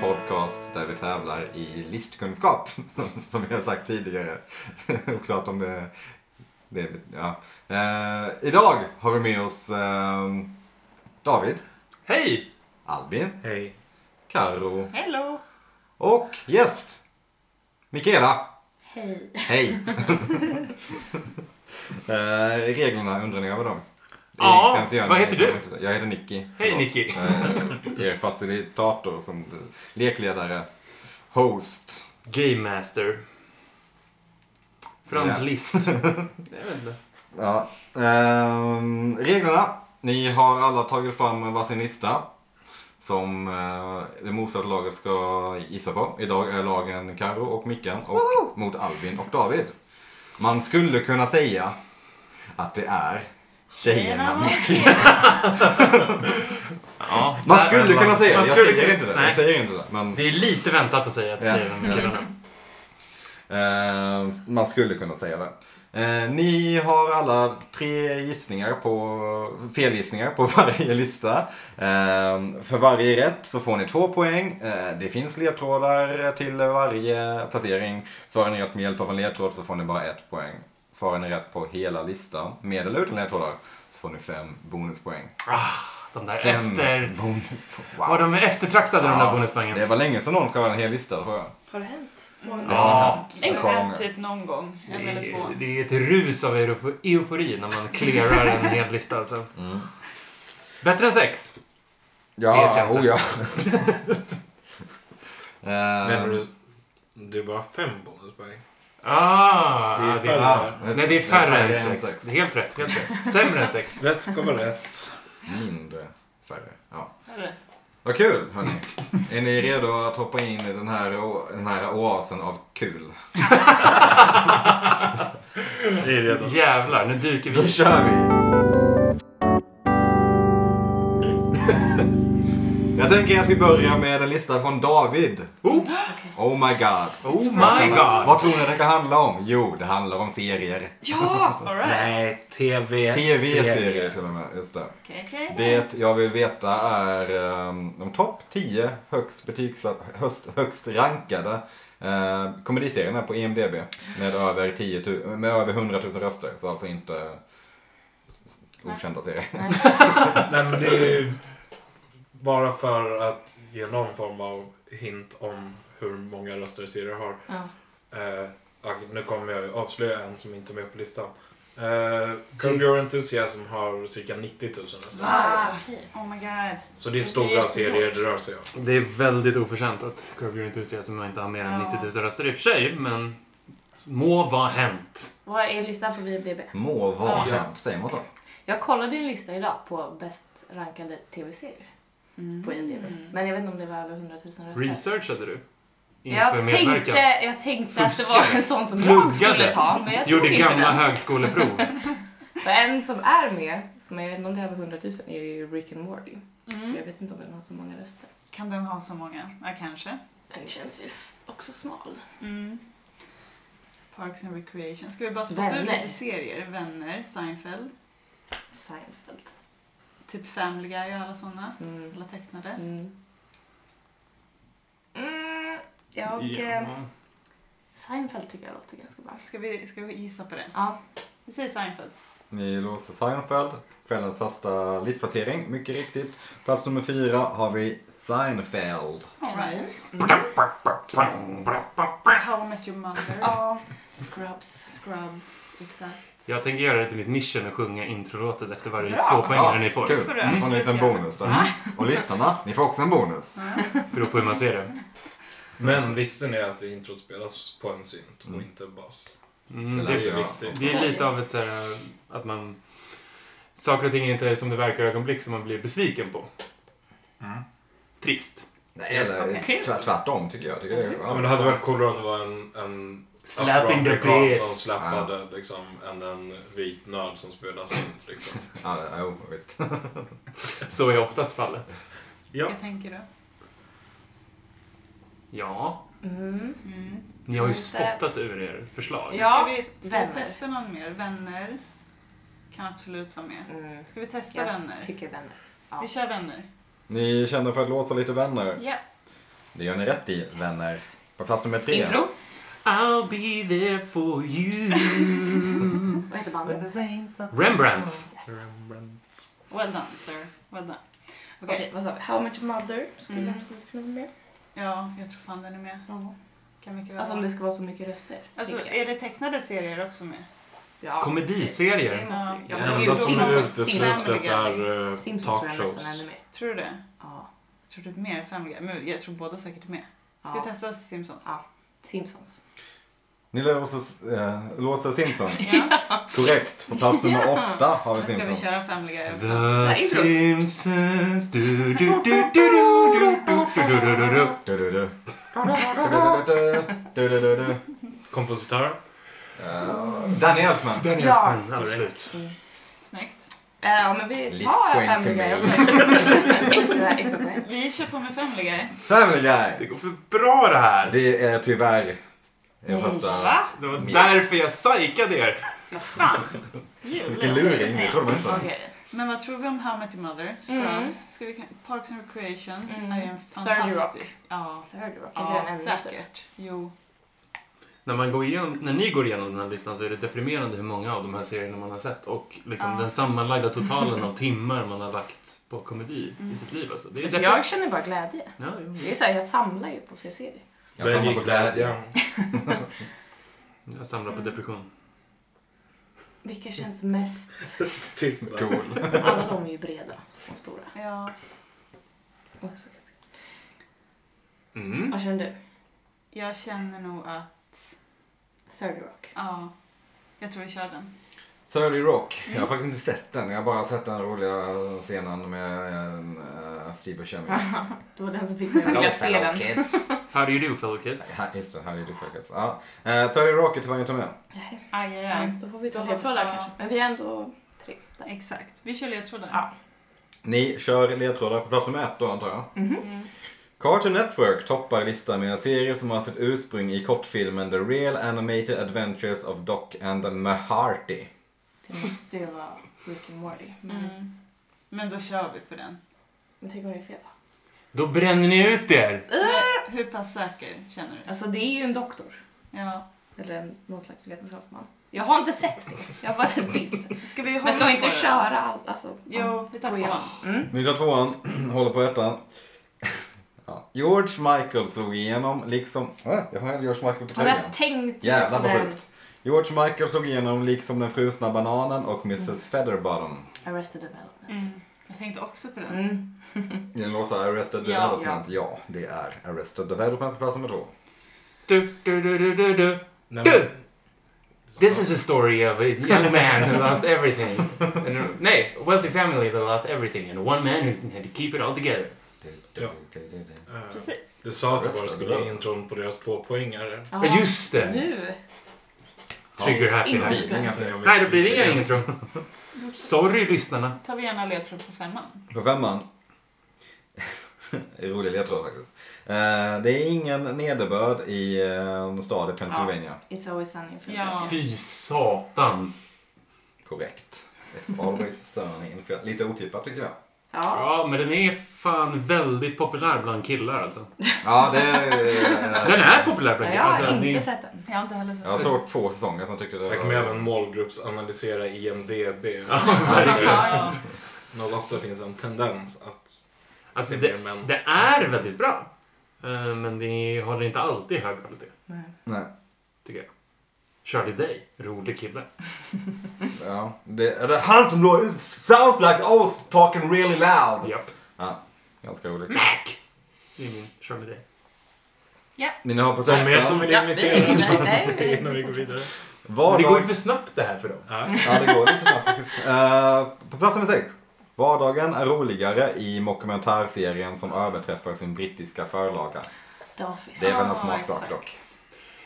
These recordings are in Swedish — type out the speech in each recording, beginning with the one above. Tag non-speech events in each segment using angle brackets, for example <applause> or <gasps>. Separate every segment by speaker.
Speaker 1: podcast där vi tävlar i listkunskap. <laughs> Som vi har sagt tidigare. <laughs> Oklart om det... det ja. eh, idag har vi med oss eh, David,
Speaker 2: Hej!
Speaker 1: Albin,
Speaker 2: Hej.
Speaker 1: Karo
Speaker 2: Hello!
Speaker 1: och gäst Mikaela.
Speaker 3: Hej.
Speaker 1: Hej! <laughs> eh, reglerna, undrar ni över dem?
Speaker 2: Ja,
Speaker 1: Egentligen så gör ni-
Speaker 2: vad heter du?
Speaker 1: Jag heter Nicky.
Speaker 2: Hej
Speaker 1: Förlåt.
Speaker 2: Nicky!
Speaker 1: Eh, er facilitator som lekledare, host.
Speaker 2: Game Master. Frans
Speaker 1: Ja. <laughs>
Speaker 2: List. Jag vet inte.
Speaker 1: Ja. ehm, reglerna. Ni har alla tagit fram varsin lista som eh, det motsatta laget ska gissa på. Idag är lagen Karo och Mickan och mot Albin och David. Man skulle kunna säga att det är tjejerna mot
Speaker 2: Ja,
Speaker 1: Man
Speaker 2: där
Speaker 1: skulle
Speaker 2: är
Speaker 1: kunna säga det.
Speaker 2: Man
Speaker 1: Jag
Speaker 2: skulle
Speaker 1: säger inte
Speaker 2: kunna-
Speaker 1: det.
Speaker 2: Nej.
Speaker 1: Jag säger inte det. Men
Speaker 2: Det är lite väntat att säga att
Speaker 1: Ja.
Speaker 2: tjejerna är killarna.
Speaker 1: eh, man skulle kunna säga det. Eh, ni har alla tre gissningar på, felgissningar på <laughs> varje lista. Eh, för varje rätt så får ni två poäng. Eh, det finns ledtrådar till varje placering. Svarar ni rätt med hjälp av en ledtråd så får ni bara ett poäng. Svarar ni rätt på hela listan, med eller utan ledtrådar, så får ni fem bonuspoäng.
Speaker 2: De där
Speaker 1: Fem
Speaker 2: efter...
Speaker 1: bonuspoäng.
Speaker 2: Ja, de är eftertraktade de
Speaker 1: Ja,
Speaker 2: där bonuspoängen.
Speaker 1: Det var länge sedan någon klarade en hel lista tror jag.
Speaker 3: Har det hänt? Många
Speaker 1: Det
Speaker 2: Ja.
Speaker 1: har hänt
Speaker 3: gånger. En
Speaker 1: ett par
Speaker 3: gång
Speaker 1: gånger.
Speaker 3: typ någon gång. En
Speaker 2: Det
Speaker 3: eller två.
Speaker 2: är, det är ett rus av eufo- eufori när man clearar en hel lista alltså.
Speaker 1: Mm.
Speaker 2: Bättre än sex. Vet
Speaker 1: Ja,
Speaker 2: jag inte.
Speaker 1: oh ja.
Speaker 4: Men
Speaker 1: <laughs> Ehm,
Speaker 4: du, det är bara fem bonuspoäng.
Speaker 2: Ah,
Speaker 4: Det är
Speaker 2: ah,
Speaker 4: färre.
Speaker 1: ja, just
Speaker 2: Nej, det är färre än
Speaker 1: än
Speaker 2: sex. Det är helt rätt. Helt rätt. Sämre än sex.
Speaker 4: Rätt ska vara rätt.
Speaker 1: Mindre färre. Ja.
Speaker 3: Hörru.
Speaker 1: Vad kul hörni. Är ni redo att hoppa in i den här, o- den här oasen av
Speaker 2: <laughs>
Speaker 1: kul?
Speaker 4: Vi är redo.
Speaker 2: Jävlar, nu dyker vi.
Speaker 1: Då kör vi! Jag tänker att vi börjar med en lista från David.
Speaker 2: Oh,
Speaker 1: <gasps> Oh my god.
Speaker 2: oh
Speaker 1: Vad kan-
Speaker 2: my god!
Speaker 1: Vad tror ni det kan handla om? Jo, det handlar om serier.
Speaker 3: Ja! Alright.
Speaker 4: Nej, tv.
Speaker 1: TV-serier till och med. Just det.
Speaker 3: Okej, okej. okej.
Speaker 1: Det jag vill veta är ehm, de topp 10 högst, betygsatt, högst, högst rankade uh, komediserierna på IMDB med över, 10 tu- med över 100 000 röster. Så alltså inte s- okända serier.
Speaker 4: Nej, men det är ju bara för att ge någon form av hint om hur många röster serier har.
Speaker 3: Ja.
Speaker 4: Eh, ja, nu kommer jag avslöja en som inte är med på listan. Uh, Curb Your Enthusiasm har cirka 90 000 röster.
Speaker 3: Ah, oh my god.
Speaker 4: Så det är
Speaker 3: Det är
Speaker 4: stora
Speaker 3: jättesvårt.
Speaker 4: serier det rör sig om.
Speaker 2: Det är väldigt oförskämt att Curb Your Enthusiasm inte har mer än
Speaker 3: Ja.
Speaker 2: 90 000 röster i och för sig, men må vara hänt.
Speaker 3: Vad är listan från IMDB?
Speaker 1: Må vara
Speaker 4: Ja.
Speaker 1: hänt, säger man så?
Speaker 5: Jag kollade ju en lista idag på bäst rankade tv-serier
Speaker 3: Mm.
Speaker 5: på IMDB. Men jag vet inte om det var över 100 000 röster.
Speaker 2: Researchade du? Inför
Speaker 5: jag, tänkte,
Speaker 2: medverkan?
Speaker 5: jag tänkte att det
Speaker 2: Fuskade.
Speaker 5: var en sån som
Speaker 2: Pluggade.
Speaker 5: jag skulle ta. Men jag
Speaker 2: Gjorde
Speaker 5: tog inte
Speaker 2: gamla
Speaker 5: den.
Speaker 2: högskoleprov.
Speaker 5: <laughs> Så en som är med, som jag vet inte om det är över 100 000, är ju Rick and Morty. Jag vet inte om den har så många röster.
Speaker 3: Mm. Kan den ha så många? Ja, kanske.
Speaker 5: Den känns ju s- också smal.
Speaker 3: Mm. Parks and Recreation. Ska vi bara spotta ut
Speaker 5: Vänner.
Speaker 3: lite serier? Vänner, Seinfeld,
Speaker 5: Seinfeld.
Speaker 3: typ Family Guy och alla sådana.
Speaker 5: Mm.
Speaker 3: Alla tecknade.
Speaker 5: Mm. Mm. Jag... Eh,
Speaker 2: Ja.
Speaker 5: Seinfeld tycker jag låter ganska bra.
Speaker 3: Ska vi, ska vi gissa på det?
Speaker 5: Ja,
Speaker 3: Vi säger Seinfeld.
Speaker 1: Ni låser Seinfeld, kvällens första listplacering. Mycket riktigt. Plats nummer fyra har vi Seinfeld.
Speaker 3: Alright.
Speaker 5: Mm.
Speaker 3: How I Met Your Mother.
Speaker 5: Ja. Scrubs.
Speaker 3: Scrubs, exakt.
Speaker 2: Jag tänker göra det till mitt mission att sjunga introlåtet efter varje
Speaker 3: Bra.
Speaker 2: två poängare
Speaker 1: Ja,
Speaker 2: ni får.
Speaker 1: Kul,
Speaker 3: Får
Speaker 1: ni
Speaker 3: du
Speaker 1: får en
Speaker 3: absolut Mm.
Speaker 1: liten
Speaker 3: göra.
Speaker 1: bonus där. Och lyssnarna, ni får också en bonus.
Speaker 2: Beror på hur man ser det.
Speaker 4: Men visste ni att introt spelas på en synt och
Speaker 1: Mm.
Speaker 4: inte bas?
Speaker 2: Mm,
Speaker 1: Det
Speaker 2: det,
Speaker 1: lär
Speaker 4: Det
Speaker 1: jag.
Speaker 4: är viktigt.
Speaker 2: det är lite av ett så här, äh, att man... Saker och ting är inte som det verkar i ögonblick som man blir besviken på.
Speaker 1: Mm.
Speaker 2: Trist.
Speaker 1: Nej, eller
Speaker 3: Okej.
Speaker 1: tvärt- tvärtom tycker jag. Tycker det, är-
Speaker 4: Ja, men det hade varit coolare om det var en, en
Speaker 2: Slapping the
Speaker 4: afroamerikan som
Speaker 1: alltså.
Speaker 2: bass.
Speaker 4: slappade liksom, än en vit nörd som spelade synt. Liksom.
Speaker 1: Ja, det- jo, <laughs> visst.
Speaker 2: Så är oftast fallet.
Speaker 4: Ja.
Speaker 3: Jag tänker du?
Speaker 2: Ja,
Speaker 5: Mm.
Speaker 3: Mm.
Speaker 2: ni har ju
Speaker 5: Just det.
Speaker 2: spottat ur er förslag.
Speaker 5: Ja,
Speaker 3: ska vi, ska vi
Speaker 5: vänner.
Speaker 3: testa någon mer? Vänner kan absolut vara med.
Speaker 5: Mm.
Speaker 3: Ska vi testa
Speaker 5: Jag
Speaker 3: vänner?
Speaker 5: tycker vänner.
Speaker 3: Vi kör vänner.
Speaker 1: Ni känner för att låsa lite vänner.
Speaker 3: Ja.
Speaker 1: Det gör ni rätt i, vänner. På plats nummer tre.
Speaker 3: Intro.
Speaker 2: I'll be there for you.
Speaker 3: Vad heter bandet?
Speaker 2: Rembrandts.
Speaker 5: Well done sir. Well done. Okej,
Speaker 3: Okej, vad sa vi? How much mother skulle
Speaker 5: Mm.
Speaker 3: absolut kunna vara med.
Speaker 5: ja, jag tror fan den är med. Kan mycket väl
Speaker 3: Alltså om
Speaker 5: vara.
Speaker 3: det ska vara så mycket röster.
Speaker 5: alltså
Speaker 3: tänker jag.
Speaker 5: är det tecknade serier också med?
Speaker 3: ja. Det
Speaker 2: Komediserier.
Speaker 3: måste ju-
Speaker 5: Ja,
Speaker 3: Ja,
Speaker 4: Det
Speaker 5: men
Speaker 4: enda
Speaker 5: gud,
Speaker 4: som
Speaker 3: Simpsons-
Speaker 4: är
Speaker 5: Simpsons-
Speaker 4: uteslutet
Speaker 5: Family Guy.
Speaker 4: är eh,
Speaker 3: Simpsons tror jag nästan
Speaker 4: talkshows.
Speaker 3: ännu mer.
Speaker 5: Tror du det?
Speaker 3: Ja.
Speaker 5: Jag tror typ mer Family Guy, men jag tror båda säkert är med. Ska
Speaker 3: Ja.
Speaker 5: vi testa Simpsons?
Speaker 3: Ja. Simpsons.
Speaker 1: Ni låser, eh, låser Simpsons.
Speaker 5: Ja.
Speaker 1: Korrekt. På plats nummer
Speaker 3: Ja.
Speaker 1: åtta har vi
Speaker 5: Då ska vi
Speaker 1: Simpsons.
Speaker 5: köra Family Guy också.
Speaker 2: The
Speaker 3: Nej, introt.
Speaker 2: Simpsons. Du, du, du, du, du, du, du, du, du, du, du, du.
Speaker 1: Du, du, du. Du, du, du, du, du, du.
Speaker 4: Kompositör.
Speaker 1: Eh, Danny Elfman.
Speaker 3: Ja.
Speaker 2: Mm, Absolut.
Speaker 5: Snyggt.
Speaker 3: Eh, Ja, men vi tar
Speaker 1: Listpoäng
Speaker 3: Family
Speaker 1: till
Speaker 3: Guy
Speaker 1: mig.
Speaker 3: också. <laughs> Extra, extra poäng.
Speaker 5: Vi kör på med Family Guy.
Speaker 1: Family Guy.
Speaker 2: Det går för bra det här.
Speaker 1: Det är tyvärr er
Speaker 3: Nej.
Speaker 1: första...
Speaker 5: Va?
Speaker 2: Det var
Speaker 1: Miss.
Speaker 2: därför jag psykade er.
Speaker 5: Fan! Jul.
Speaker 1: Vilken luring. Det trodde man inte.
Speaker 3: Okej.
Speaker 5: Men vad tror vi om How I Met Your Mother? Scrubs?
Speaker 3: Mm.
Speaker 5: Ska vi, kan- Parks and Recreation
Speaker 3: Mm.
Speaker 5: är ju en
Speaker 3: Thirty
Speaker 5: fantastisk... Ja,
Speaker 3: Third Rock. Är
Speaker 5: ja
Speaker 3: den ännu större?
Speaker 5: säkert. Jo.
Speaker 2: När, man går igenom, när ni går igenom den här listan så är det deprimerande hur många av de här serierna man har sett och liksom
Speaker 5: Ja.
Speaker 2: den sammanlagda totalen av timmar man har lagt på komedi i sitt liv. Alltså. Det är
Speaker 3: Alltså,
Speaker 2: deppigt.
Speaker 3: jag känner bara glädje.
Speaker 2: Ja, jo.
Speaker 3: Det är så här, jag samlar ju på serier.
Speaker 1: Jag samlar på glädje.
Speaker 2: Jag samlar på
Speaker 3: Mm.
Speaker 2: depression.
Speaker 3: Vilka känns mest...
Speaker 4: <laughs>
Speaker 1: Cool.
Speaker 3: Alla de är ju breda och stora.
Speaker 5: Ja.
Speaker 2: Mm.
Speaker 3: Vad känner du?
Speaker 5: Jag känner nog att...
Speaker 3: Third Rock.
Speaker 5: Ja. Jag tror vi kör den.
Speaker 1: 30 Rock.
Speaker 3: Mm.
Speaker 1: Jag har faktiskt inte sett den. Jag har bara sett den roliga scenen med uh, Steve Buscemi.
Speaker 3: Det var den som fick mig att
Speaker 1: Hello,
Speaker 3: vilja se
Speaker 1: fellow
Speaker 3: den.
Speaker 1: kids. <laughs>
Speaker 2: How do you do fellow kids?
Speaker 1: Ha- Just det, här är du faktiskt. Ja. Eh, 30 Rock är tyvärr inte med.
Speaker 3: Nej,
Speaker 5: Aj, aj, aj.
Speaker 3: Då får vi ta
Speaker 5: Då
Speaker 3: ledtrådar
Speaker 5: har vi-
Speaker 3: kanske. Men vi är ändå tre. Där.
Speaker 5: Exakt. Vi kör ledtrådar.
Speaker 3: Ja.
Speaker 1: Ni kör ledtrådar på plats nummer ett då antar jag.
Speaker 5: Mm.
Speaker 1: Cartoon Network toppar listan med serier som har sitt ursprung i kortfilmen The Real Animated Adventures of Doc and Maharty.
Speaker 3: Det måste ju vara Rick and Morty. Men,
Speaker 5: Mm. Men då kör vi på den.
Speaker 3: men tänk om det är fel?
Speaker 2: Då bränner ni ut er!
Speaker 5: Men Hur pass säker känner du?
Speaker 3: Ah! Alltså det är ju en doktor.
Speaker 5: Ja.
Speaker 3: Eller en- någon slags vetenskapsman. Jag har inte sett det. <laughs> Jag har bara sett bild.
Speaker 5: Ska vi hålla
Speaker 3: Men ska vi inte
Speaker 5: på den?
Speaker 3: köra alla? Alltså,
Speaker 5: Jo, vi tar
Speaker 3: Gå
Speaker 5: på
Speaker 3: igenom. Mm.
Speaker 1: Ni tar tvåan, <clears throat> håller på ettan. <laughs> Ja. George Michael slog igenom liksom... Va? Jag har George Michael på
Speaker 3: Har
Speaker 1: trean.
Speaker 3: jag tänkt
Speaker 1: Jävlar
Speaker 3: på
Speaker 1: vad
Speaker 3: den?
Speaker 1: sjukt. George Michael slog igenom liksom den frusna bananen och Mrs Featherbottom.
Speaker 3: Arrested development.
Speaker 5: Mm. Jag tänkte också på den.
Speaker 3: Mm.
Speaker 1: Ni låser Arrested
Speaker 5: Ja.
Speaker 1: Development. Ja. det är Arrested Development på plats nummer två.
Speaker 2: Du, du, du, du, du, du.
Speaker 4: Nej,
Speaker 2: Du!
Speaker 4: men-
Speaker 2: This is a story of a young man who lost everything. And, a- nej, a wealthy family that lost everything and one man who had to keep it all together.
Speaker 4: Ja. Eh,
Speaker 5: Precis.
Speaker 4: Du sa att det bara
Speaker 1: Resten
Speaker 4: skulle
Speaker 1: bra.
Speaker 4: bli intron på deras två poängare.
Speaker 3: Ja,
Speaker 2: Ja, just det!
Speaker 3: Nu.
Speaker 2: Trigger happy.
Speaker 3: Innan.
Speaker 2: här.
Speaker 1: Inga fler.
Speaker 2: Nej, då blir det ingen intro. Sorry lyssnarna.
Speaker 5: tar vi gärna ledtråd på femman.
Speaker 1: På femman. <laughs> Det är Rolig ledtråd faktiskt. Eh, det är ingen nederbörd i eh, en stad i Pennsylvania.
Speaker 3: It's always sunny in
Speaker 5: Ja.
Speaker 3: Philadelphia.
Speaker 2: Fy satan.
Speaker 1: Korrekt. It's always sunny in Philadelphia. Lite otippat tycker jag.
Speaker 3: Ja.
Speaker 2: Ja, men den är fan väldigt populär bland killar alltså.
Speaker 1: Ja, det <laughs> är...
Speaker 2: Den är populär
Speaker 3: Ja.
Speaker 2: bland
Speaker 3: Jag
Speaker 2: killar.
Speaker 3: har
Speaker 2: Alltså, den är-
Speaker 3: inte sett den.
Speaker 5: Jag har inte heller sett
Speaker 1: Jag såg två säsonger som tyckte det
Speaker 4: Jag kommer även målgruppsanalysera IMDB.
Speaker 5: den. Ja, ja.
Speaker 4: Något också finns en tendens att
Speaker 2: alltså,
Speaker 4: se
Speaker 2: det,
Speaker 4: mer män.
Speaker 2: det är väldigt bra. Eh, Men det håller inte alltid hög kvalitet,
Speaker 3: Nej.
Speaker 1: Nej.
Speaker 2: tycker jag. Shirley Day, rolig kille.
Speaker 1: Ja, det är det han som låter... Sounds like us talking really loud.
Speaker 2: Japp.
Speaker 1: Ganska roligt.
Speaker 2: Mac! Det är min Shirley Day.
Speaker 1: Ni har på
Speaker 4: De mer
Speaker 1: sexan.
Speaker 4: som vill
Speaker 3: Ja,
Speaker 4: imitera
Speaker 3: nej, <laughs> nej, nej.
Speaker 4: <laughs> innan vi går vidare.
Speaker 2: Men det
Speaker 1: Vardag...
Speaker 2: går ju för snabbt det här för dem.
Speaker 4: Ja.
Speaker 1: Ja, det går lite snabbt faktiskt. Eh, på plats nummer sex. Vardagen är roligare i mockumentärserien som överträffar sin brittiska förlaga.
Speaker 3: The Office.
Speaker 1: Det är väl en
Speaker 5: Ja,
Speaker 1: smaksak
Speaker 5: exakt.
Speaker 1: dock.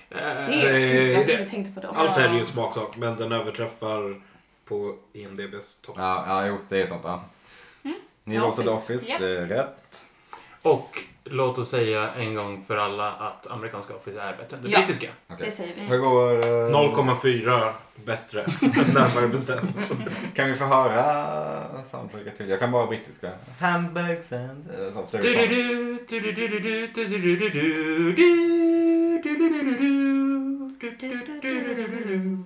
Speaker 3: Det
Speaker 2: Eh,
Speaker 3: är
Speaker 4: Det-
Speaker 3: sjukt att jag inte tänkte på dem.
Speaker 4: Allt det här är ju smaksak, men den överträffar på IMDBs topp.
Speaker 1: Ja, ja jo, det är sant. Ja. Ni
Speaker 3: The
Speaker 1: låser The
Speaker 3: Office,
Speaker 1: Office,
Speaker 3: ja.
Speaker 1: det är rätt.
Speaker 2: Och låt oss säga en gång för alla att amerikanska Office är bättre än det
Speaker 3: Ja.
Speaker 2: brittiska.
Speaker 3: Det säger
Speaker 1: Hur
Speaker 3: vi.
Speaker 1: går... eh,
Speaker 4: 0,4 bättre. Närmare bestämt.
Speaker 1: Kan vi få höra soundtracket till? Jag kan bara brittiska. Hamburgs and... eh, som Sarah Connor.
Speaker 2: Du-du-du, du-du-du-du-du, du-du-du-du-du, du, du-du-du-du-du, du-du-du-du-du-du.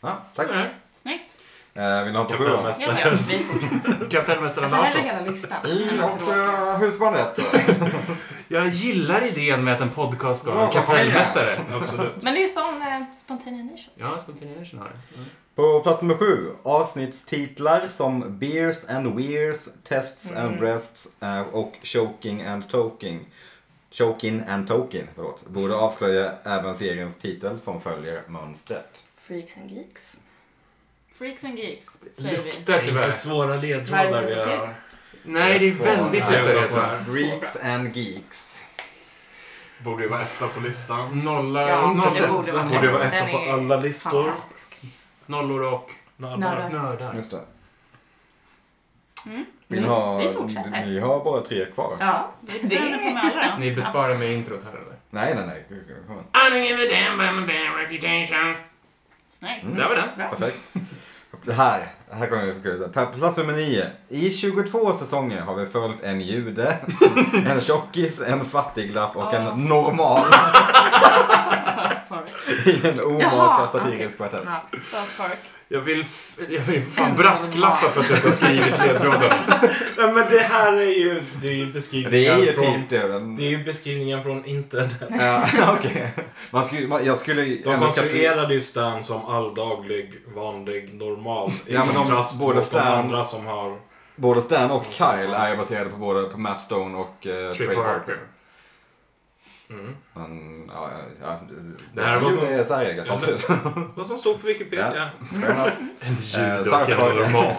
Speaker 1: Ja, tack.
Speaker 2: Sådär.
Speaker 5: Snyggt.
Speaker 1: Eh, vill ni ha på sjuan?
Speaker 4: Kapellmästaren.
Speaker 3: Ja, ja, vi fortsätter. Det
Speaker 4: Kapellmästaren
Speaker 3: här är
Speaker 4: 18.
Speaker 3: hela listan.
Speaker 1: I och
Speaker 3: Tråkigt.
Speaker 1: eh, husbandet.
Speaker 2: Jag gillar idén med att en podcast ska
Speaker 1: Ja,
Speaker 2: vara en
Speaker 1: så
Speaker 2: kapellmästare.
Speaker 4: Absolut.
Speaker 3: Men det är ju sån eh, spontan nation.
Speaker 2: Ja, Spontaneation har det. Mm.
Speaker 1: På plats nummer sju, avsnittstitlar som Beers and Wears, Tests and Breasts eh, och Choking and Toking. Choking and Toking, förlåt. Borde avslöja även seriens titel som följer mönstret.
Speaker 3: Freaks and geeks.
Speaker 5: Freaks and geeks, säger vi.
Speaker 2: Luktar tyvärr.
Speaker 4: Inte svåra ledtrådar vi har.
Speaker 2: Nej, det
Speaker 1: Rätt
Speaker 2: är
Speaker 1: svar.
Speaker 2: väldigt
Speaker 1: Ja, jag
Speaker 2: lätt
Speaker 4: vet vad
Speaker 2: att
Speaker 1: Freaks and Geeks.
Speaker 6: Borde ju vara etta på listan.
Speaker 2: Nolla,
Speaker 3: Ja,
Speaker 1: inte
Speaker 3: det
Speaker 1: sett.
Speaker 2: nollor,
Speaker 3: borde vara
Speaker 4: Borde
Speaker 3: med.
Speaker 4: vara
Speaker 3: Den
Speaker 4: etta på
Speaker 3: är
Speaker 4: alla listor.
Speaker 3: Fantastisk.
Speaker 2: nollor och
Speaker 4: Nördar.
Speaker 2: nördar.
Speaker 1: Just det.
Speaker 5: Mm.
Speaker 1: Vill ni ha,
Speaker 3: Vi fortsätter.
Speaker 1: ni har bara tre kvar.
Speaker 3: Ja,
Speaker 5: Vi bränner på med alla då.
Speaker 2: Ni besparar mig introt här eller?
Speaker 1: Nej, nej, nej. Kom igen.
Speaker 2: I don't give a damn about my bad reputation.
Speaker 5: Snyggt.
Speaker 1: Mm.
Speaker 2: Där var den.
Speaker 1: Perfekt. <laughs> Det här, det här kommer vi få kul. På Plats nummer nio. I 22 säsonger har vi följt en jude, <laughs> en tjockis, en fattiglapp och en normal <laughs>
Speaker 5: South Park.
Speaker 1: i en
Speaker 3: Jaha,
Speaker 1: omaka satirisk kvartett.
Speaker 3: ja.
Speaker 5: South Park.
Speaker 2: Jag vill, f- jag vill fan brasklappa för att jag inte har skrivit <laughs> ledtrådar.
Speaker 4: Nej men det här är ju, det är ju beskrivningen
Speaker 1: Det är ju
Speaker 4: från...
Speaker 1: typ det. men- <laughs>
Speaker 4: Det är ju beskrivningen från internet.
Speaker 1: Ja, <laughs> okej. Man skulle, man, jag skulle ju
Speaker 4: De
Speaker 1: ändå-
Speaker 4: konstruerade ju Stan som alldaglig, vanlig, normal. I
Speaker 1: Ja, men de-
Speaker 4: kontrast
Speaker 1: både
Speaker 4: mot
Speaker 1: Stan-
Speaker 4: de andra som har...
Speaker 1: Både Stan och Kyle är baserade på både på Matt Stone och eh, Trey Parker.
Speaker 4: Mm.
Speaker 1: Men, ja, ja,
Speaker 4: Det här var
Speaker 1: ju
Speaker 4: så-
Speaker 1: det är säreget, <laughs> absolut.
Speaker 4: Vad som stod på Wikipedia.
Speaker 1: Fair enough.
Speaker 2: En
Speaker 1: Eh,
Speaker 2: jude och
Speaker 1: South
Speaker 2: en
Speaker 1: Park.
Speaker 2: normal.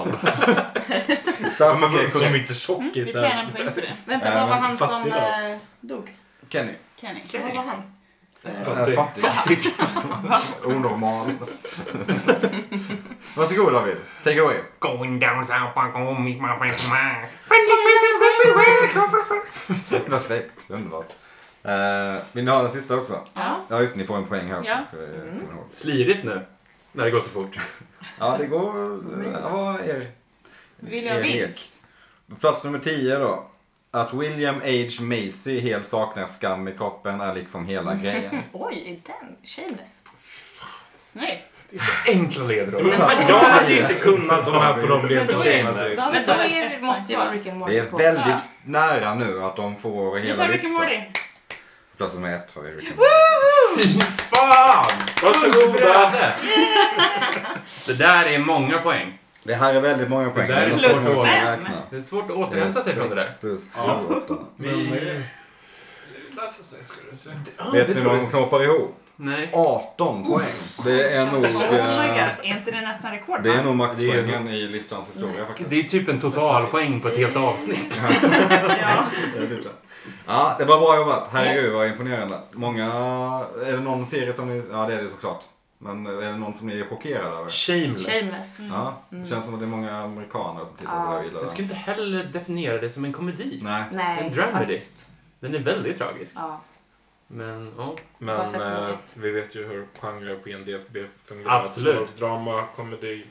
Speaker 1: South Park
Speaker 4: men
Speaker 1: är
Speaker 4: som
Speaker 1: korrekt.
Speaker 4: inte
Speaker 5: Mm, vi
Speaker 4: tjockisen.
Speaker 5: tar en poäng för det.
Speaker 3: Vänta,
Speaker 1: Äh,
Speaker 3: vad var
Speaker 1: men
Speaker 3: han som
Speaker 4: fattig då.
Speaker 3: eh, dog?
Speaker 1: Kenny.
Speaker 5: Kenny.
Speaker 3: Vad var han?
Speaker 1: Fattig. Fattig. <laughs> Onormal. Varsågod David. Take it away.
Speaker 2: Going down South Park, home meet my friends and mine. Friendly faces everywhere.
Speaker 1: Perfekt. Underbart. Uh, vill ni ha den sista också?
Speaker 5: Ja.
Speaker 1: Ja just det, ni får en poäng här också.
Speaker 5: Ja. Mm.
Speaker 1: Ska vi komma ihåg.
Speaker 2: Slirigt nu. När det går så fort.
Speaker 1: Ja, det går... eh, Vad är er,
Speaker 5: Vill jag
Speaker 1: er
Speaker 5: vinst?
Speaker 1: lek. Plats nummer 10 då. Att William H. Macy helt saknar skam i kroppen är liksom hela
Speaker 5: Mm. <laughs>
Speaker 1: grejen.
Speaker 3: Oj, är den shameless?
Speaker 5: Snyggt.
Speaker 2: Enkla ledtrådar.
Speaker 4: Jag hade
Speaker 2: Mm.
Speaker 4: inte kunnat de här på de ledtrådarna.
Speaker 1: Det
Speaker 4: typ.
Speaker 5: Ja,
Speaker 3: Men
Speaker 5: men
Speaker 3: då
Speaker 5: då
Speaker 3: är,
Speaker 5: är-
Speaker 3: måste ju vara Rick and
Speaker 1: Det
Speaker 3: Morty
Speaker 1: är
Speaker 3: på.
Speaker 1: väldigt
Speaker 5: Ja.
Speaker 1: nära nu att de får
Speaker 5: Vi
Speaker 1: hela
Speaker 5: tar Rick and
Speaker 1: listan.
Speaker 5: Morty.
Speaker 1: Plats nummer ett har vi Rick and Morty.
Speaker 2: Fan! <laughs>
Speaker 4: Varsågoda!
Speaker 2: Bröde! Det där är många poäng.
Speaker 1: Det här är väldigt många poäng.
Speaker 4: Det där är
Speaker 1: Det är
Speaker 4: plus
Speaker 1: svårt att
Speaker 5: fem.
Speaker 1: räkna.
Speaker 2: Det är svårt att återhämta sig från det där.
Speaker 1: Sex plus
Speaker 4: Ja.
Speaker 1: sju, åtta.
Speaker 2: Vi...
Speaker 4: Löser sig ska du se.
Speaker 2: Mm.
Speaker 1: Vet ni vad de knoppar ihop?
Speaker 2: Nej.
Speaker 1: 18 poäng. Det är nog...
Speaker 5: Oh my
Speaker 1: eh,
Speaker 5: god, är inte det nästan rekord?
Speaker 1: Det är
Speaker 5: va?
Speaker 1: nog maxpoängen i listans historia faktiskt.
Speaker 2: Det är typ en totalpoäng på ett helt avsnitt.
Speaker 5: Ja.
Speaker 1: Jag tror det. Ja, det var bra jobbat. Herregud vad imponerande. Många... Är det någon serie som ni... Ja, det är det såklart. Men är det någon som ni är chockerade över?
Speaker 2: Shameless.
Speaker 3: shameless.
Speaker 5: Mm.
Speaker 1: Ja, det känns som att det är många amerikaner som tittar på det här och gillar
Speaker 2: Jag skulle
Speaker 1: det.
Speaker 2: inte heller definiera det som en komedi.
Speaker 1: Nej.
Speaker 3: Nej,
Speaker 2: En dramedy.
Speaker 3: faktiskt.
Speaker 2: Den är väldigt tragisk.
Speaker 3: Ja.
Speaker 2: Men ja.
Speaker 3: Bara
Speaker 4: Men
Speaker 3: sätt som
Speaker 4: eh,
Speaker 3: roligt.
Speaker 4: vi vet ju hur genrer på E NDFB fungerar.
Speaker 2: Absolut.
Speaker 4: Så Drama, komedi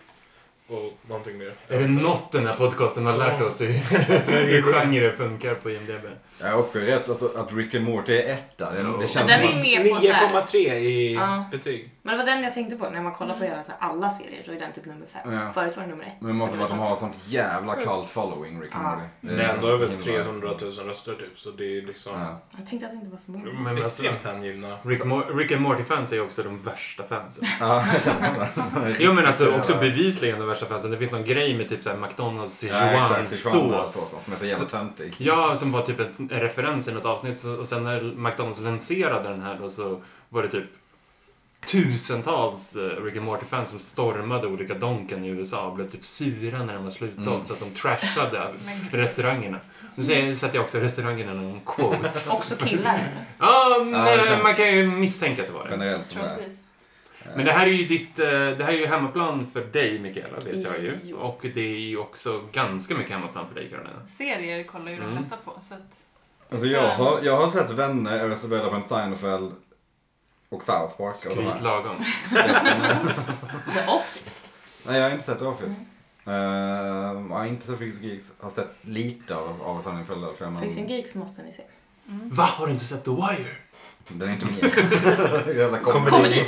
Speaker 4: och någonting mer.
Speaker 2: Är det något den här podcasten har lärt oss i hur genrer funkar på IMDB?
Speaker 1: Jag är också rätt alltså, att Rick and Morty är etta. Det, det
Speaker 3: Men
Speaker 1: känns
Speaker 3: den
Speaker 1: som
Speaker 3: är ju
Speaker 1: att...
Speaker 3: mer på så här.
Speaker 4: 9,3 i
Speaker 3: Ja.
Speaker 4: betyg.
Speaker 3: Men det var den jag tänkte på när man kollar på hela, så här, alla serier. Då är den typ nummer fem.
Speaker 1: Ja.
Speaker 3: Förut var den nummer ett.
Speaker 1: Men det måste vara att de har sånt jävla cult following, Rick and
Speaker 3: Ja.
Speaker 1: Morty.
Speaker 4: Det är ändå
Speaker 1: så
Speaker 4: över
Speaker 1: himla-
Speaker 4: 300 000
Speaker 2: alltså.
Speaker 4: röster typ. Så det är liksom Mm,
Speaker 1: Ja.
Speaker 3: Jag tänkte att det inte var så
Speaker 1: Mm.
Speaker 3: många.
Speaker 2: Men alltså,
Speaker 4: extremt hängivna.
Speaker 2: Rick, Mo- Rick and Morty-fans är ju också de värsta fansen.
Speaker 1: Ja, <laughs> det känns som det.
Speaker 2: <laughs> Jo men alltså också bevisligen de värsta fansen. Det finns någon grej med typ såhär McDonalds
Speaker 1: Ja,
Speaker 2: Sichuan-sås.
Speaker 1: sås som är så jävla töntig.
Speaker 2: Ja, som var typ ett- en referens i något avsnitt. Så- Och sen när McDonalds lanserade den här då så var det typ tusentals eh, Rick and Morty-fans som stormade olika Donken i USA och blev typ sura när den var slutsåld
Speaker 1: Mm.
Speaker 2: så att de trashade
Speaker 5: Men gud.
Speaker 2: restaurangerna. Nu säger- sätter jag också restaurangerna inom
Speaker 1: <laughs>
Speaker 2: quotes.
Speaker 3: Också killar. eller?
Speaker 2: Ja, men,
Speaker 1: Ja, det
Speaker 2: eh,
Speaker 1: känns-
Speaker 2: man kan ju misstänka att det var det.
Speaker 1: Generellt som är.
Speaker 5: Troligtvis.
Speaker 2: Men det här är ju ditt, eh, det här är ju hemmaplan för dig Mikaela, vet jag ju.
Speaker 3: Jo.
Speaker 2: Och det är ju också ganska mycket hemmaplan för dig Karolina.
Speaker 5: Serier kollar ju de
Speaker 2: Mm.
Speaker 5: flesta på. Så att
Speaker 1: Alltså jag har, jag har sett vänner, Arrested Development, Seinfeld och South Park. Och de här.
Speaker 2: Skryt lagom.
Speaker 3: The Office.
Speaker 1: Nej, jag har inte sett The Office. Ehm, jag har inte sett Freaks and Geeks. Har sett lite av, av Seinfeld. För jag, men,
Speaker 3: Freaks and Geeks måste ni se.
Speaker 2: Va? Har du inte sett The Wire?
Speaker 1: Den är inte min. <laughs> Jävla komedi.
Speaker 3: Komedi.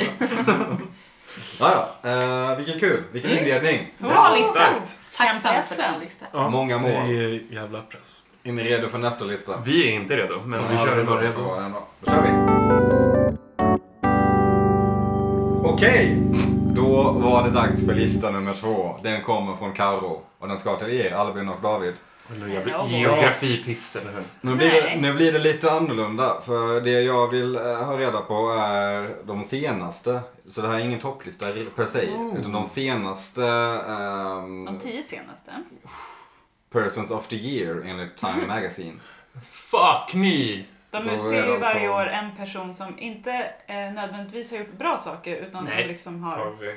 Speaker 1: Ja, ja. Eh, vilken kul. Vilken
Speaker 3: Mm.
Speaker 1: inledning.
Speaker 3: Bra lista! Tack
Speaker 5: Kämpa
Speaker 3: snälla för
Speaker 5: sen.
Speaker 3: din lista.
Speaker 4: Ja,
Speaker 1: Många mål.
Speaker 4: Det är jävla press.
Speaker 1: Är ni redo för nästa lista?
Speaker 2: Vi är inte redo, men vi
Speaker 1: Ja,
Speaker 2: kör
Speaker 1: det
Speaker 2: i
Speaker 1: var
Speaker 2: början.
Speaker 1: det var den då. Då kör vi. Okej, då var det dags för lista nummer två. Den kommer från Karo och den ska till er, Albin och David.
Speaker 3: Ja.
Speaker 2: Geografipiss, eller hur?
Speaker 1: Nu blir, det,
Speaker 5: Nej.
Speaker 1: nu blir det lite annorlunda för det jag vill eh, ha reda på är de senaste. Så det här är ingen topplista re- per se. Utan de senaste ehm,
Speaker 5: Oh. De tio senaste.
Speaker 1: Persons of the year enligt
Speaker 5: <laughs>
Speaker 1: Time Magazine.
Speaker 2: Fuck me!
Speaker 5: De
Speaker 1: Då är alltså-
Speaker 5: utser ju
Speaker 1: de
Speaker 5: varje
Speaker 1: som-
Speaker 5: år en person som inte eh, nödvändigtvis har gjort bra saker utan
Speaker 2: Nej.
Speaker 5: som liksom har
Speaker 4: Har vi.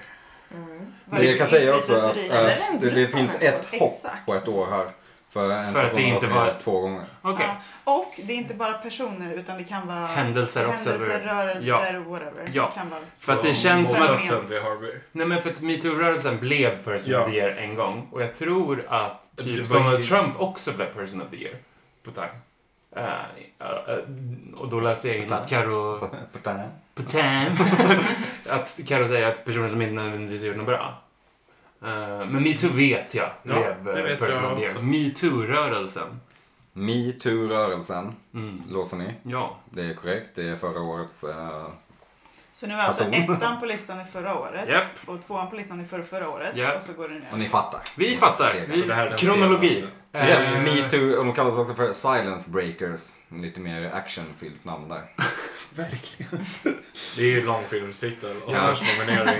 Speaker 3: Mm.
Speaker 1: Men jag kan säga också att
Speaker 5: inflytelserik.
Speaker 1: eh,
Speaker 3: Eller en
Speaker 1: det, det
Speaker 3: grupp
Speaker 1: finns
Speaker 3: av
Speaker 1: ett
Speaker 5: människor.
Speaker 1: hopp
Speaker 5: Exakt.
Speaker 1: på ett år här. För en
Speaker 2: För att
Speaker 1: person
Speaker 2: det
Speaker 1: har
Speaker 2: inte
Speaker 1: varit med
Speaker 2: var-
Speaker 1: två gånger.
Speaker 2: Okej.
Speaker 5: Ja. Eh, Och det är inte bara personer utan det kan vara
Speaker 2: Händelser också.
Speaker 5: händelser,
Speaker 2: eller hur?
Speaker 5: rörelser, whatever.
Speaker 2: Ja.
Speaker 5: Det kan vara
Speaker 2: För att det känns som
Speaker 5: att-
Speaker 4: Motsatsen till Harvey.
Speaker 2: Nej men för att metoo-rörelsen blev person
Speaker 4: Ja.
Speaker 2: of the year en gång och jag tror att
Speaker 4: Det
Speaker 2: typ
Speaker 4: var
Speaker 2: Donald
Speaker 4: ju-
Speaker 2: Trump också blev person of the year på Time. Eh, eh, eh, och då läser jag in
Speaker 1: På
Speaker 2: att Karo
Speaker 1: Så, på den.
Speaker 2: på Time att Karo säger att personer som inte nödvändigtvis gjort något bra. Eh, men metoo vet jag
Speaker 4: Ja,
Speaker 2: blev
Speaker 4: det
Speaker 2: eh,
Speaker 4: vet
Speaker 2: person
Speaker 4: jag
Speaker 2: of the year.
Speaker 4: också.
Speaker 2: Metoo-rörelsen.
Speaker 1: Metoo-rörelsen
Speaker 2: Mm.
Speaker 1: låser ni.
Speaker 2: Ja.
Speaker 1: Det är korrekt. Det är förra årets eh,
Speaker 5: Så nu är alltså
Speaker 1: Person.
Speaker 5: ettan på listan i förra året
Speaker 2: Japp.
Speaker 5: och tvåan på listan i förra, förra året
Speaker 2: Japp.
Speaker 5: och så går det ner.
Speaker 1: Och ni fattar.
Speaker 2: Vi fattar.
Speaker 1: Steg.
Speaker 2: Vi,
Speaker 4: Så det här är den
Speaker 2: kronologi.
Speaker 4: senaste.
Speaker 1: Rätt,
Speaker 2: Eh,
Speaker 1: metoo. Och de kallas också för silence breakers. Lite mer actionfyllt namn där.
Speaker 4: Det är ju långfilmstitel och
Speaker 2: Ja.
Speaker 4: Oscarsnominering.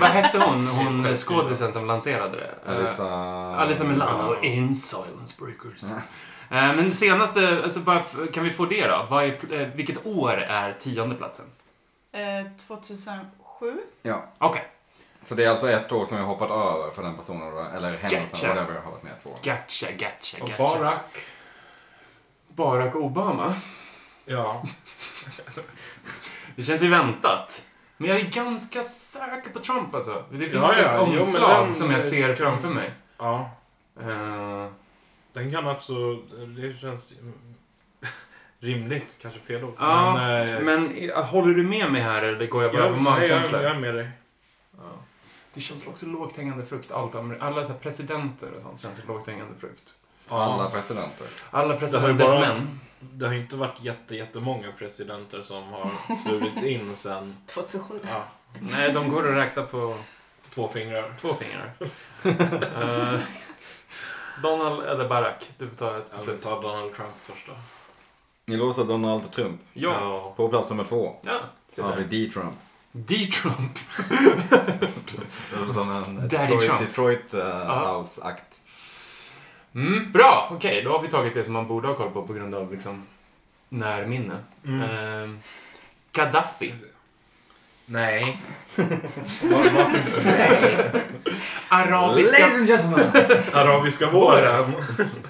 Speaker 2: <laughs> Vad hette hon, hon skådisen som lanserade det? Eh,
Speaker 1: Alissa...
Speaker 2: Alissa Milano och In Silence Breakers. Eh, Men senaste, alltså bara, f- kan vi få det då? Vad är, pl- eh, vilket år är tionde platsen?
Speaker 5: Eh, 2007.
Speaker 1: Ja.
Speaker 2: Okej,
Speaker 1: Så det är alltså ett år som jag hoppat över för den personen. då, Eller händelsen,
Speaker 2: Gotcha.
Speaker 1: whatever, har varit med två år.
Speaker 2: gotcha, gotcha,
Speaker 4: Och
Speaker 2: gotcha.
Speaker 4: Barack.
Speaker 2: Barack Obama?
Speaker 4: Ja.
Speaker 2: Det känns ju väntat. Men jag är ganska säker på Trump alltså. Det finns
Speaker 4: Ja, ja.
Speaker 2: ett
Speaker 4: Jo, men
Speaker 2: omslag
Speaker 4: den-
Speaker 2: som jag ser
Speaker 4: Trump-
Speaker 2: framför mig.
Speaker 4: Ja.
Speaker 2: Eh,
Speaker 4: Den kan absolut... Det känns mm, rimligt. Kanske fel ord.
Speaker 2: Ja,
Speaker 4: men... eh,
Speaker 2: men eh, håller du med mig här eller går jag bara
Speaker 4: jag,
Speaker 2: på
Speaker 4: nej, jag,
Speaker 2: magkänsla?
Speaker 4: jag är med dig.
Speaker 2: Ja. Det känns också lågt hängande frukt. Allt, amer- alla så här presidenter och sånt känns lågt hängande frukt.
Speaker 1: Alla presidenter.
Speaker 2: Alla
Speaker 4: ju
Speaker 2: presidenters
Speaker 4: bara-
Speaker 2: män.
Speaker 4: Det har ju inte varit jätte, jättemånga presidenter som har svurits in sen
Speaker 3: 2007.
Speaker 4: ja,
Speaker 2: Nej, de går att räkna på
Speaker 4: två fingrar.
Speaker 2: två
Speaker 4: <laughs>
Speaker 2: fingrar. Eh, Donald eller Barack, du får ta ett
Speaker 4: Jag vill
Speaker 2: beslut.
Speaker 4: Alltså, ta Donald Trump första.
Speaker 1: Ni låser Donald Trump.
Speaker 2: Ja.
Speaker 1: På plats nummer två
Speaker 2: ja. se
Speaker 1: så har vi
Speaker 2: där.
Speaker 1: D-Trump.
Speaker 2: D-Trump.
Speaker 1: Det låter Som en
Speaker 2: Daddy
Speaker 1: Detroit,
Speaker 2: Trump.
Speaker 1: Detroit eh,
Speaker 2: Ja.
Speaker 1: House-akt.
Speaker 2: <laughs> Mm, bra, okej. då har vi tagit det som man borde ha koll på på grund av liksom närminne.
Speaker 4: Mm.
Speaker 2: Eh, Gaddafi.
Speaker 4: Nej. Var, varför? Nej.
Speaker 2: <laughs> Arabiska...
Speaker 1: and
Speaker 2: <laughs>
Speaker 1: gentlemen!
Speaker 4: Arabiska våren.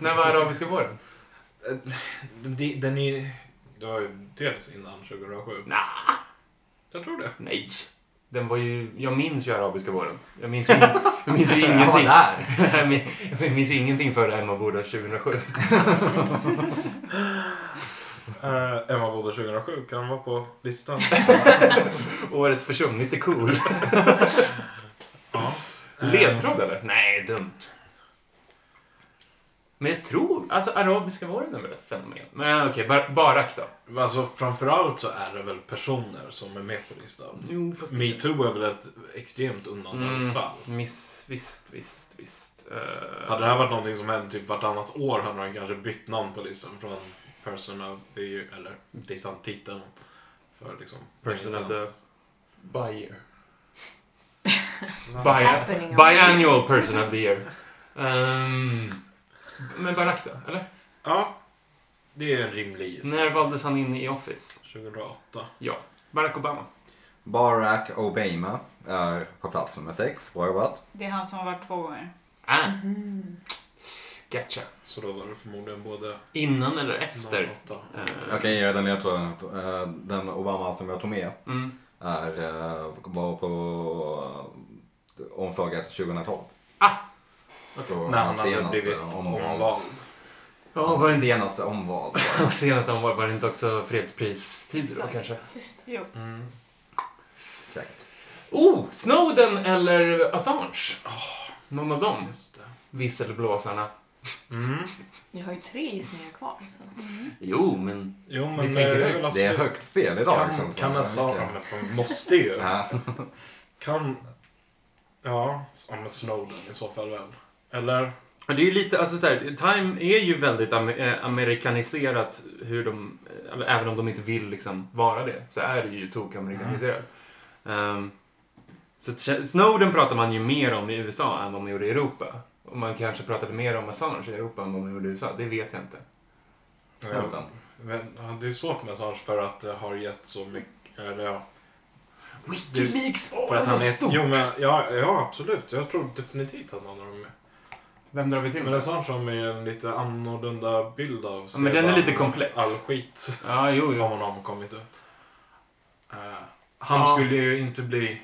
Speaker 2: När var arabiska våren?
Speaker 4: Den- Den är... Det var ju dels innan 2007.
Speaker 2: Nah.
Speaker 4: Jag tror det.
Speaker 2: Nej. Den var ju, jag minns ju arabiska våren. Jag minns ju, jag minns ju
Speaker 1: Jag var
Speaker 2: ingenting. <laughs>
Speaker 1: där!
Speaker 2: Jag min- jag minns ju ingenting före Emma Boda 2007.
Speaker 4: Uh, Emma Boda 2007 kan vara på <laughs> listan.
Speaker 2: Årets person, Mr Cool.
Speaker 4: <laughs> ja.
Speaker 2: Ledtråd eller? Nej, dumt. Men jag tror, alltså arabiska våren är väl ett fenomen. Men okej, Bar- Barak då?
Speaker 4: Men Alltså framförallt så är det väl personer som är med på listan.
Speaker 2: Jo, fast
Speaker 4: Metoo är väl ett extremt undantagsfall.
Speaker 2: Miss, visst, visst, visst. Eh,
Speaker 4: Hade det här varit någonting som hände typ vartannat år hade han kanske bytt namn på listan från Person of the Year, eller listan, titeln. För liksom...
Speaker 2: Person of the... Buyer.
Speaker 4: Va?
Speaker 2: Buyer.
Speaker 3: Happening.
Speaker 2: Biannual person of the year. Ehm, men Barack då, eller?
Speaker 4: Ja. Det är en rimlig gissning.
Speaker 2: När valdes han in i Office?
Speaker 4: 2008.
Speaker 2: Barack Obama.
Speaker 1: Barack Obama är på plats nummer sex. Bra jobbat.
Speaker 5: Det är han som har varit två gånger.
Speaker 2: Ah,
Speaker 3: Mhm.
Speaker 2: Gotcha.
Speaker 4: Så då var det förmodligen både
Speaker 2: Innan eller efter?
Speaker 4: 08.
Speaker 2: Eh,
Speaker 1: Jag kan ge er den ledtråden. att, eh, Den Obama som jag tog med
Speaker 2: Mm.
Speaker 1: är, eh, var på eh, omslaget 2012.
Speaker 2: Ah!
Speaker 1: Så
Speaker 4: När han
Speaker 1: hans
Speaker 4: hade
Speaker 1: senaste
Speaker 4: blivit
Speaker 1: omval.
Speaker 4: omvald.
Speaker 2: Ja, var
Speaker 1: Hans
Speaker 2: <laughs> det
Speaker 1: senaste omval.
Speaker 2: inte, senaste omval var det inte också fredspristider då
Speaker 3: Exakt.
Speaker 2: kanske?
Speaker 3: Just det.
Speaker 5: Jo.
Speaker 4: Mm.
Speaker 1: Säkert.
Speaker 2: Oh! Snowden eller Assange? Någon av dem? Visselblåsarna.
Speaker 4: Mm.
Speaker 3: Jag har ju tre gissningar kvar. Så.
Speaker 2: Mm. Jo, men...
Speaker 4: Jo men
Speaker 2: Vi tänker
Speaker 4: eh,
Speaker 2: högt.
Speaker 4: väl att
Speaker 1: Det är
Speaker 4: vi-
Speaker 1: högt spel idag liksom,
Speaker 4: Kan,
Speaker 1: känns det
Speaker 4: kan
Speaker 1: som.
Speaker 4: Assange...
Speaker 1: Ja.
Speaker 4: Ja, men Måste ju.
Speaker 1: Ja.
Speaker 4: Kan... Ja, ja men Snowden i så fall väl. Eller?
Speaker 7: Ja, Det är ju lite, alltså så här, Time är ju väldigt am- eh, amerikaniserat hur de, eh, även om de inte vill liksom vara det, så är det ju tokamerikaniserat. Ehm, så att kä- Snowden pratar man ju mer om i USA än vad man gjorde i Europa. Och man kanske pratade mer om Assange i Europa än vad man gjorde i USA, det vet jag inte.
Speaker 1: Snowden.
Speaker 4: Men, ja, det är svårt med Assange för att det har gett så mycket. Eller, ja.
Speaker 7: Wikileaks! Åh,
Speaker 4: För att
Speaker 7: vad
Speaker 4: han
Speaker 7: stort!
Speaker 4: är, jo, men, ja, ja, absolut. Jag tror definitivt att han har dem med.
Speaker 7: Vem drar vi till
Speaker 4: Men
Speaker 7: med?
Speaker 4: Assange har med en lite annorlunda bild av
Speaker 7: Ja, men den är
Speaker 4: sedan
Speaker 7: lite komplex.
Speaker 4: All skit
Speaker 7: Ja, jo,
Speaker 4: om
Speaker 7: jo.
Speaker 4: honom kommit ut. Eh, han
Speaker 2: Ja.
Speaker 4: skulle ju inte bli...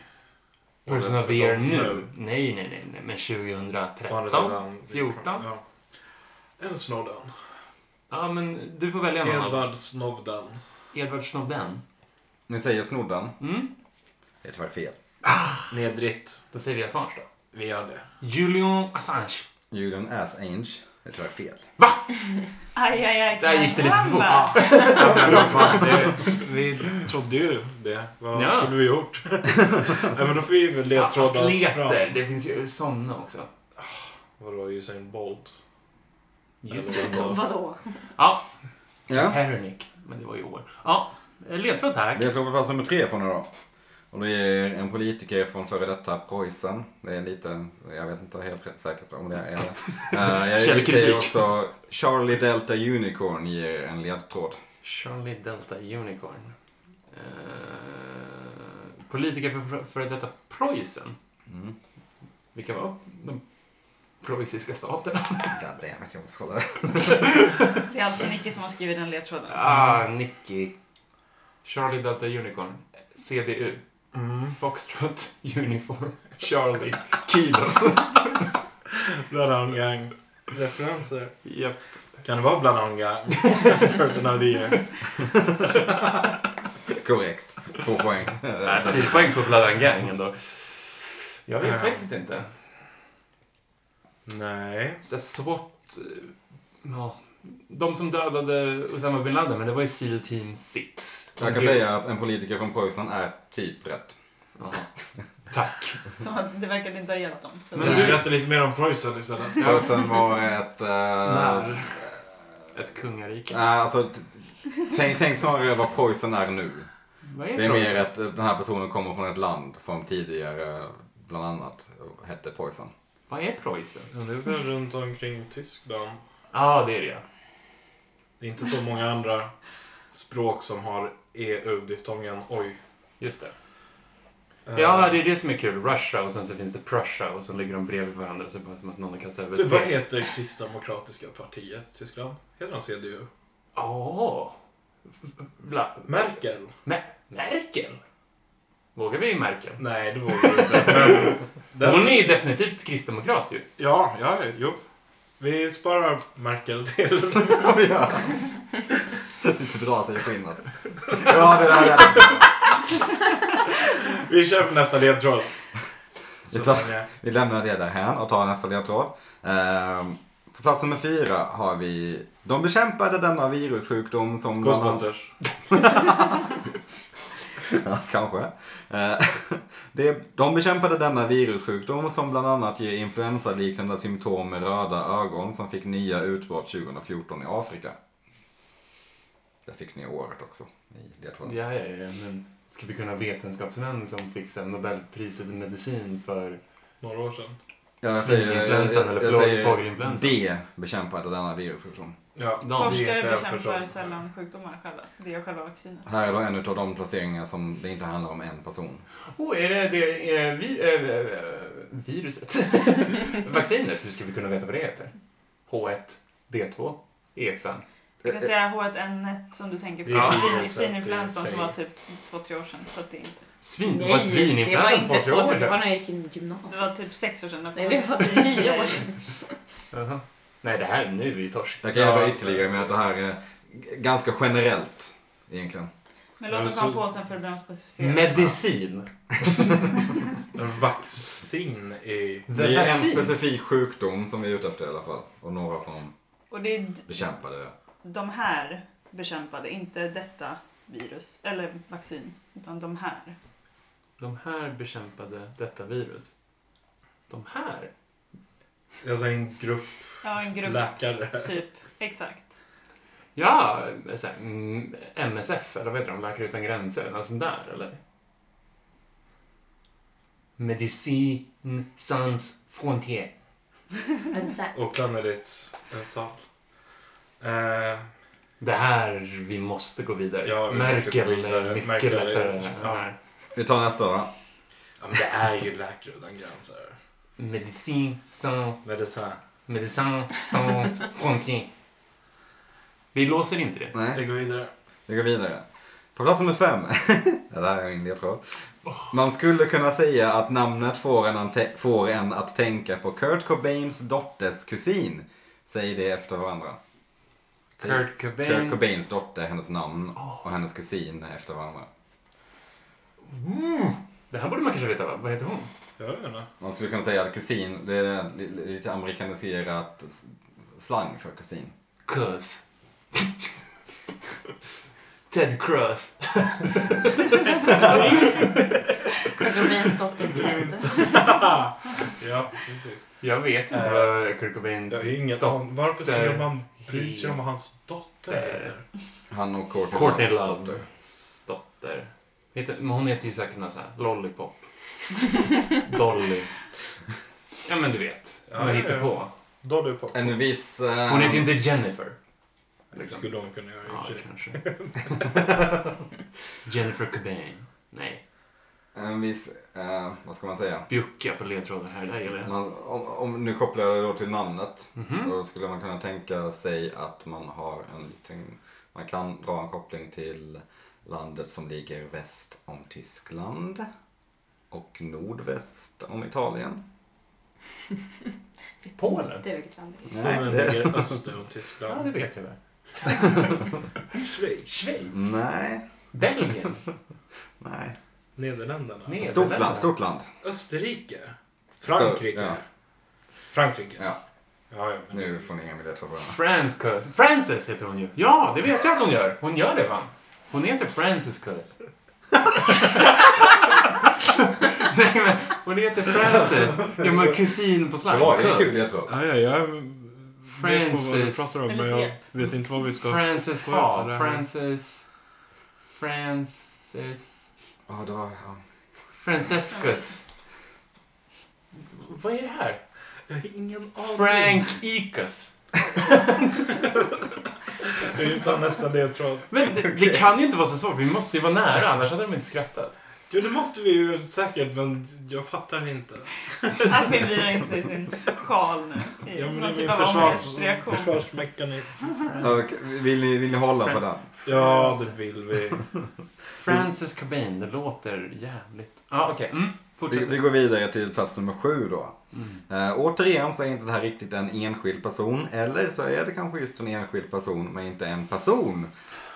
Speaker 2: Person
Speaker 4: årets
Speaker 2: of the year
Speaker 4: person
Speaker 2: nu? Nej, nej, nej, nej. Men 2013?
Speaker 4: Sedan,
Speaker 2: 14?
Speaker 4: Ja. En Snowden.
Speaker 2: Ja, men du får välja någon. Edvard,
Speaker 4: Edward Snowden.
Speaker 2: Edvard Snowden.
Speaker 1: Ni säger snodden.
Speaker 2: Mm.
Speaker 1: Det är tyvärr fel.
Speaker 4: Nedrigt.
Speaker 2: Då säger vi Assange då.
Speaker 4: Vi gör det.
Speaker 2: Julian Assange.
Speaker 1: Julian Ass Ange. Det är tyvärr fel.
Speaker 5: Aj, aj, aj.
Speaker 2: Där gick det lite
Speaker 5: Karamba.
Speaker 4: Ja, men vad fan, det vi trodde ju det. Vad
Speaker 2: Ja.
Speaker 4: skulle vi gjort? <laughs> Nej, men då får vi väl ledtrådar fram.
Speaker 2: Atleter. Det finns ju sådana också.
Speaker 4: Vadå, Usain Bolt?
Speaker 2: Just
Speaker 4: Eller
Speaker 2: det.
Speaker 4: vadå?
Speaker 3: Vadå?
Speaker 2: Ja,
Speaker 1: Ja.
Speaker 2: Kaepernick. Men det var ju år. Ja, eh, ledtråd tack.
Speaker 1: Det tror jag på plats nummer tre från idag. Och det är en politiker från före detta Preussen. Det är lite, jag vet inte helt rätt säkert om det är det. Eh, jag
Speaker 2: Källkritik.
Speaker 1: säger också Charlie Delta Unicorn ger en ledtråd.
Speaker 2: Charlie Delta Unicorn. Eh, politiker för före detta Preussen.
Speaker 1: Mm.
Speaker 2: Vilka var de preussiska staterna?
Speaker 1: God damn it, jag måste kolla. <laughs>
Speaker 5: Det är alltså Nicky som har skrivit den ledtråden.
Speaker 4: Mm.
Speaker 2: Ah, Nicky. Charlie Delta Unicorn. CDU.
Speaker 4: Mm.
Speaker 2: Foxtrot Uniform. Charlie Kilo.
Speaker 4: Blood on Gang. Referenser.
Speaker 2: Japp.
Speaker 4: Kan det vara Blood on <laughs> Gang? Person of the year.
Speaker 1: Korrekt. Två poäng.
Speaker 2: Äh, Stilpoäng på Blood and Gang ändå. Jag vet
Speaker 4: Ja.
Speaker 2: faktiskt inte.
Speaker 4: Nej.
Speaker 2: Så här SWAT... eh, Ja. De som dödade Osama bin Laden, men det var ju SEAL Team 6.
Speaker 1: Jag kan säga att en politiker från Preussen är typ rätt.
Speaker 2: Jaha. Tack.
Speaker 5: Som att det verkade inte ha hjälpt dem. Så
Speaker 2: Men
Speaker 4: Men
Speaker 5: det-
Speaker 4: du berättar lite mer om Preussen istället.
Speaker 1: Preussen var ett... eh,
Speaker 4: När?
Speaker 2: Ett kungarike.
Speaker 1: Nej, alltså, t- t- tänk, tänk snarare vad Preussen är nu.
Speaker 2: Vad är
Speaker 1: Det är mer att den här personen kommer från ett land som tidigare bland annat hette Preussen.
Speaker 2: Vad är Preussen?
Speaker 4: Ja, det är väl runt omkring Tyskland.
Speaker 2: Ja, det är det ja.
Speaker 4: Det är inte så många andra språk som har EU-dyftongen oj.
Speaker 2: Just det.
Speaker 4: Eh,
Speaker 2: Ja, det är det som är kul. Russia och sen så finns det Prussia och sen ligger de bredvid varandra så bara som att någon har kastat över
Speaker 4: Du,
Speaker 2: ett
Speaker 4: vad
Speaker 2: ben.
Speaker 4: heter Kristdemokratiska partiet i Tyskland? Heter de CDU?
Speaker 2: Ja. Bla-
Speaker 4: Merkel?
Speaker 2: Me- Merkel? Vågar vi Merkel?
Speaker 4: Nej, det vågar
Speaker 2: <laughs>
Speaker 4: du inte. Men den-
Speaker 2: Hon är ju definitivt kristdemokrat ju.
Speaker 4: Ja, ja, jo. Vi sparar Merkel till...
Speaker 1: ja. Det drar sig i skinnet. Ja, det där är rätt.
Speaker 4: Vi kör på nästa ledtråd.
Speaker 1: Vi
Speaker 4: Så
Speaker 1: tar-
Speaker 4: länge.
Speaker 1: Vi lämnar det där här och tar nästa ledtråd. Ehm, på plats nummer fyra har vi De bekämpade denna virussjukdom som... bland annat-
Speaker 4: Ghostbusters.
Speaker 1: Ja, kanske. Eh, <laughs> det- De bekämpade denna virussjukdom som bland annat ger influensaliknande symptom med röda ögon som fick nya utbrott 2014 i Afrika. Där fick ni året också. I ledtråden.
Speaker 2: Ja, ja, ja, men ska vi kunna ha vetenskapsmän som fick så här, Nobelpriset i medicin för
Speaker 4: Några år sedan.
Speaker 1: Ja, jag säger, jag, jag,
Speaker 2: svininfluensan eller
Speaker 1: jag
Speaker 2: flå-
Speaker 1: säger
Speaker 2: fågelinfluensan?
Speaker 1: de bekämpade denna virussjukdom.
Speaker 4: Ja,
Speaker 2: Ja,
Speaker 4: det är
Speaker 5: Forskare
Speaker 4: inte en
Speaker 5: bekämpar
Speaker 4: person.
Speaker 5: sällan sjukdomar själva. Det är själva
Speaker 2: Eh,
Speaker 5: vaccinet.
Speaker 1: Här är då en av de placeringar som det inte handlar om en person.
Speaker 2: Oh, är det det eh, vi, eh, eh, viruset? Vaccinet? Hur ska vi kunna veta vad det heter? H1, D2, E5.
Speaker 5: Jag kan säga H1N1 som du tänker på.
Speaker 4: Det är
Speaker 5: Ja.
Speaker 4: viruset i
Speaker 5: Svininfluensan som
Speaker 4: sig.
Speaker 5: var typ två, tre år sedan. Så att det, inte,
Speaker 2: Svin,
Speaker 3: Nej,
Speaker 2: vad
Speaker 3: det var
Speaker 2: svininfluensan
Speaker 3: inte
Speaker 2: två,
Speaker 3: två
Speaker 2: tre år
Speaker 3: år
Speaker 2: sedan.
Speaker 3: var när jag gick i gymnasiet.
Speaker 5: det var typ sex år sedan.
Speaker 3: Nej, det var nio år sedan.
Speaker 2: Jaha. Nej, det här nu är vi torsk.
Speaker 1: Jag kan göra ytterligare med att det här är g- ganska generellt egentligen.
Speaker 5: Men låt oss ha en påsen för att bli omspecificerad.
Speaker 2: Medicin.
Speaker 4: En vaccin i...
Speaker 1: Det är en specifik sjukdom som vi är ute efter i alla fall. Och några som
Speaker 5: Och det är d-
Speaker 1: bekämpade det.
Speaker 5: de här bekämpade, inte detta virus eller vaccin. Utan de här.
Speaker 2: De här bekämpade detta virus. De här?
Speaker 4: Alltså en grupp
Speaker 5: Ja, en grupp
Speaker 4: läkare.
Speaker 5: typ. Exakt.
Speaker 2: Ja, så här, mm, MSF, eller vad heter de? Läkare Utan Gränser, något sånt där, eller? Medicin sans frontier.
Speaker 3: Men sen,
Speaker 4: Oakland är ditt uttal. Eh,
Speaker 2: Det här, vi måste gå vidare.
Speaker 4: Ja, vi måste
Speaker 2: Merkel
Speaker 4: gå vidare.
Speaker 2: är mycket
Speaker 4: Merkel är-
Speaker 2: lättare. än
Speaker 4: ja.
Speaker 2: det här.
Speaker 1: Vi tar nästa då.
Speaker 4: ja, men det är ju Läkare Utan Gränser.
Speaker 2: Medicin sans...
Speaker 4: Medicin.
Speaker 2: Medicin <laughs> sans frontier. Vi låser inte det.
Speaker 1: Nej.
Speaker 4: Vi går vidare.
Speaker 1: Vi går vidare. På plats nummer fem. <laughs> Ja, det här är min ledtråd. Man skulle kunna säga att namnet får en, ante- får en att tänka på Kurt Cobains dotters kusin. Säg det efter varandra. Säg
Speaker 2: Kurt Cobains...
Speaker 1: Kurt Cobains dotter, hennes namn och hennes kusin är efter varandra.
Speaker 2: Det här borde man kanske veta, va? Vad heter hon?
Speaker 4: Jag vet inte.
Speaker 1: Man skulle kunna säga att kusin, det är li- li- lite amerikaniserat s- slang för kusin.
Speaker 2: <laughs> Cuz. Ted Cruz.
Speaker 3: Kurt Cobains dotter Ted.
Speaker 4: <laughs> Ja, precis.
Speaker 2: Jag vet inte
Speaker 4: Eh,
Speaker 2: vad Kurt Cobains...
Speaker 4: Jag har inget aning. Varför skulle man bry sig om vad hans dotter
Speaker 2: Där.
Speaker 4: heter?
Speaker 1: Han och Courtney,
Speaker 2: Courtney
Speaker 1: Loves
Speaker 2: Love.
Speaker 1: dotter.
Speaker 2: Dotter. Heter, men hon heter ju säkert något såhär, Lollipop. Dolly. Ja men du vet,
Speaker 4: Ja,
Speaker 2: vad
Speaker 4: ja,
Speaker 2: jag hittar
Speaker 4: ja.
Speaker 2: på.
Speaker 4: Då är du på.
Speaker 1: En viss... eh,
Speaker 2: Hon heter ju inte Jennifer.
Speaker 4: Det
Speaker 2: Liksom.
Speaker 4: skulle de kunna göra i och
Speaker 2: Ja,
Speaker 4: för sig.
Speaker 2: kanske. Jennifer Cobain. Nej,
Speaker 1: En viss... eh, vad ska man säga?
Speaker 2: bjucka på ledtrådar här. Det här gäller jag.
Speaker 1: Man, om, om, nu kopplar jag det då till namnet.
Speaker 2: Mhm.
Speaker 1: Då skulle man kunna tänka sig att man har en liten... Man kan dra en koppling till landet som ligger väst om Tyskland. Och nordväst om Italien.
Speaker 2: Polen?
Speaker 3: Det är vilket land det
Speaker 1: Nej,
Speaker 4: Polen
Speaker 1: det-
Speaker 4: ligger öster om
Speaker 2: Ja, det
Speaker 4: Tyskland.
Speaker 2: vet jag väl. Schweiz?
Speaker 1: Nej,
Speaker 2: Belgien?
Speaker 1: nej.
Speaker 4: Nederländerna.
Speaker 2: Nej.
Speaker 1: Stort land, stort land.
Speaker 4: Österrike.
Speaker 1: Stör-
Speaker 4: Frankrike.
Speaker 1: ja.
Speaker 4: Frankrike.
Speaker 1: Ja.
Speaker 4: Ja, ja, men
Speaker 1: Nu får ni inga miljötråd på den här.
Speaker 2: Frances Cus. Frances heter hon ju. Ja, det vet jag att hon gör. Hon gör det fan. Hon heter Frances <laughs> Cus. Nej men, hon heter Frances. Ja men kusin på slang.
Speaker 1: Bra, det är kul
Speaker 2: Cus.
Speaker 1: miljötråd.
Speaker 4: Ja, ja, jag vet på vad du
Speaker 2: Francis.
Speaker 4: pratar om,
Speaker 5: Eller
Speaker 4: men jag
Speaker 5: det.
Speaker 4: vet inte vad vi ska...
Speaker 2: Frances
Speaker 4: Vad heter
Speaker 2: Ha.
Speaker 4: det här?
Speaker 2: Frances... Frances...
Speaker 1: Ja, det var... Ja.
Speaker 2: Francescus. Vad är det här?
Speaker 4: Jag har ingen aning.
Speaker 2: Frank Icus.
Speaker 4: Vi tar nästa ledtråd.
Speaker 2: Men
Speaker 1: <laughs>
Speaker 2: det, det kan ju inte vara så svårt. Vi måste ju vara nära, annars hade de inte skrattat.
Speaker 4: Jo, det måste vi ju säkert, men jag fattar inte.
Speaker 5: Albin virar in sig i sin sjal nu. I
Speaker 4: Ja, men det
Speaker 5: någon
Speaker 4: är
Speaker 5: typ
Speaker 4: min
Speaker 5: av
Speaker 4: försvars,
Speaker 5: ångestreaktion. <laughs>
Speaker 4: försvarsmekanism.
Speaker 1: Okej, vill, ni, vill ni hålla på den?
Speaker 4: Ja, det vill vi.
Speaker 2: Francis Cobain, det låter jävligt... Ja, okej. Mm,
Speaker 1: Vi,
Speaker 2: fortsätt.
Speaker 1: vi går vidare till plats nummer sju då. Eh, återigen så är inte det här riktigt en enskild person. Eller så är det kanske just en enskild person, men inte en person.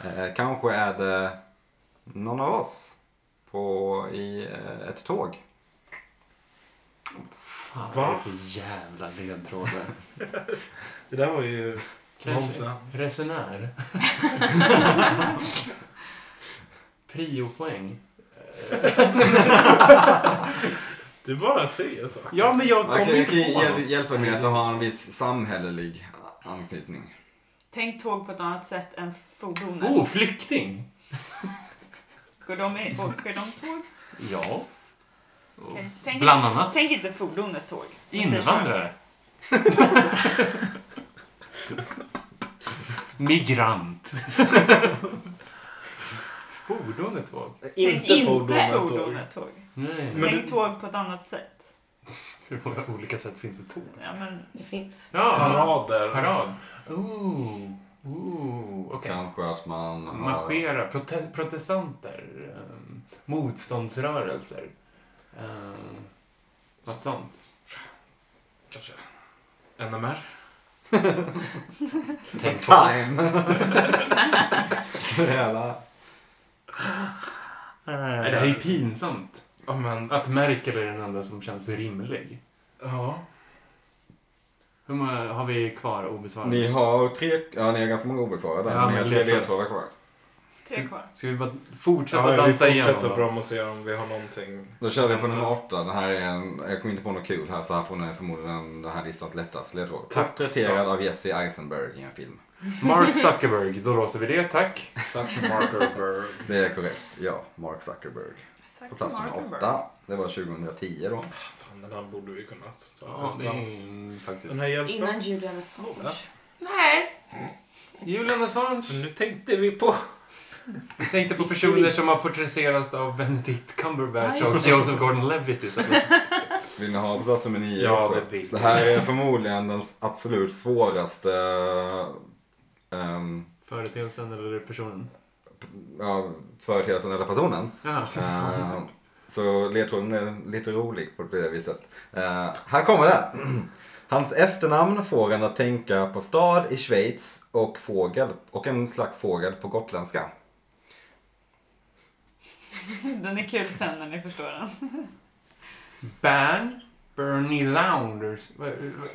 Speaker 1: Eh, kanske är det någon av oss på, i eh, ett tåg.
Speaker 2: Fan, vad är det för jävla ledtrådar?
Speaker 4: Det där var ju
Speaker 2: <laughs> Kanske. <laughs>
Speaker 4: nonsens.
Speaker 2: Resenär. Priopoäng.
Speaker 4: Du bara säger saker.
Speaker 2: Ja, men jag kommer
Speaker 1: Jag kan, jag kan
Speaker 2: inte på
Speaker 1: hjäl-
Speaker 2: någon.
Speaker 1: hjälpa mig att ha en viss samhällelig anknytning.
Speaker 5: Tänk tåg på ett annat sätt än fordonen.
Speaker 2: Oh, flykting!
Speaker 5: Går de i, åker de tåg?
Speaker 2: Ja.
Speaker 4: Oh.
Speaker 5: Okej. Tänk,
Speaker 2: Bland annat
Speaker 5: tänk inte fordonet tåg. Vi säger så här.
Speaker 2: <laughs> invandrare. Migrant. Fordonet var...
Speaker 5: Tänk inte fordonet tåg.
Speaker 2: Nej.
Speaker 4: Men
Speaker 5: Tänk
Speaker 4: du-
Speaker 5: tåg på ett annat sätt.
Speaker 2: Hur många olika sätt finns det tåg?
Speaker 5: Ja, men
Speaker 3: Det finns.
Speaker 2: Ja,
Speaker 4: Parader.
Speaker 2: parad. Ooh, ooh, okej.
Speaker 1: Kanske att man har...
Speaker 2: Marschera, prote- protestanter, ehm, motståndsrörelser. Um, något sånt.
Speaker 8: Kanske. NMR?
Speaker 1: Time!
Speaker 2: <laughs>
Speaker 1: Jävla.
Speaker 2: Nej, det här är ju pinsamt.
Speaker 8: Ja, men...
Speaker 2: Att Merkel är den enda som känns rimlig.
Speaker 8: Ja.
Speaker 2: Hur många har vi kvar obesvarade?
Speaker 1: Ni har tre... Ja, ni har ganska många obesvarade.
Speaker 2: Ja,
Speaker 1: men ni
Speaker 2: men
Speaker 1: har tre
Speaker 2: ledtrådar.
Speaker 1: ledtrådar kvar.
Speaker 5: tre kvar.
Speaker 2: Ska vi bara fortsätta
Speaker 4: Ja, vi
Speaker 2: dansa igenom?
Speaker 4: fortsätter
Speaker 2: då?
Speaker 4: promotionera om vi har någonting.
Speaker 1: Då kör vi på nummer åtta. Det här är en, jag kommer inte på något kul här så här får ni förmodligen den här listans lättaste ledtråd.
Speaker 2: Tack.
Speaker 1: Porträtterad av Jesse Eisenberg i en film.
Speaker 2: Mark Zuckerberg, då låser vi det, tack.
Speaker 4: Zuckerberg.
Speaker 1: Det är korrekt. Ja, Mark Zuckerberg. På plats nummer åtta. Det var 2010 då.
Speaker 4: Fan, den här borde vi kunnat ta.
Speaker 2: Ja, det är faktiskt...
Speaker 4: Den här hjälper.
Speaker 3: Innan Julian Assange.
Speaker 2: Nej! Julian Assange.
Speaker 4: Nu tänkte vi på...
Speaker 2: Jag tänkte på personer som har porträtterats av Benedict Cumberbatch och Joseph Gordon-Levitt istället.
Speaker 1: Vill ni ha det där som en nio
Speaker 4: Ja,
Speaker 1: också?
Speaker 4: det vill
Speaker 1: Det här är förmodligen den absolut svåraste ehm,
Speaker 2: Företeelsen eller personen.
Speaker 1: ja, företeelsen eller personen.
Speaker 2: Ja.
Speaker 1: Eh, så ledtråden är lite rolig på det viset. Eh, här kommer det. <clears throat> Hans efternamn får en att tänka på stad i Schweiz och fågel och en slags fågel på gotländska.
Speaker 5: <laughs> Den är kul sen när ni förstår den.
Speaker 2: Bern Bernie Saunders. Vad- vad- <laughs>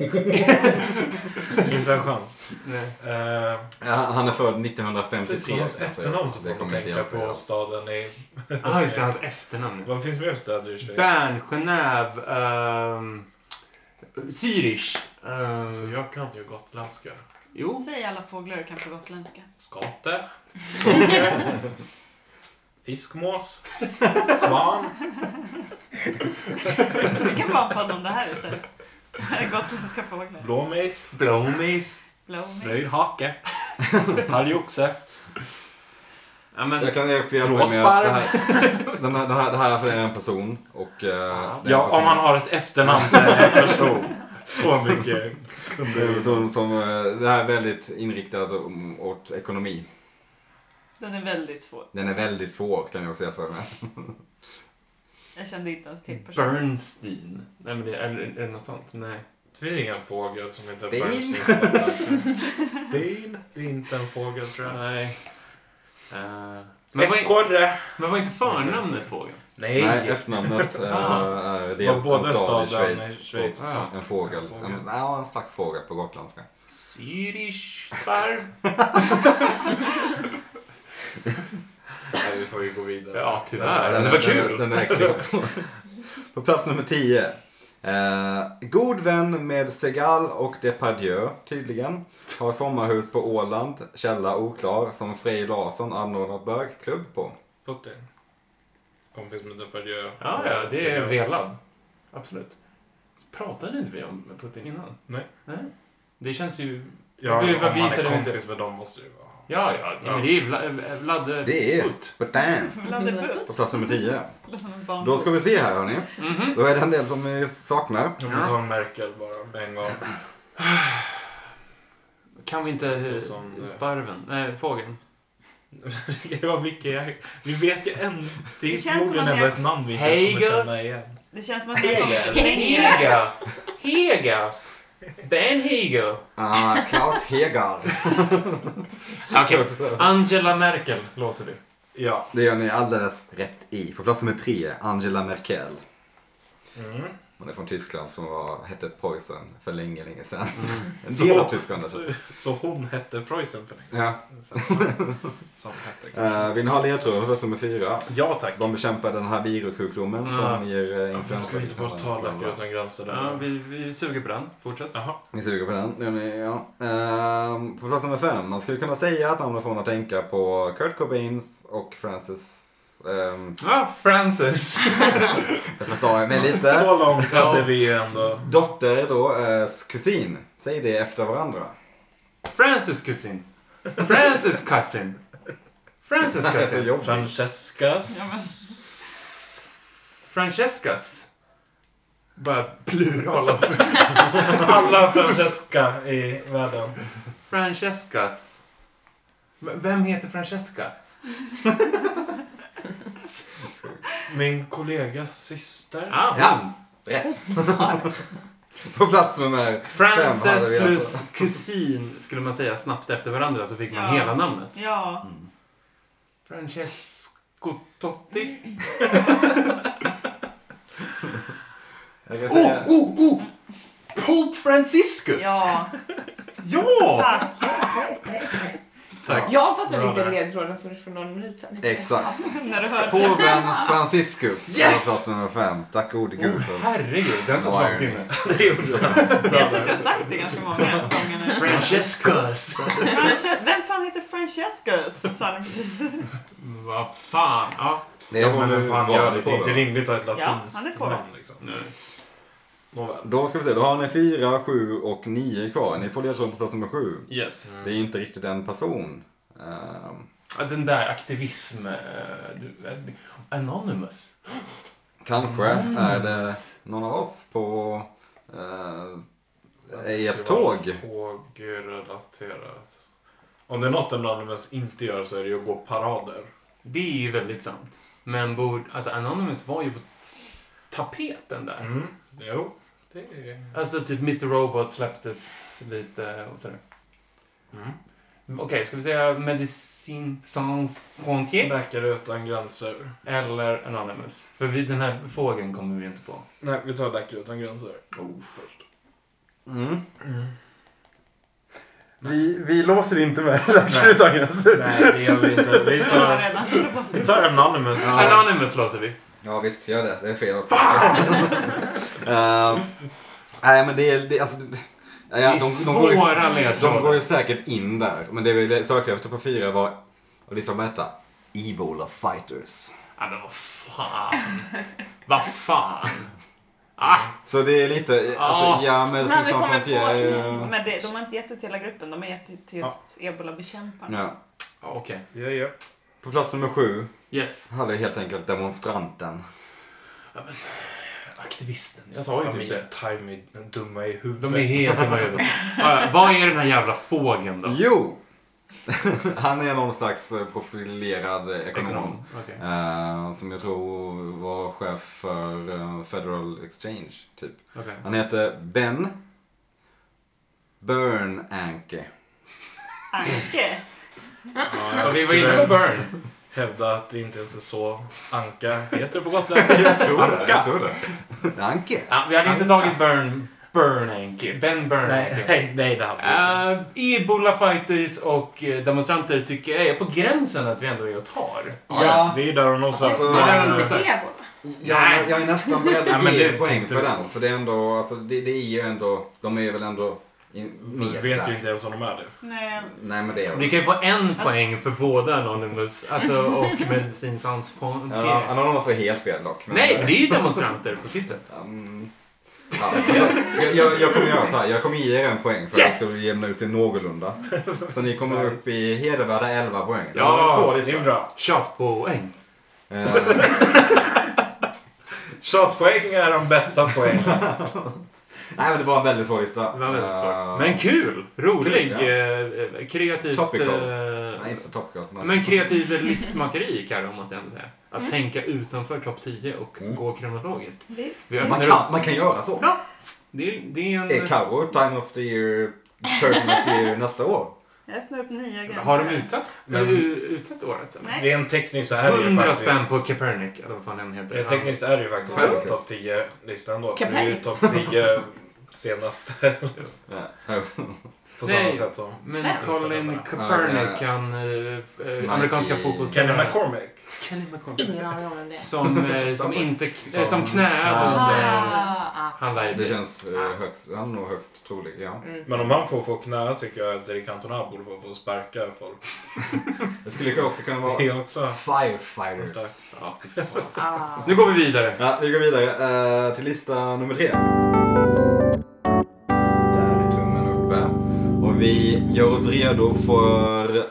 Speaker 4: Inte en chans.
Speaker 2: Nej.
Speaker 4: Eh,
Speaker 1: Eh, han är född
Speaker 4: Precis,
Speaker 1: 1953.
Speaker 4: hans
Speaker 1: ska alltså, jag säga,
Speaker 4: efternamn
Speaker 1: så
Speaker 4: så
Speaker 1: det
Speaker 4: får man
Speaker 1: kommer inte
Speaker 4: tänka
Speaker 1: hjälpa er
Speaker 4: på
Speaker 1: alls.
Speaker 4: staden i...
Speaker 2: Ah, just det, hans efternamn.
Speaker 4: Vad finns mer för städer i Schweiz?
Speaker 2: Bern, Genève, ehm, Zürich. ehm,
Speaker 4: Så Alltså, jag kan ju gotländska.
Speaker 1: Oh.
Speaker 2: jo.
Speaker 5: Säg alla fåglar kan på gotländska.
Speaker 2: <laughs>
Speaker 4: Skate. Fågel. Fiskmås. Svan.
Speaker 5: Vi kan bara prata om det här istället. <laughs> Gotländska fåglar.
Speaker 4: Blåmes.
Speaker 2: Blåmis.
Speaker 5: Blow
Speaker 1: <laughs>
Speaker 5: me.
Speaker 4: Rödhake. Talgoxe.
Speaker 2: Ja, men,
Speaker 1: Jag kan också hjälpa er med att det här, <laughs> den här, den här, det här är en person. Och, eh, det är en
Speaker 4: Ja,
Speaker 1: person- Oh,
Speaker 4: om man har ett efternamn så är det en person. Så mycket kunde
Speaker 1: Det är
Speaker 4: jag.
Speaker 1: som, som, eh, det här är väldigt inriktad om- åt ekonomi.
Speaker 5: Den är väldigt svår.
Speaker 1: Den är väldigt svår kan jag också hjälpa er med.
Speaker 5: Jag kände inte ens till personen.
Speaker 2: Bernstein. Nej, men det, är, är det något sånt? Nej.
Speaker 4: Det finns ingen fågel som inte är
Speaker 1: Sten.
Speaker 4: Bernstein. Sten. Det är inte en fågel tror jag.
Speaker 2: Nej. Eh, men, vad är,
Speaker 4: Ekorre.
Speaker 2: men vad är inte förnamnet fågeln?
Speaker 4: Nej.
Speaker 1: Nej, efternamnet eh,
Speaker 2: Ah.
Speaker 1: är
Speaker 4: Det var
Speaker 1: dels en
Speaker 4: båda
Speaker 1: stad i
Speaker 4: staden i
Speaker 1: Schweiz.
Speaker 4: Schweiz.
Speaker 2: Ah.
Speaker 1: En fågel.
Speaker 4: En fågel.
Speaker 1: En, ja, en slags fågel på gotländska.
Speaker 2: Syrisk sparv?
Speaker 4: Nej, vi får ju gå vidare.
Speaker 2: Ja, tyvärr.
Speaker 1: Den
Speaker 2: Det
Speaker 1: är-
Speaker 2: var
Speaker 1: Den,
Speaker 2: kul.
Speaker 1: den är extra svår. På plats nummer 10. Eh, god vän med Segal och Depardieu, tydligen. Har sommarhus på Åland, källa oklar, som Frej Larsson anordnat bögklubb på.
Speaker 4: Putin. Kompis med Depardieu.
Speaker 2: Ja, ja, det är
Speaker 4: Så-
Speaker 2: velad. Absolut. Pratade inte vi om Putin innan?
Speaker 4: Nej.
Speaker 2: Det känns ju...
Speaker 4: Ja,
Speaker 2: Vi- vad
Speaker 4: om man
Speaker 2: visar
Speaker 4: är
Speaker 2: det
Speaker 4: kompis
Speaker 2: inte?
Speaker 4: med dem måste det ju vara.
Speaker 2: Ja, ja. ja. Men det är ju Vla- eh, Vlad...
Speaker 1: Det är-
Speaker 2: Put.
Speaker 1: But damn.
Speaker 5: Blandade butt.
Speaker 1: På plats nummer 10.
Speaker 5: Eller som en barn.
Speaker 1: Då ska vi se här hörni.
Speaker 2: Mhm.
Speaker 1: Då är det en del som vi saknar.
Speaker 4: Jag vill ta en Merkel bara med en gång. <laughs>
Speaker 2: Kan vi inte... eh,
Speaker 4: Och som-
Speaker 2: Sparven? Nej, fågeln.
Speaker 4: Det var mycket jag... Vi vet ju en... Det är
Speaker 5: Det känns som
Speaker 4: förmodligen
Speaker 5: att
Speaker 4: ändå
Speaker 5: jag-
Speaker 4: ett namn vi inte ens
Speaker 2: Hegel.
Speaker 4: kommer känna igen.
Speaker 5: Det känns som att jag kommer längre.
Speaker 2: Hega! Hega! Ben Hega!
Speaker 1: Ah, Klaus Hegar.
Speaker 2: Okej. Angela Merkel låser vi.
Speaker 4: Ja.
Speaker 1: Det gör ni alldeles rätt i. På plats nummer 3, Angela Merkel.
Speaker 4: Mm.
Speaker 1: Hon är från Tyskland som var, hette Preussen för länge, länge sedan. <laughs> En
Speaker 4: Så-
Speaker 1: del av Tyskland alltså.
Speaker 4: Så, så hon hette Preussen för länge
Speaker 1: Ja.
Speaker 4: sedan. <laughs> Som hette...
Speaker 1: Eh, vill ni ha ledtrådar på plats nummer 4?
Speaker 4: Ja tack.
Speaker 1: De bekämpar den här virussjukdomen som
Speaker 2: Ja.
Speaker 1: ger eh,
Speaker 4: Alltså,
Speaker 1: influensa.
Speaker 4: ska vi inte bara ta Läkare utan gränser där?
Speaker 2: Ja, vi, vi suger på den. Fortsätt.
Speaker 4: Jaha.
Speaker 1: Ni suger på den? Ja, ni- ja. Ehm, på plats nummer fem. Man skulle kunna säga att namnet får en att tänka på Kurt Cobains och Francis... ehm,
Speaker 2: Ah, Francis!
Speaker 1: jag försade mig lite.
Speaker 4: Så långt
Speaker 2: Ja.
Speaker 4: hade vi ju ändå...
Speaker 1: Dotter då, eh, kusin. Säg det efter varandra.
Speaker 2: Francis kusin. Francis cousin. Francis
Speaker 1: Det är så
Speaker 2: cousin.
Speaker 1: jobbigt.
Speaker 4: Francescas...
Speaker 5: Ja, men.
Speaker 2: Francescas. Bara plural av
Speaker 4: Alla Francesca i världen.
Speaker 2: Francescas. V- Vem heter Francesca?
Speaker 8: Min kollegas syster.
Speaker 2: Ah,
Speaker 1: Ja. Rätt. <laughs> På plats nummer... Fem hade
Speaker 2: Frances
Speaker 1: vi
Speaker 2: plus
Speaker 1: alltså.
Speaker 2: kusin skulle man säga snabbt efter varandra så fick man
Speaker 5: Ja.
Speaker 2: hela namnet.
Speaker 5: Ja.
Speaker 1: Mm.
Speaker 2: Francesco Totti.
Speaker 1: Jag kan säga...
Speaker 2: oh, oh! Pope Franciscus!
Speaker 5: Ja. <laughs>
Speaker 2: Ja!
Speaker 5: Tack.
Speaker 2: Tack.
Speaker 3: Jag fattade
Speaker 4: Bra
Speaker 3: inte
Speaker 4: där.
Speaker 3: ledtråden förrän för någon minut sedan.
Speaker 1: Exakt.
Speaker 5: När du hör.
Speaker 2: <laughs>
Speaker 1: Påven Franciscus.
Speaker 2: Yes!
Speaker 1: Plats nummer fem. Tack gode
Speaker 2: Oh,
Speaker 1: gud för
Speaker 2: herregud, den satt
Speaker 1: Wire.
Speaker 2: långt inne.
Speaker 5: Jag har suttit och sagt det ganska många gånger nu.
Speaker 2: Francescus!
Speaker 5: Frances- Vem fan heter Francescus? Sa han precis.
Speaker 2: Vad fan. Ja.
Speaker 1: det.
Speaker 4: Ja, men
Speaker 1: var
Speaker 4: vem fan
Speaker 1: vanlig
Speaker 4: gör det? Det är
Speaker 1: påven.
Speaker 4: inte rimligt att ha ett
Speaker 5: Ja,
Speaker 4: latinskt
Speaker 5: han är påven.
Speaker 4: namn liksom.
Speaker 2: Nu.
Speaker 4: Nåväl.
Speaker 1: Då ska vi se, då har ni fyra, sju och nio kvar. Ni får ledtråden på plats nummer sju.
Speaker 2: Yes.
Speaker 1: Det är inte riktigt en person. Ehm,
Speaker 2: Ja, Den där aktivism... eh, du- eh, Anonymous.
Speaker 1: kanske
Speaker 2: Mm.
Speaker 1: är det någon av oss på... eh, i ett tåg.
Speaker 4: Tågrelaterat. Om det är något en Anonymous inte gör så är det ju att gå parader.
Speaker 2: Det är ju väldigt sant. Men bord, alltså Anonymous var ju på tapeten där.
Speaker 4: Mm. Jo, det är...
Speaker 2: Alltså typ Mr Robot släpptes lite och sådär.
Speaker 4: Mm.
Speaker 2: Okej, ska vi säga Medicine Sans Frontier?
Speaker 4: Mm. Läkare utan gränser.
Speaker 2: Eller Anonymous? För vi, den här fågeln kommer vi inte på.
Speaker 4: Nej, vi tar Läkare utan gränser.
Speaker 1: Mm.
Speaker 9: Vi, vi låser inte med Läkare utan gränser.
Speaker 4: Nej, det gör vi inte.
Speaker 5: <laughs>
Speaker 4: Vi
Speaker 5: Jag har
Speaker 4: tar,
Speaker 5: redan.
Speaker 4: vi tar Anonymous.
Speaker 2: Anonymous låser vi.
Speaker 1: Ja visst, gör det. Det är fel också. <laughs> Ehm, Nej men det är... Det, alltså, det, ja,
Speaker 2: Det är
Speaker 1: går ju-
Speaker 2: svåra
Speaker 1: de går ju
Speaker 2: ledtrådar.
Speaker 1: säkert in där. Men det vi det sökte efter på fyra var... Och liksom hette Ebola Fighters.
Speaker 2: Ja, men vad fan. vad fan. Ah,
Speaker 1: Så det är lite...
Speaker 2: Ah.
Speaker 1: Alltså, ja, men
Speaker 3: Men
Speaker 1: som
Speaker 3: vi kommer på
Speaker 1: frontier...
Speaker 3: igen.
Speaker 1: eh,
Speaker 5: Men det, de har inte gett det till hela gruppen. De har gett det till just ebolabekämparna.
Speaker 1: Ja.
Speaker 2: okej.
Speaker 4: Ja, ja.
Speaker 1: På plats nummer sju
Speaker 2: Yes.
Speaker 1: hade jag helt enkelt demonstranten.
Speaker 2: Aktivisten. Jag sa ju
Speaker 4: Ja,
Speaker 2: typ
Speaker 4: men
Speaker 2: det.
Speaker 4: Time är dumma i huvudet.
Speaker 2: De är helt dumma i huvudet. Ja, ja, Vad är den här jävla fågeln då?
Speaker 1: Jo! <laughs> Han är någon slags eh, profilerad eh, ekonom.
Speaker 2: Okej.
Speaker 1: Eh, som jag tror var chef för eh, Federal Exchange, typ.
Speaker 2: Okej.
Speaker 1: Han heter Ben Bernanke.
Speaker 5: Anke.
Speaker 4: Ja,
Speaker 2: Ja,
Speaker 4: jag
Speaker 2: vi var
Speaker 4: skulle
Speaker 2: inne på Burn.
Speaker 4: hävda att det inte ens är så Anka <laughs> heter på Gotland.
Speaker 1: jag tror det. Jag tror det. Anke.
Speaker 2: Ja, vi hade inte tagit Burn. Burn Anki. Ben Burn
Speaker 4: nej,
Speaker 2: Anki.
Speaker 4: nej, nej, det hade vi inte.
Speaker 2: Eh, Ebola fighters och eh, demonstranter tycker jag är på gränsen att vi ändå är och tar.
Speaker 1: Ja,
Speaker 4: Vi är där och nosar.
Speaker 1: Alltså,
Speaker 4: Men,
Speaker 3: det är
Speaker 1: men-
Speaker 3: inte Ebo.
Speaker 1: jag, jag är nästan beredd
Speaker 4: Nej,
Speaker 1: att
Speaker 4: men
Speaker 1: ge
Speaker 4: det
Speaker 1: poäng
Speaker 4: tänkte
Speaker 1: för
Speaker 4: vi.
Speaker 1: den. För det är ändå, alltså det, det är ju ändå, de är väl ändå in,
Speaker 4: Vi
Speaker 1: med
Speaker 4: vet
Speaker 1: där.
Speaker 4: ju inte ens om de är det.
Speaker 5: Nej,
Speaker 1: Nej men det är
Speaker 2: Vi kan ju få en poäng för båda Anonymous alltså, och Medicine Sans Frontier.
Speaker 1: Ja, Anonymous var helt fel dock. men-
Speaker 2: Nej, det är ju demonstranter på sitt sätt.
Speaker 1: Mm. Ja, alltså, jag- jag, jag kommer göra så här. Jag kommer ge er en poäng för att det ska jämna ut sig någorlunda. Så ni kommer upp i hedervärda 11 poäng. Det var en svår
Speaker 4: det
Speaker 1: lista.
Speaker 4: är bra.
Speaker 2: Shot poäng.
Speaker 1: Eh,
Speaker 4: Shotpoäng är de bästa <laughs> poängen.
Speaker 1: nej, men det var en väldigt svår lista.
Speaker 2: Det var väldigt
Speaker 1: Eh,
Speaker 2: svårt. Men kul! Rolig.
Speaker 1: Kul, ja.
Speaker 2: eh, kreativt.
Speaker 1: Topical.
Speaker 2: eh,
Speaker 1: Nej, inte så toppgott. Men,
Speaker 2: Men kreativ listmakeri Carro, måste jag ändå säga. Att tänka utanför topp 10 och
Speaker 1: Mm.
Speaker 2: gå kronologiskt.
Speaker 5: visst.
Speaker 2: Vi
Speaker 1: man,
Speaker 2: öppnar upp.
Speaker 1: kan, man kan göra så.
Speaker 2: Ja, det, är- det är en...
Speaker 1: Är Carro time of the year, person of the year nästa år?
Speaker 5: Jag öppnar upp nya gränser.
Speaker 2: Har de utsatt,
Speaker 4: Men-
Speaker 2: u- utsatt året sen?
Speaker 5: Nej.
Speaker 4: Rent tekniskt så är det ju
Speaker 2: 100
Speaker 4: faktiskt...
Speaker 2: spänn på Capernic, eller vad fan den heter.
Speaker 4: Rent tekniskt är det ju faktiskt
Speaker 1: Copernicus.
Speaker 4: en topp 10-lista ändå. Det är ju
Speaker 3: Copernicus.
Speaker 4: topp 10 senaste. <laughs>
Speaker 1: Ja.
Speaker 4: På
Speaker 2: Nej.
Speaker 4: samma sätt som...
Speaker 2: Men
Speaker 3: Vem?
Speaker 2: Colin
Speaker 1: Ja,
Speaker 2: Kaepernick,
Speaker 1: ja.
Speaker 2: han... eh, eh, amerikanska
Speaker 1: Mikey-
Speaker 4: Kenny
Speaker 2: fotbollsspelaren.
Speaker 4: McCormick.
Speaker 2: Kenny
Speaker 3: Ingen aning om vem det är.
Speaker 2: Som, eh, som inte... eh, Som
Speaker 4: Som
Speaker 2: knäade...
Speaker 4: knä.
Speaker 3: Ah,
Speaker 2: Han
Speaker 1: Det
Speaker 2: lajvade.
Speaker 1: känns eh, högst, han är nog högst trolig. Ja.
Speaker 3: ah. Mm.
Speaker 4: Men om han får få knä tycker jag att Erik Cantona borde få, få sparka folk.
Speaker 1: Det skulle också kunna vara
Speaker 4: Det är
Speaker 8: Eh,
Speaker 4: också...
Speaker 1: Firefighters.
Speaker 2: Ja, fy fan.
Speaker 3: Ah.
Speaker 2: Nu går vi vidare.
Speaker 1: Ja, vi går vidare eh, till lista nummer tre. Där är tummen uppe. Och vi gör oss redo för,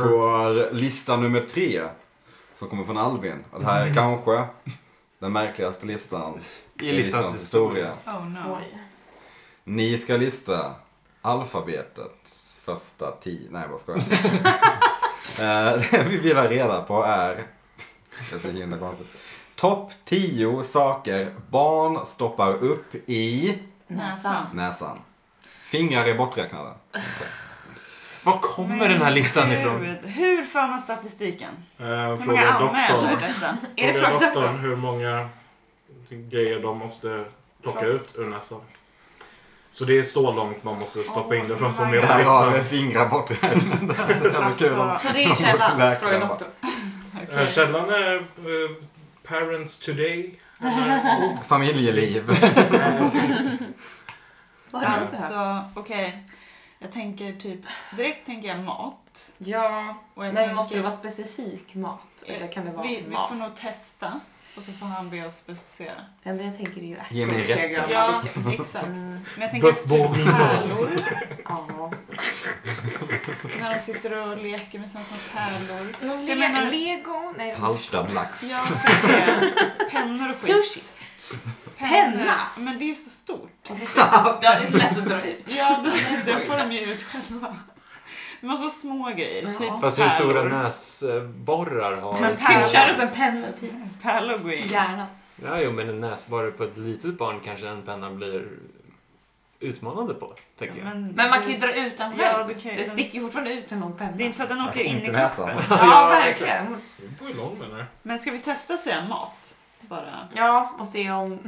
Speaker 1: för lista nummer tre. Som kommer från Albin. Och det här är kanske Den märkligaste listan
Speaker 2: I listans historia.
Speaker 5: Oh no.
Speaker 3: Oj.
Speaker 1: Ni ska lista alfabetets första tio... Nej, vad
Speaker 5: <laughs>
Speaker 1: ska jag Eh, <laughs> Det vi vill ha reda på är... Det är så himla konstigt. Topp 10 saker barn stoppar upp i
Speaker 3: Näsan.
Speaker 1: näsan. Fingrar är borträknade.
Speaker 2: Var kommer den här listan ifrån?
Speaker 5: Gud, hur för man statistiken?
Speaker 8: Eh,
Speaker 5: Hur många
Speaker 8: fråga
Speaker 5: anmälda är
Speaker 8: doktorn.
Speaker 2: <laughs>
Speaker 5: detta?
Speaker 3: Är det
Speaker 8: Fråga
Speaker 3: från
Speaker 8: doktorn
Speaker 3: doktorn?
Speaker 8: hur många grejer de måste plocka ut ur näsan. Så det är så långt man måste stoppa in det för att få
Speaker 5: Oh my
Speaker 8: med
Speaker 5: God.
Speaker 8: på
Speaker 1: Där har vi
Speaker 8: listan.
Speaker 1: fingrar
Speaker 5: <laughs>
Speaker 1: borträknade. Det här var kul om-
Speaker 5: Alltså,
Speaker 3: Så det är källan? Fråga
Speaker 1: Läkarna.
Speaker 3: doktorn.
Speaker 8: Eh, Källan är eh, Parents Today.
Speaker 1: Familjeliv.
Speaker 3: Vad har du behövt?
Speaker 5: alltså okej. Jag tänker typ, direkt tänker jag mat.
Speaker 3: Ja,
Speaker 5: Och jag
Speaker 3: men måste det vara specifik mat? Eller kan det vara
Speaker 5: Eh, vi, vi
Speaker 3: mat?
Speaker 5: får nog testa och så får han be oss specificera.
Speaker 3: Det enda jag tänker är ju ärtor.
Speaker 1: Ge mig rätten.
Speaker 5: Ja, exakt.
Speaker 3: Mm,
Speaker 5: Men jag tänker efter typ pärlor.
Speaker 3: ja.
Speaker 5: När de sitter och leker med sådana små pärlor.
Speaker 10: Någon
Speaker 5: Jag
Speaker 10: le-
Speaker 5: menar-
Speaker 10: Lego? Nej,
Speaker 1: Halvstad lax.
Speaker 5: Ja, det. Pennor och skit.
Speaker 3: Sushi. Penna.
Speaker 5: Men det är ju så stort.
Speaker 3: Ja, det är så lätt att dra ut.
Speaker 5: Ja, det, det får de ju ut själva. Det måste vara små grejer.
Speaker 3: Ja.
Speaker 5: Typ
Speaker 2: Fast hur stora
Speaker 5: pärlor.
Speaker 2: näsborrar har
Speaker 5: Men
Speaker 2: en
Speaker 5: pärlor.
Speaker 3: Typ kör
Speaker 2: stor-
Speaker 3: upp en penna och pil.
Speaker 5: Pärlor går in.
Speaker 3: Gärna.
Speaker 2: Ja, jo, men en näsborre på ett litet barn kanske en penna blir utmanande på, tänker jag.
Speaker 3: Men man kan ju dra ut den
Speaker 5: Ja,
Speaker 3: själv.
Speaker 5: du kan ju.
Speaker 3: Det sticker ju fortfarande ut en lång penna.
Speaker 5: Det är inte så att den
Speaker 1: Jag
Speaker 5: åker
Speaker 1: kan
Speaker 5: in i
Speaker 1: inte läsa.
Speaker 5: kroppen.
Speaker 3: Ja, verkligen.
Speaker 8: Det går ju långt med det.
Speaker 5: Men ska vi testa säga mat? Bara.
Speaker 3: Ja, och se om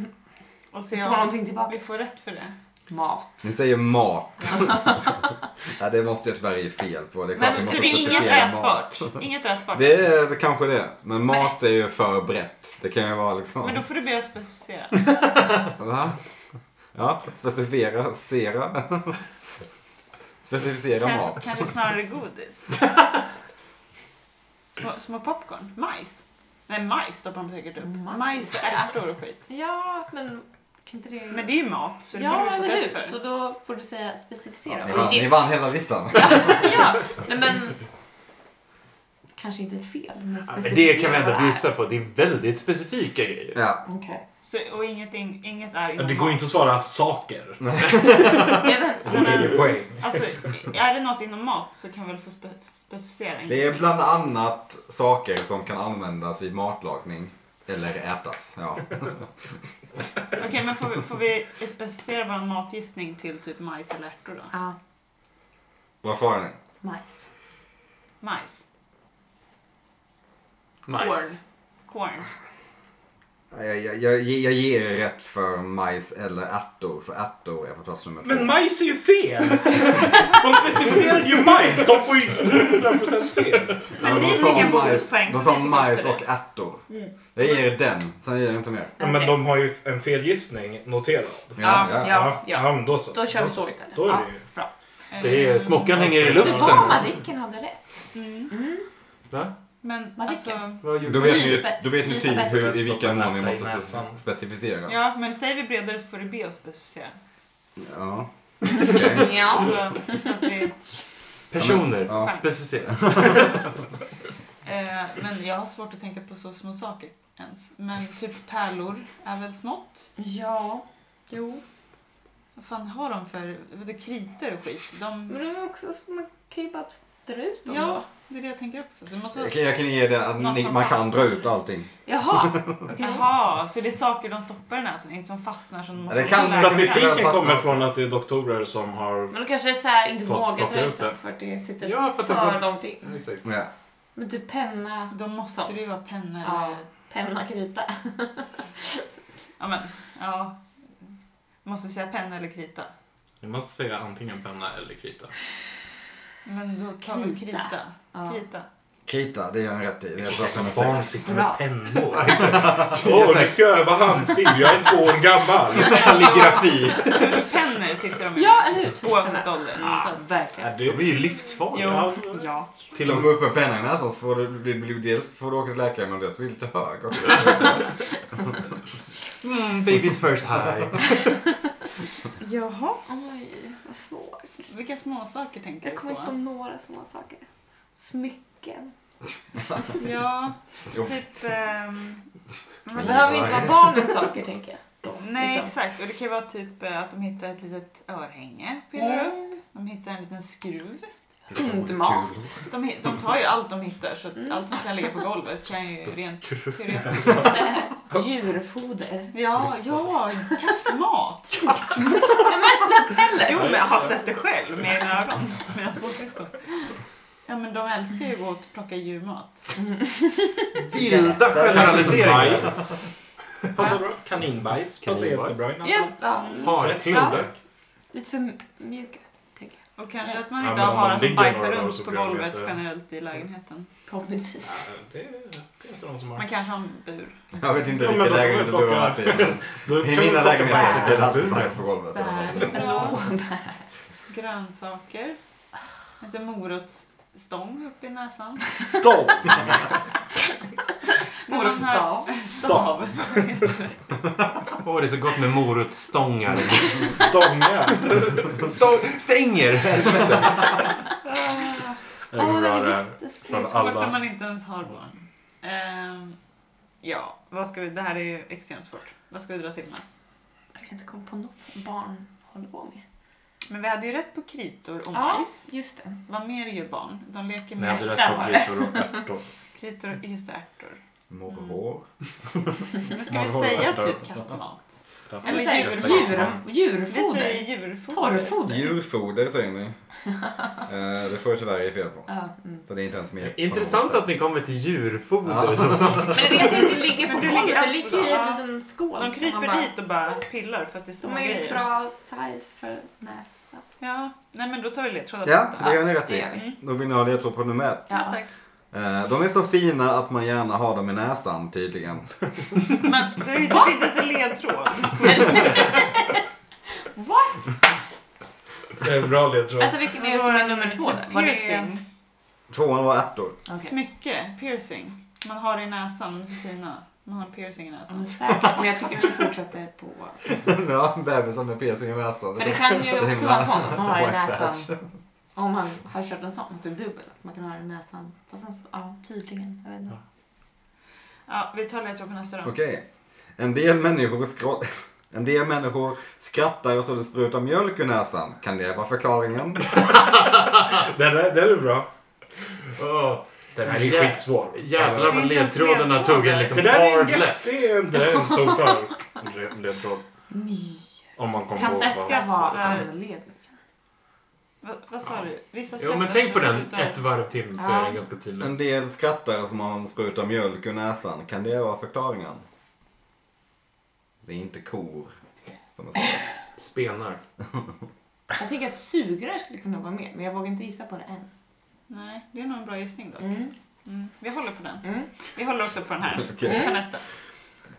Speaker 5: Och se
Speaker 3: vi får
Speaker 5: om
Speaker 3: någonting tillbaka.
Speaker 5: vi får rätt för det.
Speaker 3: Mat.
Speaker 1: Ni säger
Speaker 5: <laughs>
Speaker 1: mat. ja, det måste jag tyvärr ge fel på. Det är klart
Speaker 5: Men
Speaker 1: ni måste
Speaker 5: så det är inget
Speaker 1: specificera mat.
Speaker 5: ätbart. Inget ätbart.
Speaker 1: Det är det kanske det. Men mat är ju för brett. Det kan ju vara liksom...
Speaker 5: Men då får du be oss specificera.
Speaker 1: Va? Ja, specificera. Sera. specificera
Speaker 5: Kan,
Speaker 1: mat.
Speaker 5: kanske
Speaker 1: <laughs>
Speaker 5: snarare godis. små, små popcorn. Majs. Nej, majs stoppar de säkert upp.
Speaker 3: Majs.
Speaker 5: Majs och ärtor och skit.
Speaker 3: Ja, men kan inte det...
Speaker 5: Men det är ju mat, så det borde
Speaker 3: ja,
Speaker 5: vi få
Speaker 3: eller
Speaker 5: rätt
Speaker 3: hur?
Speaker 5: för.
Speaker 3: Så då får du säga specificera.
Speaker 1: Ni
Speaker 3: Och
Speaker 1: vann,
Speaker 3: ge-
Speaker 1: ni vann hela listan.
Speaker 3: <laughs> Ja, nej men... Kanske inte ett fel, men
Speaker 2: Ja, men det kan vi
Speaker 3: vad
Speaker 2: ändå
Speaker 3: är.
Speaker 2: gissa på. Det är väldigt specifika grejer.
Speaker 1: Ja.
Speaker 3: Okej.
Speaker 5: Så, och inget, inget är inom
Speaker 4: Det går
Speaker 5: mat.
Speaker 4: inte att svara saker.
Speaker 3: Ja, men-
Speaker 4: Det är poäng.
Speaker 5: Alltså, är det något inom mat så kan vi väl få spe, specificera.
Speaker 1: Det är
Speaker 5: ingenting.
Speaker 1: bland annat saker som kan användas i matlagning. Eller ätas. Ja.
Speaker 5: Okej, men får vi, får vi specificera vår matgissning till typ majs eller ärtor då?
Speaker 3: Ja,
Speaker 1: Vad svarar ni?
Speaker 3: majs.
Speaker 5: Majs.
Speaker 2: Majs.
Speaker 5: Corn.
Speaker 1: Jag, jag, jag, jag ger er rätt för majs eller ärtor. För ärtor är på plats nummer två.
Speaker 4: Men majs är ju fel! De specificerade ju majs. De får ju 100%
Speaker 3: <laughs>
Speaker 4: fel.
Speaker 5: Men ni
Speaker 1: de
Speaker 5: fick en
Speaker 1: sa majs,
Speaker 5: bonuspoäng,
Speaker 1: de
Speaker 5: så
Speaker 1: sa
Speaker 5: ni fick
Speaker 1: majs
Speaker 5: också det.
Speaker 1: och ärtor. Jag ger er den, sen ger jag inte mer.
Speaker 4: Ja, Men de har ju en felgissning noterad.
Speaker 3: Ja, ja, ja.
Speaker 4: men då så.
Speaker 3: Då kör vi så istället.
Speaker 4: Då är
Speaker 3: Ja.
Speaker 4: det ju...
Speaker 2: Det
Speaker 5: Ehm,
Speaker 2: är, smockan hänger i
Speaker 3: Så det var
Speaker 2: luften.
Speaker 3: Madicken hade rätt.
Speaker 5: Mm.
Speaker 2: Va?
Speaker 5: Men
Speaker 3: Vad
Speaker 5: alltså,
Speaker 2: Vad gjorde
Speaker 1: Då vet ni,
Speaker 3: Lisbeth.
Speaker 1: då vet ni
Speaker 3: Lisbeth.
Speaker 1: tydligt hur, i vilken mån ni
Speaker 4: Stoppa
Speaker 1: måste
Speaker 4: en ärta i näsan.
Speaker 1: specificera. Ja.
Speaker 5: ja, men säger vi bredare så får du be oss specificera.
Speaker 1: Okej.
Speaker 3: Ja.
Speaker 5: Alltså, så att vi,
Speaker 2: Personer.
Speaker 1: Ja.
Speaker 2: Specificera.
Speaker 5: eh, men jag har svårt att tänka på så små saker ens. Men typ pärlor är väl smått?
Speaker 3: Ja. Jo.
Speaker 5: Vad fan har de för vadå, kriter och skit? De,
Speaker 3: Men de är också, så man kan ju bara dra ut dem
Speaker 5: ja,
Speaker 3: då.
Speaker 5: det är det jag tänker också. Så det måste
Speaker 1: Jag kan- Jag kan ge det att
Speaker 5: Alltså, Något
Speaker 1: ni,
Speaker 5: som
Speaker 1: man kan dra
Speaker 5: fastnar.
Speaker 1: ut allting.
Speaker 3: Jaha, okej.
Speaker 5: Jaha, så det är saker de stoppar i näsan, inte som fastnar som de måste...
Speaker 1: Det kan-
Speaker 4: Statistiken
Speaker 1: Fast-
Speaker 4: kommer från att det är doktorer som har...
Speaker 3: Men de kanske är så här, inte
Speaker 4: Fått
Speaker 3: vågar
Speaker 4: plocka
Speaker 3: dra
Speaker 4: ut
Speaker 3: ut
Speaker 4: det.
Speaker 3: dem för att det sitter
Speaker 2: Ja, för att det
Speaker 3: för
Speaker 2: var...
Speaker 3: långt in.
Speaker 2: Ja, Exakt.
Speaker 1: Ja.
Speaker 3: Men du penna,
Speaker 5: Då måste det ju vara
Speaker 3: Sånt.
Speaker 5: pennor
Speaker 3: ja,
Speaker 5: eller...
Speaker 3: penna krita.
Speaker 5: Ja, men, ja. Måste vi säga penna eller krita?
Speaker 8: Ni måste säga antingen penna eller krita.
Speaker 5: Men då tar vi
Speaker 3: Krita.
Speaker 5: krita.
Speaker 3: Ja.
Speaker 5: Krita.
Speaker 1: Krita, det gör ni rätt i. Det är plats nummer
Speaker 4: Barn
Speaker 1: sex.
Speaker 4: sitter med pennor.
Speaker 8: Åh, nu ska jag öva handstil. Jag är två år gammal.
Speaker 2: Kalligrafi.
Speaker 5: Tuschpennor sitter de i.
Speaker 3: Ja, eller hur?
Speaker 5: Oavsett ålder.
Speaker 3: Ja,
Speaker 5: Så.
Speaker 3: verkligen.
Speaker 2: De är ju
Speaker 5: Jo.
Speaker 2: livsfarliga.
Speaker 5: Ja.
Speaker 1: Till och med upp en penna i näsan så får du, det blir, dels får du åka till läkaren men dels blir du lite hög också.
Speaker 2: Mm, baby's first high.
Speaker 5: Jaha.
Speaker 3: Oj, vad svårt.
Speaker 5: Vilka småsaker tänker
Speaker 3: Jag
Speaker 5: du
Speaker 3: kommer inte på
Speaker 5: på?
Speaker 3: några sådana saker. Smycken.
Speaker 5: Ja,
Speaker 1: Jo.
Speaker 5: typ... ehm,
Speaker 3: Man behöver ju inte vara barnens saker, tänker jag. Då,
Speaker 5: Nej,
Speaker 3: liksom.
Speaker 5: exakt. Och det kan ju vara typ eh, att de hittar ett litet örhänge.
Speaker 3: Mm.
Speaker 5: Pillar upp. De hittar en liten skruv. Hundmat. De, hi- de tar ju allt de hittar så att
Speaker 3: Mm.
Speaker 5: allt som kan ligga på golvet kan ju rent teoretiskt...
Speaker 3: Djurfoder.
Speaker 5: Ja, ja, kattmat.
Speaker 3: Ja, men
Speaker 5: Jo,
Speaker 3: pellet!
Speaker 5: men jag har sett det själv med egna ögon. Mina småsyskon. Ja, men de älskar ju att gå och plocka djurmat.
Speaker 1: Vilda generaliseringar.
Speaker 8: Bajs.
Speaker 1: Vad sa du? Kaninbajs. Passar
Speaker 2: Kaninbajs.
Speaker 1: jättebra i
Speaker 3: Ja,
Speaker 5: alltså,
Speaker 1: nästan.
Speaker 3: ja.
Speaker 2: Hartildor.
Speaker 3: Lite för mjuka, tänker jag.
Speaker 5: Och kanske att man
Speaker 8: Ja,
Speaker 5: inte
Speaker 8: men
Speaker 5: har
Speaker 8: om
Speaker 5: harar
Speaker 8: de
Speaker 5: som
Speaker 8: ligger
Speaker 5: bajsar
Speaker 8: några dagar
Speaker 5: runt
Speaker 8: så
Speaker 5: på
Speaker 8: blir de
Speaker 5: golvet
Speaker 8: lite-
Speaker 5: generellt i lägenheten.
Speaker 3: Förhoppningsvis.
Speaker 8: Det finns det någon som
Speaker 5: Man
Speaker 8: har.
Speaker 5: kanske har en bur.
Speaker 1: Jag vet inte
Speaker 8: Ja, men
Speaker 1: vilka
Speaker 8: då kan
Speaker 1: lägenheter
Speaker 8: man
Speaker 1: du har
Speaker 8: plocka-
Speaker 1: varit i.
Speaker 8: Då kan
Speaker 1: I
Speaker 8: vi
Speaker 1: mina
Speaker 8: plocka
Speaker 1: lägenheter
Speaker 8: bajs.
Speaker 1: sitter det alltid bajs på golvet.
Speaker 5: Bär,
Speaker 3: <laughs>
Speaker 5: bra.
Speaker 3: Blåbär.
Speaker 5: Grönsaker. Lite morotsstång upp i näsan. <laughs>
Speaker 1: Stopp!
Speaker 3: Stav.
Speaker 5: Stav.
Speaker 2: Åh, det är så gott med morotsstångar.
Speaker 8: Stångar.
Speaker 2: Stå- Stänger!
Speaker 3: Ja, det var
Speaker 8: Röra
Speaker 5: Det är
Speaker 3: jättespännande.
Speaker 8: Från
Speaker 5: svårt
Speaker 8: alla.
Speaker 5: när man inte ens har barn. Ehm, ja, vad ska vi... Det här är ju extremt svårt. Vad ska vi dra till med?
Speaker 3: Jag kan inte komma på något som barn håller på med.
Speaker 5: Men vi hade ju rätt på kritor och
Speaker 3: Ja.
Speaker 5: majs.
Speaker 3: Just det.
Speaker 5: Vad mer gör barn? De
Speaker 8: Nej,
Speaker 5: leker med
Speaker 8: det där
Speaker 3: Samma.
Speaker 8: på kritor och ärtor.
Speaker 5: kritor och just det, ärtor.
Speaker 1: Morrhår.
Speaker 8: <laughs>
Speaker 5: Men ska
Speaker 8: Man
Speaker 5: vi
Speaker 8: håller
Speaker 5: säga
Speaker 8: ärtor.
Speaker 5: typ kattmat?
Speaker 3: Eller
Speaker 4: Alltså,
Speaker 5: Eller
Speaker 3: så här,
Speaker 5: djur-
Speaker 3: djur,
Speaker 5: Vi säger
Speaker 3: djurfoder.
Speaker 5: djurfoder.
Speaker 3: Torrfoder.
Speaker 1: Djurfoder säger
Speaker 5: <laughs>
Speaker 1: ni. Eh, Det får jag tyvärr ge fel på.
Speaker 3: Ja. Mm.
Speaker 1: För det är inte ens med. på något
Speaker 2: Intressant
Speaker 1: sätt.
Speaker 2: att ni kommer till
Speaker 1: Ja.
Speaker 2: djurfoder så
Speaker 3: <laughs>
Speaker 2: snabbt.
Speaker 3: Men det vet jag inte, det ligger på
Speaker 5: Men det ligger
Speaker 3: golvet. Det
Speaker 5: allt
Speaker 3: ligger ju i
Speaker 5: bra.
Speaker 3: en liten skål.
Speaker 5: De
Speaker 3: så man
Speaker 5: kryper
Speaker 3: bara-
Speaker 5: dit och bara pillar för att det är
Speaker 3: De
Speaker 5: stora
Speaker 3: har ju ett
Speaker 5: grejer.
Speaker 3: bra size för näsa.
Speaker 5: Ja, nej men då tar vi ledtrådar.
Speaker 1: Ja,
Speaker 5: på
Speaker 1: det
Speaker 5: detta.
Speaker 1: gör ni rätt
Speaker 3: Det
Speaker 1: i.
Speaker 3: gör vi.
Speaker 1: Då vill ni ha ledtråd på nummer ett.
Speaker 5: Ja, tack.
Speaker 1: Eh, De är så fina att man gärna har dem i näsan tydligen.
Speaker 5: Men det är ju typ inte ens en ledtråd.
Speaker 3: What?
Speaker 4: Det är en bra ledtråd.
Speaker 3: Vänta, vilken är det som är nummer två där? Var det
Speaker 5: typ piercing.
Speaker 1: Tvåan var ärtor. <laughs>
Speaker 3: Okej.
Speaker 5: Smycke, piercing. Man har det i näsan, de är så fina. Man har en piercing i
Speaker 3: Ja, men
Speaker 5: näsan.
Speaker 3: Säkert, men jag tycker vi fortsätter på...
Speaker 1: ja, bebisen med piercing i näsan.
Speaker 3: Men det kan ju
Speaker 1: Så
Speaker 3: också
Speaker 1: himla
Speaker 3: vara en sån att
Speaker 1: <laughs>
Speaker 3: man har i
Speaker 1: white
Speaker 3: näsan. Om man har kört en sån, att det är dubbel. Att man kan ha det i näsan. Fast sen så, ja, tydligen. Jag vet inte.
Speaker 5: Ja, vi tar ledtråd på nästa då.
Speaker 1: Okej. En, del människor skra- <laughs> en del människor skrattar så det sprutar mjölk ur näsan. Kan det vara förklaringen?
Speaker 4: Den är, den är bra.
Speaker 2: Åh,
Speaker 4: Den här är
Speaker 2: Jä-
Speaker 4: skitsvår.
Speaker 2: jävlar
Speaker 5: Det är
Speaker 2: vad
Speaker 5: inte ens
Speaker 2: ledtrådarna
Speaker 5: ledtrådar.
Speaker 2: tog en liksom
Speaker 4: Det där är
Speaker 2: hard
Speaker 4: en
Speaker 2: left.
Speaker 4: det är inte en solklar led- ledtråd.
Speaker 3: My.
Speaker 8: Om man kommer
Speaker 3: Kan
Speaker 8: på
Speaker 3: Seska
Speaker 8: vad...
Speaker 3: vara
Speaker 5: Där.
Speaker 3: anledningen?
Speaker 5: Va, vad sa du? Vissa
Speaker 2: Jo, men
Speaker 5: släkter
Speaker 2: tänk på
Speaker 5: som
Speaker 2: den
Speaker 5: slutar-
Speaker 2: ett varv till så är den ganska tydlig.
Speaker 1: En del skrattar som man sprutar mjölk ur näsan. Kan det vara förklaringen? Det är inte kor som är svaret.
Speaker 2: Spenar.
Speaker 3: Jag tänker att sugrör skulle kunna vara med, men jag vågar inte gissa på det än.
Speaker 5: Nej, det är nog en bra gissning då.
Speaker 3: Mm.
Speaker 5: Mm. Vi håller på den.
Speaker 3: Mm.
Speaker 5: Vi håller också på den här.
Speaker 1: Okej.
Speaker 5: Vi tar nästa.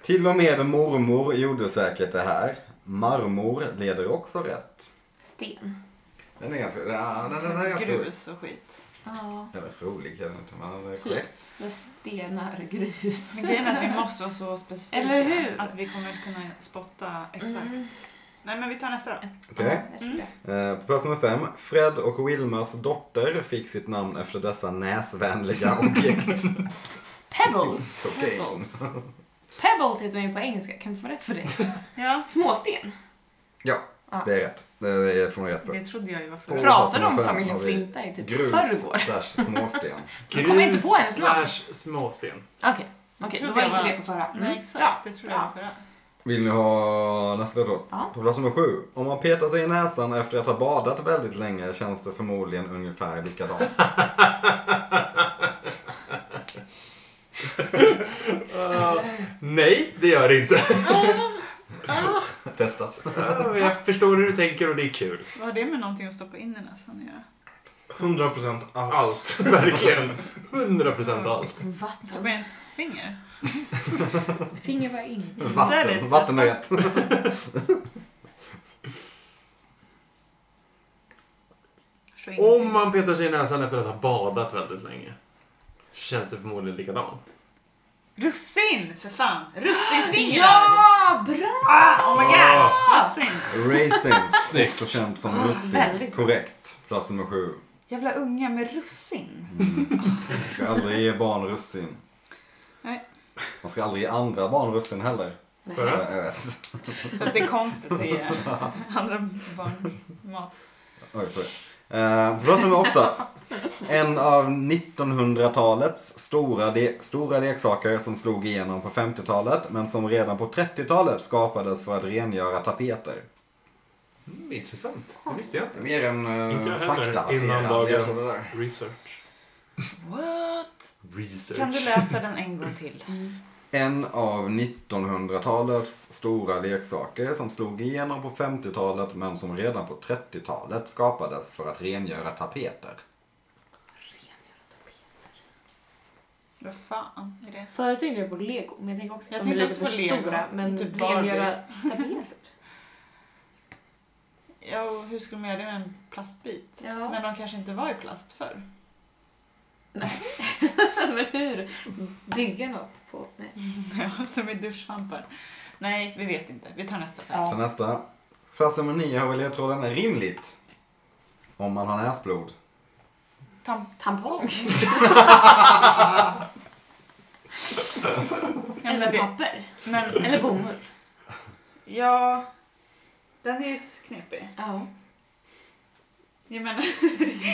Speaker 1: Till och med mormor gjorde säkert det här. Marmor leder också rätt.
Speaker 3: Sten.
Speaker 1: Den är ganska... Ja, den, den är ganska rolig.
Speaker 5: Grus och skit.
Speaker 3: Ja,
Speaker 1: Eller rolig kan jag inte men den är
Speaker 3: typ.
Speaker 1: korrekt.
Speaker 3: Med stenar, grus.
Speaker 5: Men grejen är att vi måste vara så specifika.
Speaker 3: Eller hur?
Speaker 5: Att vi kommer kunna spotta <laughs> exakt.
Speaker 3: Mm.
Speaker 5: Nej, men vi tar nästa då.
Speaker 1: Okej.
Speaker 3: Mm.
Speaker 1: Eh, På plats nummer fem. Fred och Wilmas dotter fick sitt namn efter dessa
Speaker 3: <laughs>
Speaker 1: näsvänliga objekt. <laughs>
Speaker 3: Pebbles.
Speaker 1: Okej.
Speaker 3: Pebbles. Pebbles heter hon ju på engelska. Kan vi få rätt
Speaker 1: <laughs>
Speaker 3: för det?
Speaker 5: Ja,
Speaker 3: Småsten.
Speaker 1: Ja, det är rätt. Det är från rätt
Speaker 5: det trodde jag ju var
Speaker 1: Och
Speaker 5: förra.
Speaker 1: som
Speaker 3: Pratade
Speaker 1: nummer
Speaker 3: om
Speaker 1: fem
Speaker 3: familjen
Speaker 1: har vi
Speaker 3: Flinta i typ
Speaker 1: Grus
Speaker 3: förrgår.
Speaker 1: slash
Speaker 3: <laughs>
Speaker 1: småsten.
Speaker 3: Jag kommer inte på hennes namn.
Speaker 2: slash småsten.
Speaker 3: Okej, okej.
Speaker 5: Trodde
Speaker 3: då var
Speaker 5: jag
Speaker 3: inte
Speaker 5: var-
Speaker 3: det på förra. Mm.
Speaker 5: Nej,
Speaker 3: Bra.
Speaker 5: exakt. Det trodde jag var förra.
Speaker 1: Vill ni ha nästa ledtråd?
Speaker 3: Ja.
Speaker 1: På plats nummer sju. Om man petar sig i näsan efter att ha badat väldigt länge känns det förmodligen ungefär likadant.
Speaker 2: Nej, det gör det inte.
Speaker 1: <laughs> Testat.
Speaker 2: Jag förstår hur du tänker och det är kul.
Speaker 5: Vad har det med någonting att stoppa in i näsan att göra?
Speaker 4: 100% allt.
Speaker 2: Allt, verkligen. 100% allt.
Speaker 3: Vatten.
Speaker 5: Stoppa in ett finger?
Speaker 3: Finger var in.
Speaker 1: Vatten. Vatten är rätt.
Speaker 5: Förstår ingenting.
Speaker 2: Om man petar sig i näsan efter att ha badat väldigt länge känns det förmodligen likadant.
Speaker 5: Russin! För fan! Russinfingrar!
Speaker 3: Ja, bra!
Speaker 5: Ah, oh my god!
Speaker 3: Ah.
Speaker 5: Russin!
Speaker 1: Raisins. Också känt som russin.
Speaker 3: väldigt.
Speaker 1: Korrekt. Plats nummer sju. Mm.
Speaker 5: Jävla unga med russin.
Speaker 1: Ska aldrig ge barn russin.
Speaker 5: Nej.
Speaker 1: Man ska aldrig ge andra barn russin heller.
Speaker 2: För att?
Speaker 1: Jag vet.
Speaker 5: För att det är konstigt i eh, andra barn mat.
Speaker 1: Oj, sorry. Eh, plats nummer åtta. En av 1900-talets stora, le- stora leksaker som slog igenom på 50-talet men som redan på 30-talet skapades för att rengöra tapeter.
Speaker 2: Mm, intressant. Det visste jag inte.
Speaker 1: Mer än
Speaker 8: Inte
Speaker 1: uh,
Speaker 8: jag heller. Innan dagens research.
Speaker 5: What? Mm.
Speaker 2: Research.
Speaker 5: Kan du läsa den en gång <laughs> till?
Speaker 1: En av 1900-talets stora leksaker som slog igenom på 50-talet men som redan på 30-talet skapades för att rengöra tapeter.
Speaker 5: Vad fan är det?
Speaker 3: Förut tänkte jag på lego, men jag tänker också
Speaker 5: Jag
Speaker 3: att de är
Speaker 5: tänkte
Speaker 3: lite för
Speaker 5: också på lego.
Speaker 3: stora. Men
Speaker 5: Typ
Speaker 3: typ
Speaker 5: Barbie.
Speaker 3: rengöra tapeter. <laughs>
Speaker 5: Ja, och hur skulle man göra det med en plastbit?
Speaker 3: Ja.
Speaker 5: Men de kanske inte var i plast förr.
Speaker 3: men <laughs> hur? Bygga något på... Nej.
Speaker 5: <laughs> Som i duschsvampar. Nej, vi vet inte. Vi tar nästa.
Speaker 3: Ja.
Speaker 1: Så nästa. Plats nummer 9 har vi ledtråden är rimligt. Om man har näsblod.
Speaker 5: Tam-
Speaker 3: <laughs> Tampong?
Speaker 5: Ja, men
Speaker 3: Eller
Speaker 5: det-
Speaker 3: papper?
Speaker 5: men,
Speaker 3: Eller bomull?
Speaker 5: ja, den är ju knepig.
Speaker 3: Ja.
Speaker 5: Jag menar,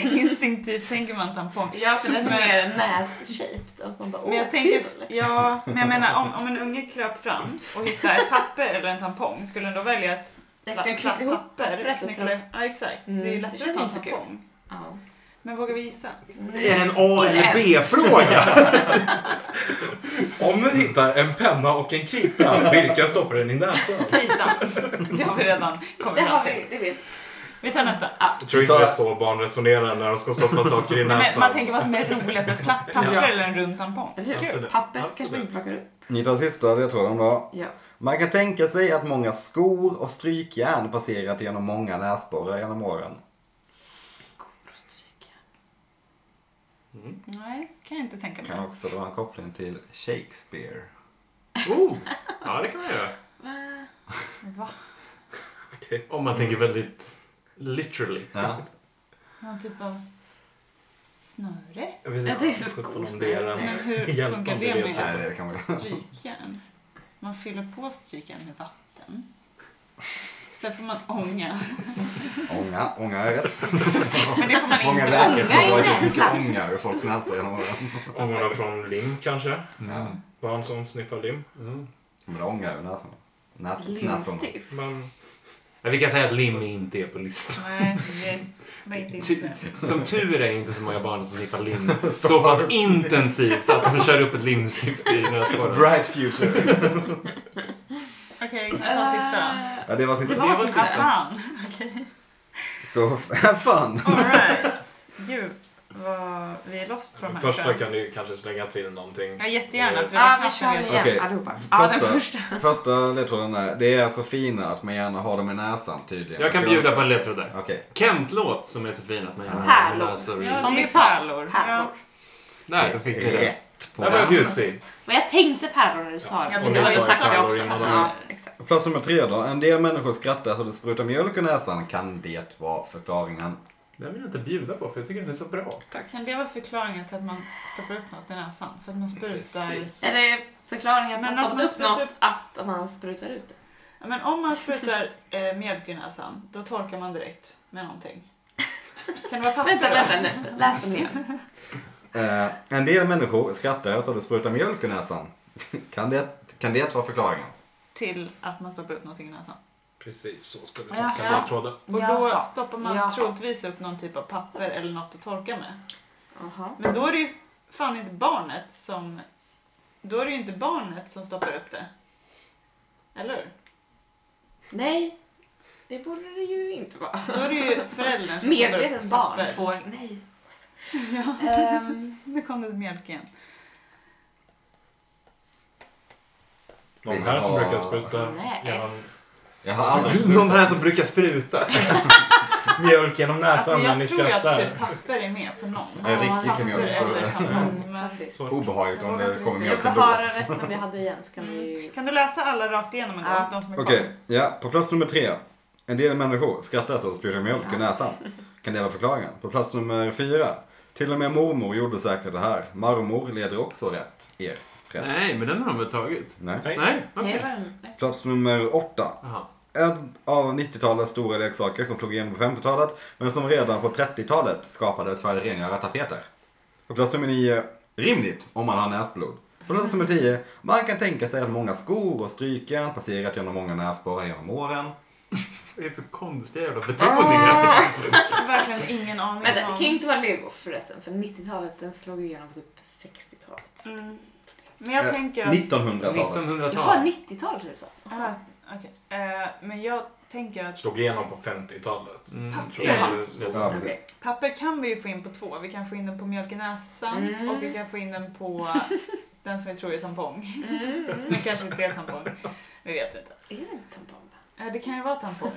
Speaker 5: <laughs> instinktivt tänker man tampong.
Speaker 3: Ja, för den är
Speaker 5: Men-
Speaker 3: mer näs-shaped. Och man bara,
Speaker 5: Men jag
Speaker 3: åh,
Speaker 5: tänker,
Speaker 3: kul.
Speaker 5: ja, men jag menar om, om en unge kröp fram och hittade ett papper eller en tampong, skulle den då välja ett
Speaker 3: Jag ska
Speaker 5: pla-
Speaker 3: knyta ihop
Speaker 5: papper?
Speaker 3: pappret och
Speaker 5: Knyckla, ja, exakt.
Speaker 3: Mm.
Speaker 5: Det är ju
Speaker 3: Det
Speaker 5: lättare att
Speaker 3: känns
Speaker 5: ta en
Speaker 3: inte kul.
Speaker 5: tampong.
Speaker 3: Ja.
Speaker 5: Men vågar vi gissa?
Speaker 1: Det
Speaker 3: Mm.
Speaker 1: är en A eller B-fråga.
Speaker 4: Om ni hittar en penna och en krita, vilka stoppar den i näsan?
Speaker 5: Krita. <laughs> Det har vi redan kommit
Speaker 3: Det
Speaker 5: fram
Speaker 3: har
Speaker 5: till.
Speaker 3: vi, det vet
Speaker 5: Vi tar nästa.
Speaker 8: Jag tror inte det är så barn resonerar när de ska stoppa saker i
Speaker 5: Men
Speaker 8: näsan.
Speaker 5: man tänker vad som är roligast, ett platt papper
Speaker 8: Ja.
Speaker 5: eller en rund tampong?
Speaker 3: Eller hur?
Speaker 8: Absolut.
Speaker 3: Papper kanske man
Speaker 8: Absolut.
Speaker 3: inte plockar upp.
Speaker 1: Ni tar sista ledtråden då.
Speaker 3: Ja.
Speaker 1: Man kan tänka sig att många skor och strykjärn passerat genom många näsborrar genom åren.
Speaker 3: Alltså,
Speaker 5: Nej, kan jag inte tänka
Speaker 1: Kan
Speaker 5: mig.
Speaker 1: också dra en koppling till Shakespeare.
Speaker 2: Oh, ja, det kan man göra.
Speaker 3: Va?
Speaker 5: Va?
Speaker 2: Om man tänker väldigt literally.
Speaker 1: Ja.
Speaker 5: Någon typ av snöre?
Speaker 4: Jag vet
Speaker 3: Ja, det är så
Speaker 4: sjutton
Speaker 3: konstigt.
Speaker 4: om det är
Speaker 5: Men
Speaker 4: en...
Speaker 5: hur
Speaker 4: Hjälp
Speaker 5: funkar
Speaker 4: om
Speaker 5: det
Speaker 4: det
Speaker 5: med
Speaker 4: vet jag.
Speaker 1: Nej,
Speaker 5: att
Speaker 1: det kan man
Speaker 5: strykjärn. Man fyller på strykjärn med vatten. Sen får man ånga.
Speaker 1: Ånga, ånga är rätt.
Speaker 5: Men det får man
Speaker 1: Ånga
Speaker 5: inte.
Speaker 1: läkare som
Speaker 3: i
Speaker 1: har dragit
Speaker 3: näsan.
Speaker 1: mycket ånga ur folks näsor genom åren.
Speaker 8: Om hon är från lim kanske.
Speaker 1: Ja.
Speaker 8: Barn som sniffar lim.
Speaker 2: Mm.
Speaker 1: Men det är ånga ur näsan. Näs, näsan.
Speaker 3: Limstift?
Speaker 8: Men
Speaker 2: Ja, vi kan säga att lim inte är på listan.
Speaker 5: Nej, det var inte
Speaker 2: Ty-
Speaker 5: inte.
Speaker 2: Som tur är inte så många barn som sniffar
Speaker 5: <laughs>
Speaker 2: lim så pass intensivt att de kör upp ett limstift i näsborren.
Speaker 1: Bright future.
Speaker 5: Okej, kan jag ta sista?
Speaker 3: Eh,
Speaker 1: <laughs> Ja, det var
Speaker 3: Det
Speaker 1: sista.
Speaker 3: var
Speaker 5: Vad
Speaker 3: sista.
Speaker 5: fan? Okej.
Speaker 1: Så, <laughs> have fun.
Speaker 5: Alright. Gud, vad vi är lost på de här.
Speaker 8: första
Speaker 5: skämten.
Speaker 8: kan du kanske slänga till någonting.
Speaker 5: Ja, jättegärna. För det
Speaker 3: Ja,
Speaker 5: var
Speaker 3: vi kör
Speaker 5: knappt
Speaker 3: igen
Speaker 5: jag
Speaker 1: Okej.
Speaker 3: allihopa. Ja, den
Speaker 1: Första.
Speaker 3: första.
Speaker 1: Första ledtråden är, det är så fina att man gärna har dem i näsan tydligen.
Speaker 2: Jag kan bjuda på en ledtråd där.
Speaker 1: Okej.
Speaker 2: Kent-låt som är så fin att man gärna
Speaker 3: Pärlor.
Speaker 2: löser
Speaker 5: Ja,
Speaker 2: ur.
Speaker 3: Som
Speaker 5: det
Speaker 3: vi
Speaker 5: är
Speaker 3: sa,
Speaker 5: pärlor.
Speaker 3: pärlor.
Speaker 2: Där fick ni det.
Speaker 1: Rätt på
Speaker 8: Det var
Speaker 1: den.
Speaker 8: bjussig.
Speaker 3: Men jag tänkte pärlor när du sa
Speaker 5: Ja, för
Speaker 3: det.
Speaker 8: Och
Speaker 5: jag
Speaker 8: vi
Speaker 5: har ju
Speaker 8: sa ju
Speaker 5: sagt det
Speaker 8: pärlor
Speaker 5: också.
Speaker 8: innan
Speaker 5: Ja, exakt.
Speaker 1: Plats nummer tre då. En del människor skrattar så det sprutar mjölk ur näsan. Kan det vara förklaringen?
Speaker 2: Den vill jag inte bjuda på för jag tycker den är så bra.
Speaker 5: Kan det vara förklaringen till att man stoppar upp något i näsan? För att man sprutar
Speaker 8: Precis.
Speaker 3: Eller förklaringen att
Speaker 5: Men
Speaker 3: man
Speaker 5: att man
Speaker 3: stoppar upp
Speaker 5: sprutar
Speaker 3: något,
Speaker 5: ut-
Speaker 3: att man sprutar ut det.
Speaker 5: Ja, men om man sprutar eh, mjölk i näsan, då torkar man direkt med någonting. Kan det vara papper?
Speaker 3: Vänta,
Speaker 5: då?
Speaker 3: vänta, nej. läs den igen.
Speaker 1: Eh, en del människor skrattar så det sprutar mjölk ur näsan. <laughs> kan, det, kan det vara förklaringen?
Speaker 5: Till att man stoppar upp någonting i näsan.
Speaker 8: Precis så ska du
Speaker 3: Ja.
Speaker 8: tolka ledtråden.
Speaker 5: Och då
Speaker 3: Jaha.
Speaker 5: stoppar man
Speaker 3: Jaha.
Speaker 5: troligtvis upp någon typ av papper eller något att torka med.
Speaker 3: Jaha.
Speaker 5: Men då är det ju fan inte barnet som... Då är det ju inte barnet som stoppar upp det. Eller hur?
Speaker 3: Nej, det borde det ju inte vara.
Speaker 5: Då är det ju föräldern som stoppar
Speaker 3: Medvetet
Speaker 5: upp
Speaker 3: barn.
Speaker 5: papper.
Speaker 3: Två, nej.
Speaker 5: Ja,
Speaker 3: Ehm,
Speaker 5: nu kom det mjölk igen.
Speaker 8: Alltså, Någon här som
Speaker 1: Ja.
Speaker 8: brukar spruta
Speaker 3: Nej.
Speaker 8: genom
Speaker 1: Jag har aldrig
Speaker 2: <laughs> Någon här som brukar spruta.
Speaker 8: mjölk genom
Speaker 5: Alltså
Speaker 8: näsan när ni
Speaker 5: jag tror ju att
Speaker 8: skrattar.
Speaker 5: typ papper är med på någon.
Speaker 1: Nej, riktigt
Speaker 5: Papper
Speaker 1: kan mjölk.
Speaker 5: eller
Speaker 1: Så
Speaker 5: tampong. Men...
Speaker 3: faktiskt.
Speaker 1: obehagligt om det eh, kommer
Speaker 3: Jag
Speaker 1: mjölk
Speaker 3: vill
Speaker 1: ändå.
Speaker 3: höra resten vi hade igen så kan vi
Speaker 5: Kan du läsa alla rakt igenom en gång?
Speaker 3: Ja.
Speaker 5: De som är kvar.
Speaker 1: Okej, ja. På plats nummer tre. En del människor skrattar så det sprutar mjölk ur näsan. Kan det vara förklaringen? På plats nummer fyra. Till och med mormor gjorde säkert det här. Marmor leder också rätt. Er. rätt.
Speaker 2: Nej, men den har de väl tagit?
Speaker 1: Nej.
Speaker 4: Nej.
Speaker 2: Nej, okej.
Speaker 3: Nej, det var den. Nej.
Speaker 1: Plats nummer åtta.
Speaker 2: Jaha.
Speaker 1: En av 90-talets stora leksaker som slog igenom på 50-talet men som redan på 30-talet skapades för att rengöra tapeter. Och plats nummer 9. Rimligt om man har näsblod. Och plats nummer 10. Man kan tänka sig att många skor och stryken passerat genom många näsborrar genom åren.
Speaker 2: Vad är det för konstiga jävla betoningar?
Speaker 5: Verkligen ingen aning
Speaker 3: Vänta, det kan ju inte vara lego förresten. För 90-talet den slog ju igenom på typ 60-talet.
Speaker 5: Mm. Men jag
Speaker 1: Eh,
Speaker 5: tänker att...
Speaker 1: 1900-talet.
Speaker 2: 1900-tal.
Speaker 3: Jaha, 90-talet tror du sa?
Speaker 5: Ah, okej. Eh, men jag tänker att
Speaker 4: Slog igenom på 50-talet.
Speaker 2: Mm.
Speaker 4: Tror jag
Speaker 5: Jaha.
Speaker 4: inte så.
Speaker 1: Ja, precis.
Speaker 3: Okej.
Speaker 5: papper kan vi ju få in på två. Vi kan få in den på mjölk i näsan
Speaker 3: Mm.
Speaker 5: och vi kan få in den på
Speaker 3: <laughs>
Speaker 5: den som vi tror är tampong.
Speaker 3: Mm, mm.
Speaker 5: Men kanske inte är tampong. Vi vet inte.
Speaker 3: Är det en tampong?
Speaker 5: Eh, det kan ju vara tampong.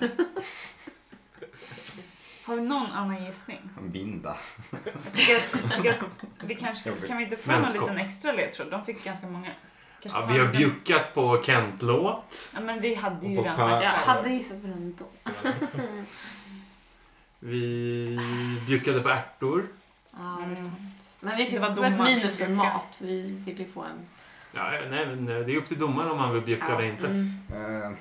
Speaker 5: Har vi någon annan gissning?
Speaker 1: Binda.
Speaker 5: Jag tycker att, jag tycker att vi kanske,
Speaker 1: Jobbigt.
Speaker 5: kan vi inte få någon
Speaker 2: Menskopp.
Speaker 5: liten extra ledtråd? De fick ganska många. Kanske
Speaker 2: Ja,
Speaker 5: får
Speaker 2: vi har
Speaker 5: en-
Speaker 2: bjuckat på Kent-låt.
Speaker 5: Ja, men vi hade ju
Speaker 1: Och på
Speaker 5: redan
Speaker 1: pär-
Speaker 3: Jag
Speaker 5: sagt
Speaker 3: hade gissat på den då.
Speaker 2: Vi bjuckade på ärtor.
Speaker 3: Ja, det är
Speaker 5: Mm.
Speaker 3: sant. Men vi
Speaker 5: Det
Speaker 3: fick
Speaker 5: var
Speaker 3: det
Speaker 5: domaren
Speaker 3: ett
Speaker 5: som
Speaker 3: minus för
Speaker 5: brukar.
Speaker 3: mat. Vi ville ju få en...
Speaker 2: Ja, nej, men det är upp till domaren om han vill bjucka eller inte.
Speaker 3: Mm.
Speaker 1: Eh,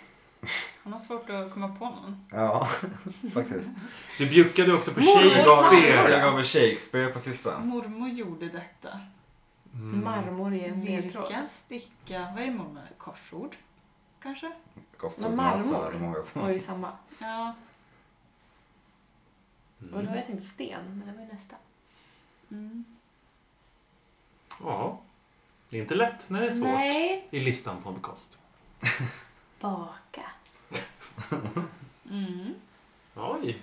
Speaker 5: Han har svårt att komma på någon.
Speaker 1: ja, <laughs> faktiskt.
Speaker 2: Vi bjuckade också på
Speaker 3: Mormor
Speaker 1: Jag
Speaker 2: Shakespeare.
Speaker 1: gav väl Shakespeare på sista.
Speaker 5: Mormor gjorde detta.
Speaker 2: Mm.
Speaker 3: Marmor är en ledtråd.
Speaker 5: Virka, sticka, vad är mormor? Korsord? Kanske?
Speaker 1: Kostade
Speaker 3: Men
Speaker 1: massa, det var
Speaker 3: marmor
Speaker 1: många
Speaker 2: Mm.
Speaker 3: var
Speaker 1: som-
Speaker 3: ju samma.
Speaker 5: Ja.
Speaker 2: Mm.
Speaker 3: Och då har jag tänkt sten, men det var ju nästa.
Speaker 5: Mm.
Speaker 2: Ja. Det är inte lätt när det är svårt.
Speaker 3: Nej.
Speaker 2: I listan podcast.
Speaker 3: Baka.
Speaker 5: Mm.
Speaker 2: Oj.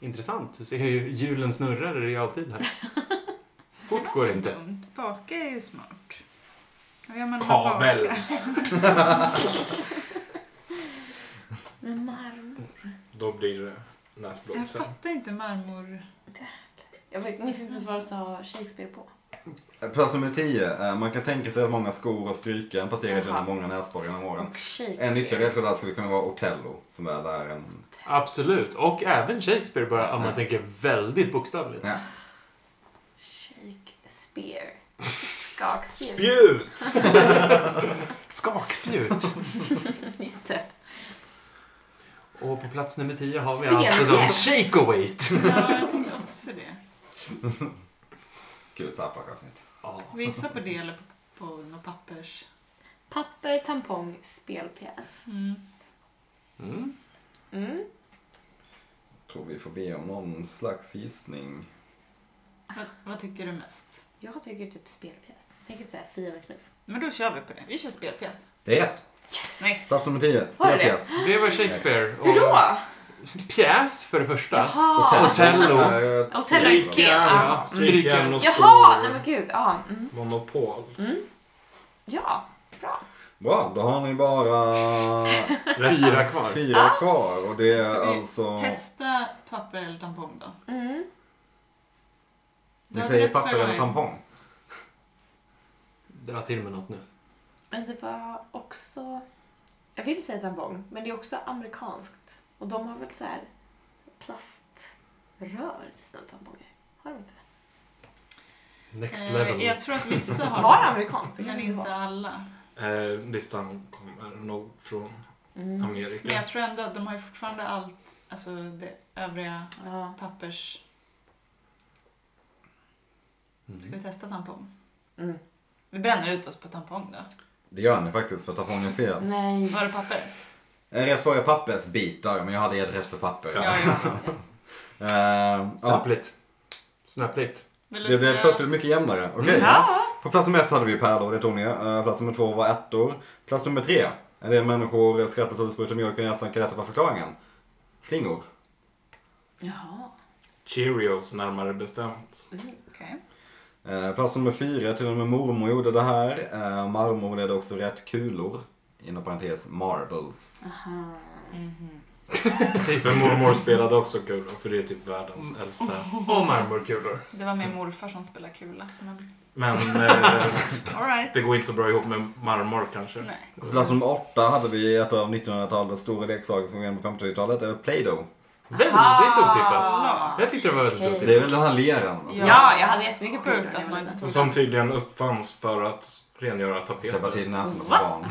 Speaker 2: Intressant. Du ser hur hjulen snurrar i realtid här. Fort går det inte.
Speaker 5: Dumt. Baka är ju smart. Vad gör man när man
Speaker 4: Kabel.
Speaker 5: bakar?
Speaker 3: Men marmor...
Speaker 4: Då blir det näsblod
Speaker 5: Jag
Speaker 4: sen.
Speaker 5: fattar
Speaker 1: <laughs>
Speaker 5: inte marmor.
Speaker 3: Jag vet- minns inte vad du sa Shakespeare på.
Speaker 1: Eh, Plats nummer 10. eh, Man kan tänka sig att många skor och stryken passerat genom
Speaker 3: Jaha.
Speaker 1: många näsborrar genom åren.
Speaker 3: Och Shakespeare.
Speaker 1: En ytterligare ledtråd där skulle kunna vara Otello som väl är en...
Speaker 2: Absolut. Och även Shakespeare bara om man
Speaker 1: Ja.
Speaker 2: tänker väldigt bokstavligt.
Speaker 1: Ja.
Speaker 3: Shakespeare. Skakspjut.
Speaker 4: Spjut!
Speaker 2: Skakspjut.
Speaker 3: Just det.
Speaker 2: Och på plats nummer 10 har vi
Speaker 3: Stenpjäs.
Speaker 2: alltså de Shakeawait.
Speaker 5: Ja, jag tänkte också det.
Speaker 1: Kul Zapak-avsnitt.
Speaker 2: Ja.
Speaker 5: Visa på det eller på, på något pappers.
Speaker 3: Papper, tampong, spelpjäs.
Speaker 5: Mm.
Speaker 2: Mm.
Speaker 3: Mm.
Speaker 1: Tror vi får be om någon slags gissning.
Speaker 5: Vad, vad tycker du mest?
Speaker 3: Jag tycker typ spelpjäs. Jag tänker såhär Fia med knuff.
Speaker 5: Men då kör vi på det. Vi kör spelpjäs.
Speaker 1: Det är rätt!
Speaker 3: Yes!
Speaker 5: Nice.
Speaker 1: Plats nummer 10.
Speaker 3: Var det det?
Speaker 1: Spelpjäs.
Speaker 2: Det var Shakespeare.
Speaker 3: Hur då?
Speaker 2: Pjäs för det första.
Speaker 3: Jaha!
Speaker 2: Otello.
Speaker 1: Eh,
Speaker 3: Otello är
Speaker 1: Stryken.
Speaker 3: spel. Ja.
Speaker 2: Ja,
Speaker 4: Stryken
Speaker 2: stryken.
Speaker 4: och
Speaker 3: Jaha! Nej
Speaker 4: skor.
Speaker 3: men gud. Ja. Mm.
Speaker 4: Monopol.
Speaker 3: ja. Bra.
Speaker 1: Bra, då har ni bara
Speaker 2: Fyra kvar.
Speaker 1: fyra kvar och det är
Speaker 5: Ska vi
Speaker 1: alltså...
Speaker 5: Testa papper eller tampong då.
Speaker 3: Mm.
Speaker 1: Ni säger papper eller
Speaker 5: tampong?
Speaker 1: tampong?
Speaker 2: Dra till med något nu.
Speaker 3: Men det var också... Jag vill säga tampong, men det är också amerikanskt. Och de har väl så här plaströr till sina tamponger? Har de inte?
Speaker 2: Next level.
Speaker 5: Eh, jag tror att vissa
Speaker 3: <laughs>
Speaker 5: har
Speaker 3: Var det amerikanskt? Det kan
Speaker 5: Men
Speaker 3: det inte
Speaker 5: inte
Speaker 3: vara.
Speaker 5: alla.
Speaker 4: Eh, listan kommer nog från
Speaker 3: Mm.
Speaker 4: Amerika.
Speaker 5: Men jag tror ändå att de har ju fortfarande allt, alltså det övriga
Speaker 3: Ja.
Speaker 5: pappers... Ska
Speaker 2: Mm.
Speaker 5: vi testa tampong?
Speaker 3: Mm.
Speaker 5: Vi bränner ut oss på tampong då.
Speaker 1: Det gör ni faktiskt för tampongen är
Speaker 5: Mm.
Speaker 1: fel.
Speaker 3: Nej.
Speaker 5: Var det papper?
Speaker 1: Eh, Rätt svar är pappersbitar men jag hade gett rätt för papper.
Speaker 5: Ja, ja.
Speaker 1: Eh, ja.
Speaker 2: Snäppligt. Snäppligt.
Speaker 5: Vill
Speaker 1: Det
Speaker 5: du
Speaker 1: blev
Speaker 5: säga?
Speaker 1: plötsligt mycket jämnare. Okej.
Speaker 5: Mm.
Speaker 3: Ja.
Speaker 1: På plats nummer ett så hade vi pärlor, det tog ni. Eh, Plats nummer två var ärtor. Plats nummer tre. En del människor skrattar så det sprutar mjölk i näsan. Kan detta vara förklaringen? Flingor.
Speaker 3: Jaha.
Speaker 4: Cheerios närmare bestämt.
Speaker 3: Mm.
Speaker 5: Okej.
Speaker 1: Eh, Plats nummer fyra, till och med mormor gjorde det här. Eh, Marmor ledde också rätt. Kulor. Inom parentes marbles.
Speaker 3: Aha. Mhm.
Speaker 4: Men Typ mormor spelade också kul för det är typ världens äldsta.
Speaker 5: Mm.
Speaker 2: Och marmorkulor.
Speaker 5: Det var min morfar som spelade kula. Men
Speaker 4: Men eh,
Speaker 5: alright.
Speaker 4: det går inte så bra ihop med marmor kanske.
Speaker 5: Nej.
Speaker 1: Plats nummer åtta hade vi ett av 1900-talets stora leksaker som kom på 50-talet. eh, Play-Doh.
Speaker 2: Väldigt otippat.
Speaker 3: Ah.
Speaker 2: Jag tyckte det var väldigt
Speaker 3: Okej.
Speaker 2: otippat.
Speaker 1: Det är väl den här leran? Alltså.
Speaker 3: Ja, jag hade jättemycket
Speaker 5: Sjukt
Speaker 3: prylar när jag
Speaker 5: att
Speaker 3: var
Speaker 5: man
Speaker 3: liten.
Speaker 4: Som tydligen uppfanns för att rengöra
Speaker 1: Täppa
Speaker 4: tapeter.
Speaker 1: till näsan på
Speaker 3: Va?
Speaker 1: barn.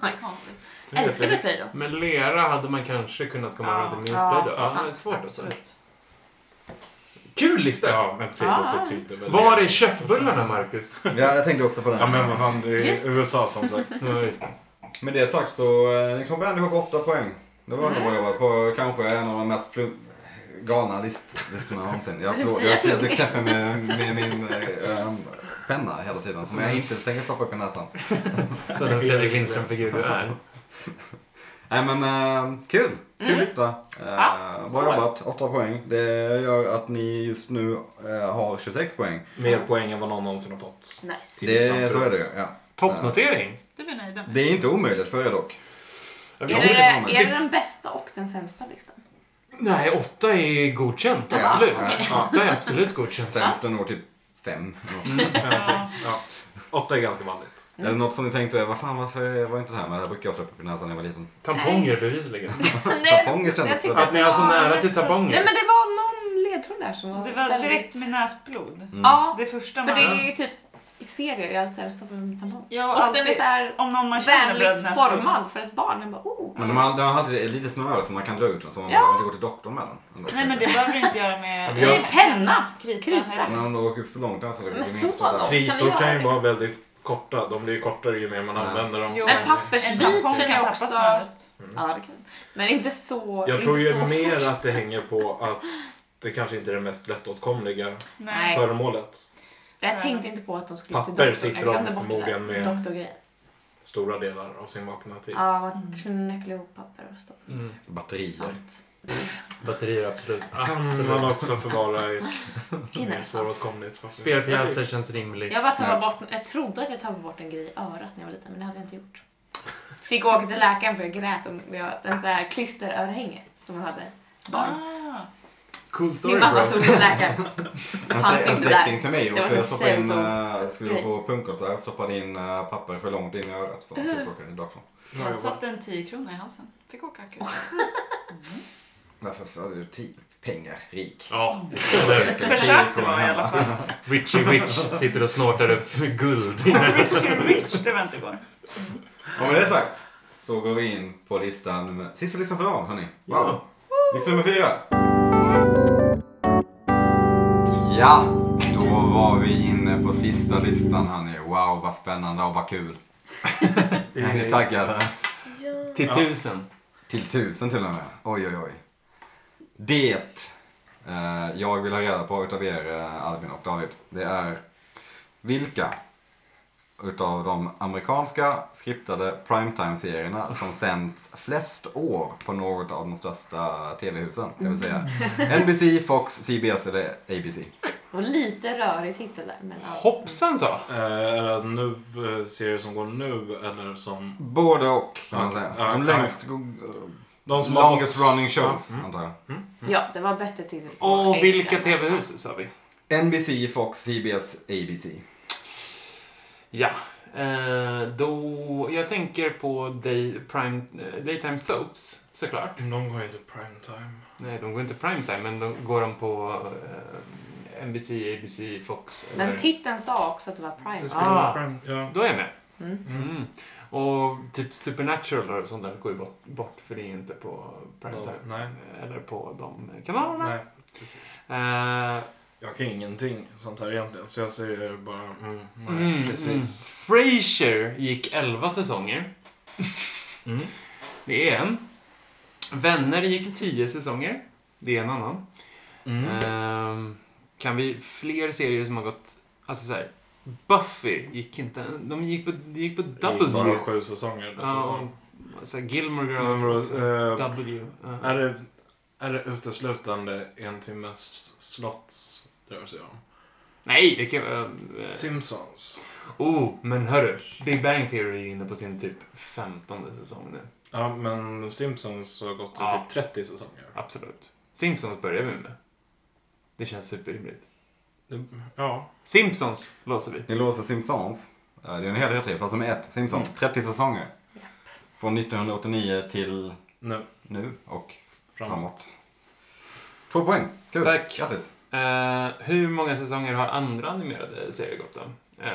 Speaker 5: Det är konstigt.
Speaker 4: Jag vet
Speaker 3: Älskar
Speaker 4: inte.
Speaker 3: du play då?
Speaker 2: Men lera hade man kanske kunnat komma
Speaker 5: Ja,
Speaker 2: runt till minst
Speaker 3: ja,
Speaker 2: play då. Ja,
Speaker 3: sant.
Speaker 2: det är svårt alltså.
Speaker 5: Absolut.
Speaker 2: Kul lista!
Speaker 4: Ja, men typ
Speaker 5: Ah.
Speaker 4: Play-Doh betyder väl...
Speaker 2: Var är köttbullarna, Marcus?
Speaker 1: Ja, jag tänkte också på
Speaker 4: Ja,
Speaker 1: den.
Speaker 4: men vad fan, det
Speaker 3: Just
Speaker 4: är
Speaker 3: det.
Speaker 4: USA som sagt.
Speaker 2: Ja, just det.
Speaker 1: Med det sagt så, eh, ni knoppade ändå ihop 8 poäng. Det var
Speaker 3: Mm.
Speaker 1: ändå bra jobbat på kanske en av de mest flum- galna list- listorna någonsin. Jag förlåt, jag ser att du knäpper med, med min eh, eh, penna hela tiden som jag inte tänker stoppa upp i näsan.
Speaker 2: Så den Fredrik Lindström-figur du är.
Speaker 1: Nej men eh, kul! Kul
Speaker 5: Mm.
Speaker 1: lista. Eh,
Speaker 5: Ja,
Speaker 1: bra
Speaker 5: så.
Speaker 1: jobbat, 8 poäng. Det gör att ni just nu eh, har 26 poäng.
Speaker 4: Mer poäng än vad någon någonsin har fått.
Speaker 5: Nice.
Speaker 1: Det, så är det ju. Ja.
Speaker 2: Toppnotering!
Speaker 5: Det är vi nöjda med.
Speaker 1: Det är inte omöjligt för er dock.
Speaker 3: Är
Speaker 1: Jag tycker fan
Speaker 3: det,
Speaker 1: det.
Speaker 3: är det den bästa och den sämsta listan?
Speaker 2: Nej, åtta är godkänt.
Speaker 1: Ja,
Speaker 2: Absolut.
Speaker 1: ja.
Speaker 2: Åtta är absolut godkänt.
Speaker 1: Sämst är nog typ fem.
Speaker 5: Ja.
Speaker 4: Åtta är ganska vanligt.
Speaker 1: Eller något som ni tänkte, vad fan varför var jag inte det här med? Det här brukar jag stoppa upp i näsan när jag var liten.
Speaker 2: Tamponger bevisligen.
Speaker 1: Tamponger
Speaker 3: jag
Speaker 1: kändes
Speaker 3: tyckte
Speaker 1: bra.
Speaker 2: Att ni har så
Speaker 5: Ja,
Speaker 2: nära
Speaker 5: nästan.
Speaker 2: till tamponger.
Speaker 3: Nej men det var någon ledtråd där som var
Speaker 5: Det var
Speaker 3: väldigt-
Speaker 5: direkt med näsblod.
Speaker 3: Ja,
Speaker 5: Det första
Speaker 3: för
Speaker 5: man...
Speaker 3: det är typ i serier jag alltid så här stoppar med tampong.
Speaker 5: Jag har
Speaker 3: Och den är
Speaker 5: alltid...
Speaker 3: så här
Speaker 5: Om någon man känner bröd
Speaker 3: vänligt
Speaker 5: näsblod.
Speaker 3: formad för ett barn. Den bara oh.
Speaker 1: Men de har, de har alltid lite snöre som man kan dra ut den så man
Speaker 3: Ja.
Speaker 1: behöver inte gå till doktorn med den. ändå.
Speaker 5: Nej men det behöver du inte göra med...
Speaker 3: Det är penna.
Speaker 5: Krita.
Speaker 3: Krita.
Speaker 1: Men om du åker upp så långt där så det
Speaker 3: Men
Speaker 1: blir
Speaker 3: så
Speaker 1: minst sådär.
Speaker 3: långt. Kan vi
Speaker 4: Kritor
Speaker 3: göra
Speaker 4: kan
Speaker 3: det?
Speaker 4: ju vara väldigt korta. De blir ju kortare ju mer man
Speaker 1: Ja.
Speaker 4: använder dem.
Speaker 5: Jo.
Speaker 4: Så-
Speaker 3: En
Speaker 5: En
Speaker 3: pappersbit
Speaker 5: tampong
Speaker 3: känner
Speaker 5: kan
Speaker 3: jag
Speaker 5: tappa Mm.
Speaker 3: också.
Speaker 5: snöret.
Speaker 3: Ja, det kan. Men inte så.
Speaker 4: Jag
Speaker 3: inte
Speaker 4: tror ju
Speaker 3: så.
Speaker 4: mer att det hänger på att det kanske inte är det mest lättåtkomliga
Speaker 5: Nej.
Speaker 4: föremålet.
Speaker 3: Jag tänkte inte på att de skulle
Speaker 4: Papper
Speaker 3: doktorn.
Speaker 4: sitter
Speaker 3: Jag glömde
Speaker 4: de
Speaker 3: bort
Speaker 4: förmodligen
Speaker 3: det där.
Speaker 4: med. Typ.
Speaker 3: Doktorgrejen.
Speaker 4: Stora delar av sin vakna tid.
Speaker 3: Ja, man knöcklar ihop papper och stoppar.
Speaker 2: Mm.
Speaker 1: Batterier.
Speaker 4: <laughs>
Speaker 3: Sant.
Speaker 2: Batterier, absolut.
Speaker 4: Kan man också förvara i
Speaker 3: I
Speaker 4: mer
Speaker 3: näsan.
Speaker 4: svåråtkomligt. faktiskt.
Speaker 1: alltså
Speaker 2: Spelpjäser känns rimligt.
Speaker 3: Jag, bara tappade bort, jag trodde att jag tappade bort en grej i örat när jag var liten, men det hade jag inte gjort. Fick åka till läkaren för jag grät om jag hade en så här klisterörhänge som jag hade barn.
Speaker 5: Ah.
Speaker 2: Cool
Speaker 3: Min
Speaker 2: story
Speaker 3: mamma
Speaker 2: bro.
Speaker 3: tog till läkaren.
Speaker 1: En,
Speaker 3: Fanns
Speaker 1: slä, Alltså, en
Speaker 3: inte
Speaker 1: släkting
Speaker 3: där.
Speaker 1: till mig
Speaker 3: Det var
Speaker 1: och
Speaker 3: så
Speaker 1: stoppade in,
Speaker 3: pseudo-
Speaker 1: eh, skulle gå på punkkonsert, stoppade in eh, papper för långt in i örat så fick jag åka till doktorn.
Speaker 5: Jag satte en 10 krona i halsen. Fick åka akut.
Speaker 1: Varför så hade du tid? Pengar, rik.
Speaker 2: Ja,
Speaker 5: Försökte vara i alla fall.
Speaker 2: Richie Rich sitter och snortar upp guld.
Speaker 5: Richie Rich, det var inte igår.
Speaker 1: Och med det sagt så går vi in på listan nummer... Sista listan för dagen hörni. Wow.
Speaker 2: Ja.
Speaker 1: Lista nummer fyra. Ja, då var vi inne på sista listan hörni. Wow vad spännande och vad kul. <laughs> Är ni taggade?
Speaker 2: Till tusen.
Speaker 1: Till tusen till och med. Oj oj oj. Det eh, jag vill ha reda på utav er eh, Albin och David. Det är vilka utav de amerikanska skriptade primetime-serierna som sänds flest år på något av de största tv-husen. Det vill säga NBC, Fox, CBS eller ABC.
Speaker 3: Och lite rörig titel där. Men, ja.
Speaker 2: Hoppsan så.
Speaker 4: Eh, Är det nu eh, serier som går nu eller som...
Speaker 1: Både och kan man
Speaker 4: Okej.
Speaker 1: säga.
Speaker 4: Ja,
Speaker 1: De
Speaker 4: ja.
Speaker 1: längst...
Speaker 4: De som har
Speaker 1: Longest
Speaker 4: gått-
Speaker 1: running shows,
Speaker 4: Ja. mm.
Speaker 1: antar jag.
Speaker 3: ja, det var bättre titel. på
Speaker 2: Och
Speaker 3: engelska.
Speaker 2: vilka tv-hus sa vi?
Speaker 1: NBC, Fox, CBS, ABC.
Speaker 2: Ja, eh, då... Jag tänker på day, prime, eh, Daytime Soaps, såklart.
Speaker 4: Mm. De går ju inte primetime.
Speaker 2: Nej, de går inte primetime, men de går de på eh, NBC, ABC, Fox.
Speaker 3: Men titeln sa också att det var
Speaker 4: Det
Speaker 3: prime.
Speaker 4: skulle
Speaker 2: Ah.
Speaker 4: vara prime. Ja.
Speaker 2: Då är jag med.
Speaker 3: Mm.
Speaker 2: Mm. Och typ Supernatural och sånt där går ju bort, bort för det är inte på primetime.
Speaker 4: Då- nej.
Speaker 2: Eller på de kanalerna.
Speaker 4: Nej, precis.
Speaker 2: Eh,
Speaker 4: Jag kan ingenting sånt här egentligen. Så jag säger bara mm, nej,
Speaker 2: mm, mm.
Speaker 4: precis.
Speaker 2: Frasier gick 11 säsonger.
Speaker 4: Mm.
Speaker 2: Det är en. Vänner gick 10 säsonger. Det är en annan.
Speaker 4: Mm.
Speaker 2: Ehm, kan vi fler serier som har gått... Alltså så här, Buffy gick inte... De gick på, de gick på
Speaker 4: Det gick bara
Speaker 2: W.
Speaker 4: sju säsonger dessutom.
Speaker 2: Ja, och så här, Gilmore
Speaker 4: Men
Speaker 2: Girls.
Speaker 4: vadå, eh,
Speaker 2: W. ja.
Speaker 4: är, det, är det uteslutande en timmes slots det rör sig om?
Speaker 2: Nej, det kan... eh, eh,
Speaker 4: Simpsons.
Speaker 2: oh, men hörru. Big Bang Theory är inne på sin typ 15 säsong nu.
Speaker 4: Ja, men Simpsons har gått i
Speaker 2: Ja.
Speaker 4: typ 30 säsonger.
Speaker 2: Absolut. Simpsons börjar vi med. Det känns superrimligt.
Speaker 4: Det- Ja.
Speaker 2: Simpsons låser vi.
Speaker 1: Ni låser Simpsons. Ja, Det är en hel rätt plats nummer ett. Simpsons, 30 säsonger. Från 1989 till
Speaker 4: Nu.
Speaker 1: nu och
Speaker 4: Framåt.
Speaker 1: framåt. Två poäng, kul.
Speaker 2: Tack.
Speaker 1: Grattis.
Speaker 2: Eh, hur många säsonger har andra animerade serier gått då? Eh,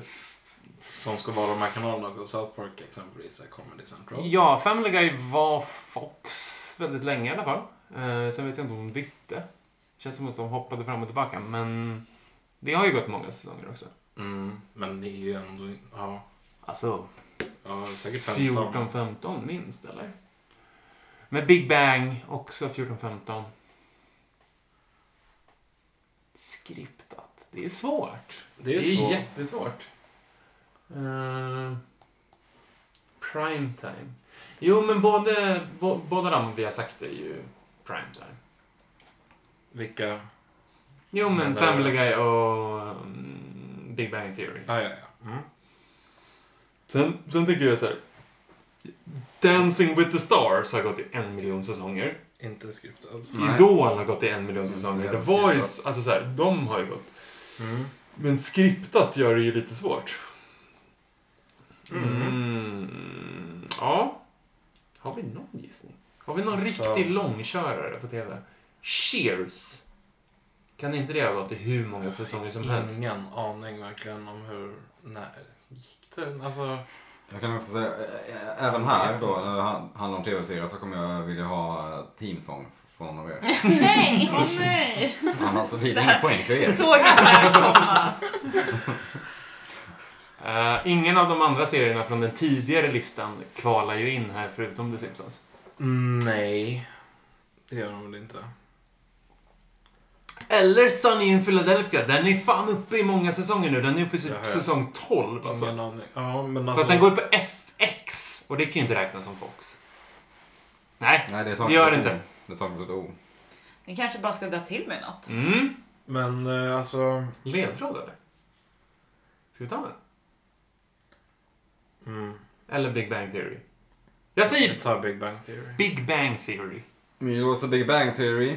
Speaker 2: f-
Speaker 4: som ska vara de här kanalerna också. South Park exempelvis är Comedy Central.
Speaker 2: Ja, Family Guy var Fox väldigt länge i alla fall. Eh, sen vet jag inte om de bytte. Känns som att de hoppade fram och tillbaka, men det har ju gått många säsonger också.
Speaker 4: Mm, men det är ju ändå... Ja,
Speaker 2: Alltså,
Speaker 4: ja säkert 15.
Speaker 2: 14-15 minst, eller? Men Big Bang, också 14-15. Skriptat. Det är svårt.
Speaker 4: Det är svårt.
Speaker 2: jättesvårt. Uh, primetime. Jo, men både, bo, båda de vi har sagt är ju primetime.
Speaker 4: Vilka...
Speaker 2: Jo, men
Speaker 4: Men, eh,
Speaker 2: Family Guy och mm, Big Bang Theory.
Speaker 4: Ah, ja, ja. Mm.
Speaker 2: Sen, sen tycker jag så här. Dancing with the stars har gått i en miljon säsonger.
Speaker 4: Inte skriptad.
Speaker 1: Nej.
Speaker 2: Idol har gått i en miljon
Speaker 4: Det
Speaker 2: säsonger.
Speaker 4: är
Speaker 2: The Voice,
Speaker 4: skriptat.
Speaker 2: alltså så här, de har ju gått.
Speaker 4: Mm.
Speaker 2: Men skriptat gör det ju lite svårt.
Speaker 4: Mm.
Speaker 2: Mm, Ja. Har vi någon gissning? Har vi någon
Speaker 4: Alltså-
Speaker 2: riktig långkörare på TV? Cheers! Kan inte det ha gått i hur många säsonger som helst?
Speaker 4: Ingen aning verkligen om hur... Nej. Gick det? Alltså...
Speaker 1: Jag kan också säga, eh, eh, även här då, när det han- handlar om tv-serier så kommer jag vilja ha eh, teamsång från av er.
Speaker 3: Nej!
Speaker 5: Åh nej!
Speaker 1: Annars så blir det ingen poäng till
Speaker 5: Jag
Speaker 1: er.
Speaker 5: såg inte det här komma.
Speaker 2: Eh, ingen av de andra serierna från den tidigare listan kvalar ju in här förutom The Simpsons.
Speaker 4: Mm, Nej. Det gör de väl inte.
Speaker 2: Eller Sunny in Philadelphia. Den är fan uppe i många säsonger nu. Den är uppe i
Speaker 4: Jaha.
Speaker 2: typ säsong 12 alltså.
Speaker 4: Ingen aning. Ja, men alltså...
Speaker 2: Fast den går ju på FX och det kan ju inte räknas som Fox. Nej,
Speaker 1: Nej, det, är
Speaker 2: det
Speaker 1: saknas
Speaker 2: gör det
Speaker 1: ett
Speaker 2: inte.
Speaker 1: ord. Det saknas ett ord.
Speaker 5: Ni kanske bara ska dra till med något.
Speaker 2: Mm.
Speaker 4: Men eh, alltså...
Speaker 2: Ledtråd eller? Ska vi ta den?
Speaker 4: Mm.
Speaker 2: Eller Big Bang Theory? Jag
Speaker 4: Vi
Speaker 2: säger
Speaker 4: tar Big Bang Theory.
Speaker 2: Big Bang Theory.
Speaker 1: Vi låser Big Bang Theory.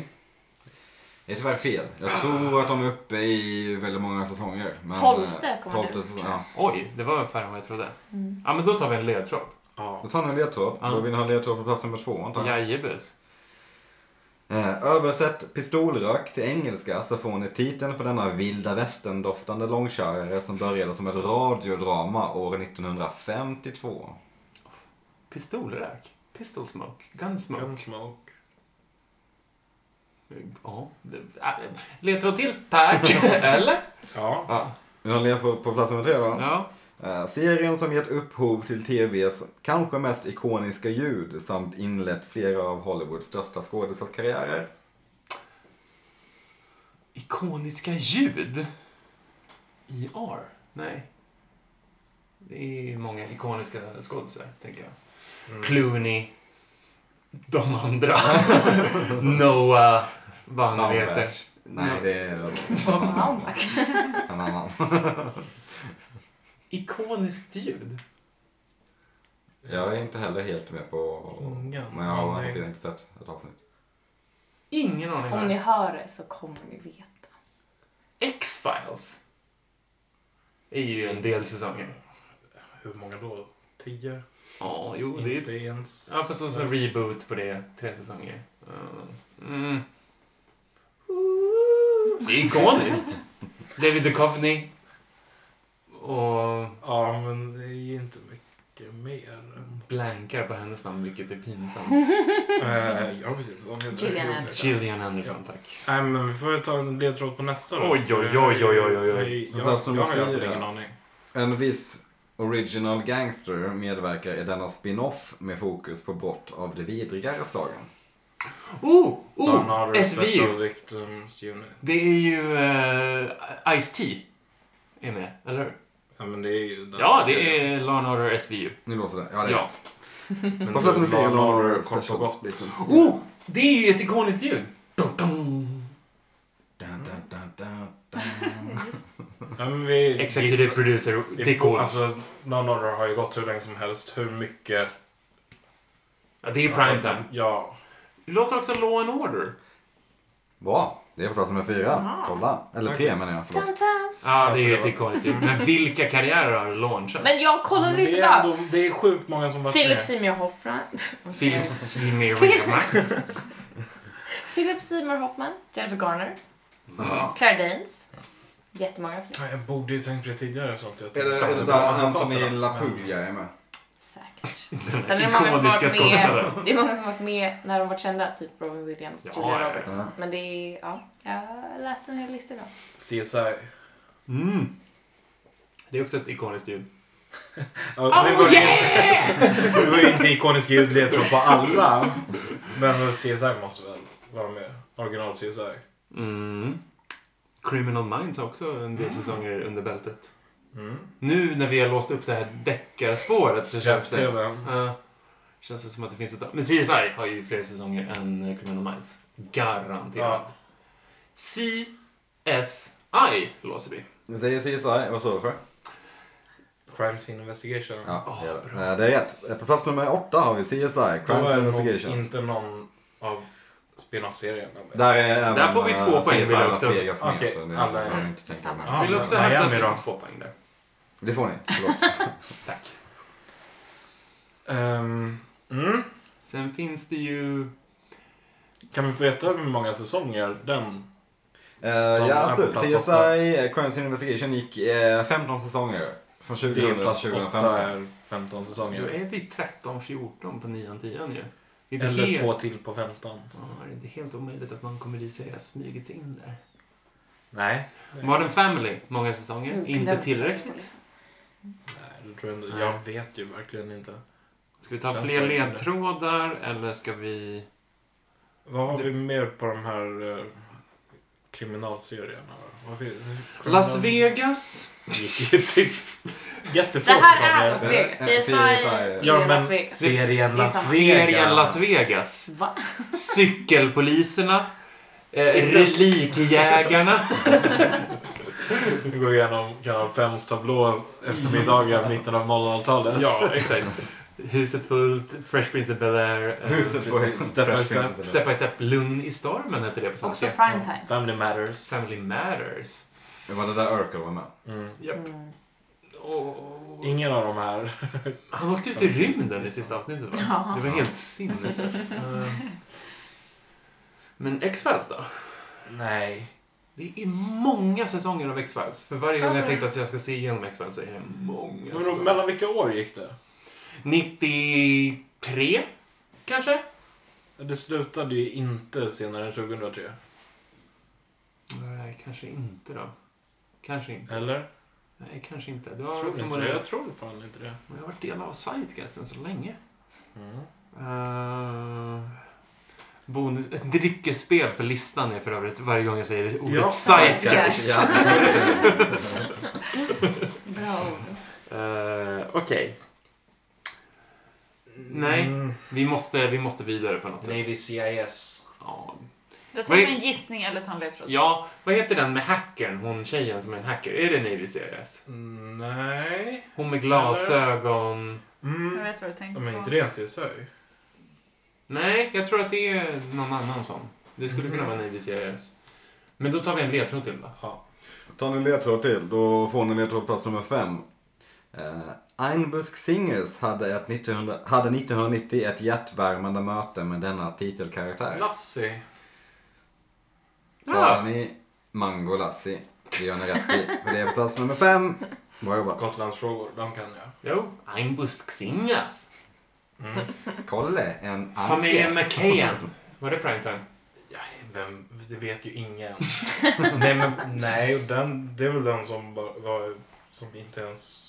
Speaker 1: Det är tyvärr fel. Jag tror att de är uppe i väldigt många säsonger. Men, eh,
Speaker 3: Tolfte kommer det
Speaker 1: tolfte
Speaker 3: ut.
Speaker 1: säsong, ja.
Speaker 2: Oj, det var färre än vad jag trodde.
Speaker 3: Mm.
Speaker 2: Ja, men då tar vi en ledtråd.
Speaker 4: Ja.
Speaker 1: Då tar ni en ledtråd.
Speaker 2: Ja.
Speaker 1: Då vill ni ha ledtråd på plats nummer två antar jag.
Speaker 2: Jajebus.
Speaker 1: Eh, översätt pistolrök till engelska så får ni titeln på denna vilda västern-doftande långkörare som började som ett radiodrama år 1952.
Speaker 2: Pistolrök. Pistol smoke. Gun smoke.
Speaker 4: Gunsmoke.
Speaker 2: Ja. det- äh, Ledtråd till, tack. eller?
Speaker 4: Ja.
Speaker 2: Ja.
Speaker 1: Vill ni ha ledtråd på plats nummer tre då?
Speaker 2: ja.
Speaker 1: Eh, Serien som gett upphov till TVs kanske mest ikoniska ljud samt inlett flera av Hollywoods största skådespelarkarriärer.
Speaker 2: Ikoniska ljud. IR? Nej. Det är många ikoniska skådisar, tänker jag. Mm. Clooney. De <laughs> andra. Noah. Vad han nu
Speaker 1: Baumbach.
Speaker 2: heter.
Speaker 1: Nej, det är
Speaker 3: Baumbach.
Speaker 1: en annan. <laughs>
Speaker 2: Ikoniskt ljud.
Speaker 1: Jag är inte heller helt med på...
Speaker 2: Mm.
Speaker 4: Ingen
Speaker 1: Men jag har å andra
Speaker 4: aning.
Speaker 1: sidan inte sett ett avsnitt.
Speaker 2: Ingen aning.
Speaker 3: Om
Speaker 2: vad
Speaker 3: ni
Speaker 2: det är.
Speaker 3: hör det så kommer ni veta.
Speaker 2: X-Files. Är ju en del säsonger.
Speaker 4: Hur många då? Tio?
Speaker 2: Ja, jo, det är
Speaker 4: Inte ens...
Speaker 2: Ja, fast så, så reboot på det. Tre säsonger. Uh, Mm. Det är ikoniskt. <laughs> David Duchovny. Och
Speaker 4: Ja, men det är ju inte mycket mer än...
Speaker 2: blankar på hennes namn, vilket är <laughs> pinsamt.
Speaker 4: Eh, <laughs> jag vet inte vad hon heter.
Speaker 3: Gillian
Speaker 4: Jo,
Speaker 3: Anderson.
Speaker 2: Gillian Anderson, tack.
Speaker 4: Nej, men vi får ju ta en ledtråd på nästa då.
Speaker 2: Oj, oj, oj, oj, oj, oj.
Speaker 4: Nej, Jag, jag,
Speaker 1: Plats nummer
Speaker 4: har ju
Speaker 1: fyra.
Speaker 4: ingen aning.
Speaker 1: En viss original gangster medverkar i denna spin-off med fokus på brott av det vidrigare slagen.
Speaker 2: Oh! Oh!
Speaker 4: Another
Speaker 2: SVU.
Speaker 4: Special Victims Unit.
Speaker 2: Det är ju uh, Ice-T. Är med, eller hur?
Speaker 4: Ja, men det är ju... den
Speaker 2: Ja, det
Speaker 4: serien.
Speaker 2: är Law and Order SVU.
Speaker 1: Ni låser det? Ja, det är
Speaker 2: Ja.
Speaker 1: rätt.
Speaker 4: Men
Speaker 1: På plats nummer fyra,
Speaker 4: Law and Order,
Speaker 1: Law
Speaker 4: kort och
Speaker 1: Special liksom.
Speaker 4: gott.
Speaker 1: Edition.
Speaker 2: Oh! Det är ju ett ikoniskt ljud. Dun, dun.
Speaker 1: Dun, dun, dun, dun,
Speaker 4: Ja, men vi...
Speaker 2: Executive producer Dick
Speaker 4: Dick
Speaker 2: Wolf.
Speaker 4: Alltså, någon av dem har ju gått hur länge som helst. Hur mycket...
Speaker 2: Ja, det är ju primetime.
Speaker 4: Ja.
Speaker 2: Du låter också Law and Order.
Speaker 1: Bra, det är på plats nummer fyra. Kolla. Eller tre menar jag, förlåt.
Speaker 3: Dun, dun.
Speaker 2: Ja, Alltså, det är ju
Speaker 4: Varför
Speaker 2: ett ikoniskt ljud. Men vilka karriärer har launchat?
Speaker 3: Men jag kollade
Speaker 4: Men det,
Speaker 3: liksom
Speaker 4: är
Speaker 3: där.
Speaker 4: ändå, det är sjukt många som varit
Speaker 3: Philip
Speaker 4: med.
Speaker 3: Seymour Hoffman.
Speaker 2: Philip Seymour
Speaker 3: Phil-
Speaker 2: Hoffman.
Speaker 3: Philip Seymour Hoffman. Jennifer Garner.
Speaker 2: Ja.
Speaker 3: Claire Danes. Jättemånga fler.
Speaker 4: Fan, Jag borde ju tänkt på det tidigare. Sånt. Jag
Speaker 1: Är det, är det där Anthony LaPuglia är med?
Speaker 2: <laughs>
Speaker 3: Säkert. Sen är det många som har varit med, <laughs> det är många som har varit med när de varit kända, typ Robin Williams,
Speaker 2: Ja,
Speaker 3: Julia
Speaker 2: ja,
Speaker 3: Roberts.
Speaker 1: ja.
Speaker 3: Men det är, ja, jag läste en hel lista idag.
Speaker 4: CSI.
Speaker 2: Mm. Det är också ett ikoniskt ljud. Oh,
Speaker 4: Ja, det, var ju,
Speaker 3: Oh, yeah!
Speaker 4: det var ju inte ikoniskt ljudledtråd på alla. Men CSI måste väl vara med? Original CSI.
Speaker 2: Mm. Criminal Minds har också en del säsonger under bältet.
Speaker 4: Mm.
Speaker 2: Nu när vi har låst upp det här deckarspåret så känns det...
Speaker 4: Skräp-tv.
Speaker 2: Ja. känns det som att det finns ett... Men CSI har ju fler säsonger än eh, Criminal Minds. Garanterat. CSI låser vi.
Speaker 1: Jag säger CSI, vad sa du för?
Speaker 4: Crime Scene Investigation.
Speaker 1: Ja, det, är det. Eh, det är rätt. På plats nummer åtta har vi CSI,
Speaker 4: Då
Speaker 1: Crimes
Speaker 4: är
Speaker 1: and
Speaker 4: det nog
Speaker 1: Investigation.
Speaker 4: inte någon av spin-off-serien.
Speaker 1: Där, är även,
Speaker 2: Där får vi
Speaker 1: eh,
Speaker 2: två
Speaker 1: CSI
Speaker 2: poäng, vill jag
Speaker 1: Las
Speaker 2: också.
Speaker 1: Vegas med.
Speaker 4: Okej,
Speaker 1: så det
Speaker 4: alla är-
Speaker 1: behöver ni inte tänka
Speaker 3: Samma.
Speaker 1: på.
Speaker 4: Ja,
Speaker 2: Vill också
Speaker 4: men
Speaker 2: hävda att
Speaker 4: Miami
Speaker 2: vi
Speaker 4: då?
Speaker 2: får två poäng där.
Speaker 1: Det får ni, förlåt.
Speaker 4: Ehm, mm.
Speaker 2: Sen finns det ju...
Speaker 4: Kan vi få veta hur många säsonger den...
Speaker 1: Eh,
Speaker 4: Som är
Speaker 1: ja,
Speaker 4: på
Speaker 1: absolut.
Speaker 4: plats
Speaker 1: CSI, eh, Crimes and Investigation gick eh, 15 säsonger. Från 2000 till plats 2015.
Speaker 4: är 15
Speaker 2: Då
Speaker 4: säsonger.
Speaker 2: är vi 13-14 på 9-10 ju. Det är inte
Speaker 4: Eller
Speaker 2: helt...
Speaker 4: två till på 15.
Speaker 2: Ja, det är inte helt omöjligt att någon komediserie har smugits in där.
Speaker 4: Nej.
Speaker 2: Modern Family, många säsonger.
Speaker 3: Mm,
Speaker 2: Inte tillräckligt.
Speaker 4: Nej, det tror jag, inte.
Speaker 2: Nej.
Speaker 4: jag vet ju verkligen inte.
Speaker 2: Ska vi ta
Speaker 4: Den
Speaker 2: fler
Speaker 4: ska jag inte.
Speaker 2: ledtrådar eller ska vi...
Speaker 4: Vad har vi mer på de här eh, kriminalserierna? Vad finns-
Speaker 2: Las
Speaker 4: Criminal-
Speaker 2: Vegas.
Speaker 4: Det gick ju typ
Speaker 3: Det
Speaker 4: jättefå
Speaker 3: här är Las
Speaker 4: säsonger.
Speaker 3: Vegas.
Speaker 1: Eh,
Speaker 3: CSI
Speaker 1: CSI.
Speaker 3: är
Speaker 4: Ja,
Speaker 3: Las
Speaker 4: men
Speaker 3: Vegas.
Speaker 4: serien
Speaker 3: Det är
Speaker 4: Las
Speaker 3: sant.
Speaker 4: Vegas.
Speaker 2: Serien Las Vegas.
Speaker 3: Va?
Speaker 2: Cykelpoliserna. Eh, relikjägarna.
Speaker 4: Vi går igenom kanal 5s tablå eftermiddagar mitten av 00-talet.
Speaker 2: ja, exakt. Huset fullt, Fresh Prince of Bel-Air. eh,
Speaker 1: Huset på
Speaker 4: Step by step.
Speaker 2: Step by step, Lugn i stormen heter det på
Speaker 3: Också
Speaker 2: svenska.
Speaker 3: primetime.
Speaker 4: Family Matters.
Speaker 2: Family Matters.
Speaker 1: Det var det där Urkel var med.
Speaker 4: Mm.
Speaker 2: Japp.
Speaker 3: Mm.
Speaker 2: Och-
Speaker 4: Ingen av de här.
Speaker 2: Han åkte ut i rymden i sista avsnittet va?
Speaker 3: Ja.
Speaker 2: Det var helt sinnessjukt. Eh, Men X-Files då?
Speaker 4: Nej.
Speaker 2: Det är många säsonger av X-Files. För varje gång
Speaker 3: Ja.
Speaker 2: jag tänkte att jag ska se igenom X-Files så är det många
Speaker 4: Men då,
Speaker 2: säsonger.
Speaker 4: mellan vilka år gick det?
Speaker 2: 93 kanske?
Speaker 4: Det slutade ju inte senare än 2003.
Speaker 2: Nej, kanske inte då. Kanske inte.
Speaker 4: Eller?
Speaker 2: Nej, kanske inte. Du
Speaker 4: Jag
Speaker 2: har
Speaker 4: tror inte det.
Speaker 2: förmodligen...
Speaker 4: Jag tror fan inte det.
Speaker 2: Men Jag har varit del av Sidegeisten så länge.
Speaker 4: Mm.
Speaker 2: Eh, bonus... Ett dryckesspel för listan är för övrigt varje gång jag säger ordet
Speaker 4: Ja.
Speaker 2: Sidegeist.
Speaker 3: Yes. Bra ord.
Speaker 2: Eh, Okej. Nej.
Speaker 4: Mm.
Speaker 2: Vi, måste, vi måste vidare på något sätt.
Speaker 4: Navy CIS.
Speaker 2: Ja.
Speaker 5: Då tar
Speaker 2: Vad är-
Speaker 5: vi en gissning eller tar en ledtråd.
Speaker 2: ja, vad heter den med hackern? Hon tjejen som är en hacker. Är det Navy Series?
Speaker 4: Nej.
Speaker 2: Hon med glasögon.
Speaker 5: Jag
Speaker 4: Mm.
Speaker 5: vet vad du tänker
Speaker 4: Men
Speaker 5: på.
Speaker 4: inte det en CSI?
Speaker 2: Nej, jag tror att det är någon annan sån. Det skulle kunna
Speaker 1: Mm.
Speaker 2: vara Navy Series. Men då tar vi en ledtråd till då.
Speaker 4: Ja.
Speaker 1: Tar ni ledtråd till, då får ni ledtråd på plats nummer fem. Eh, Einbusk Singers hade, ett 1900, hade 1990 ett hjärtvärmande möte med denna titelkaraktär.
Speaker 4: Lassie.
Speaker 1: Svarar ni Mango Lassi? Det gör ni rätt i. För det är på plats nummer fem. Bra jobbat.
Speaker 4: Gotlandsfrågor, de kan jag.
Speaker 2: Jo, Ein Busksingas.
Speaker 1: Kolle, en
Speaker 2: Familjen
Speaker 1: anke.
Speaker 2: McKeon. Var det primetime?
Speaker 4: Ja, vem, det vet ju ingen. <laughs> nej, men nej, och den, det är väl den som bara var, som inte ens...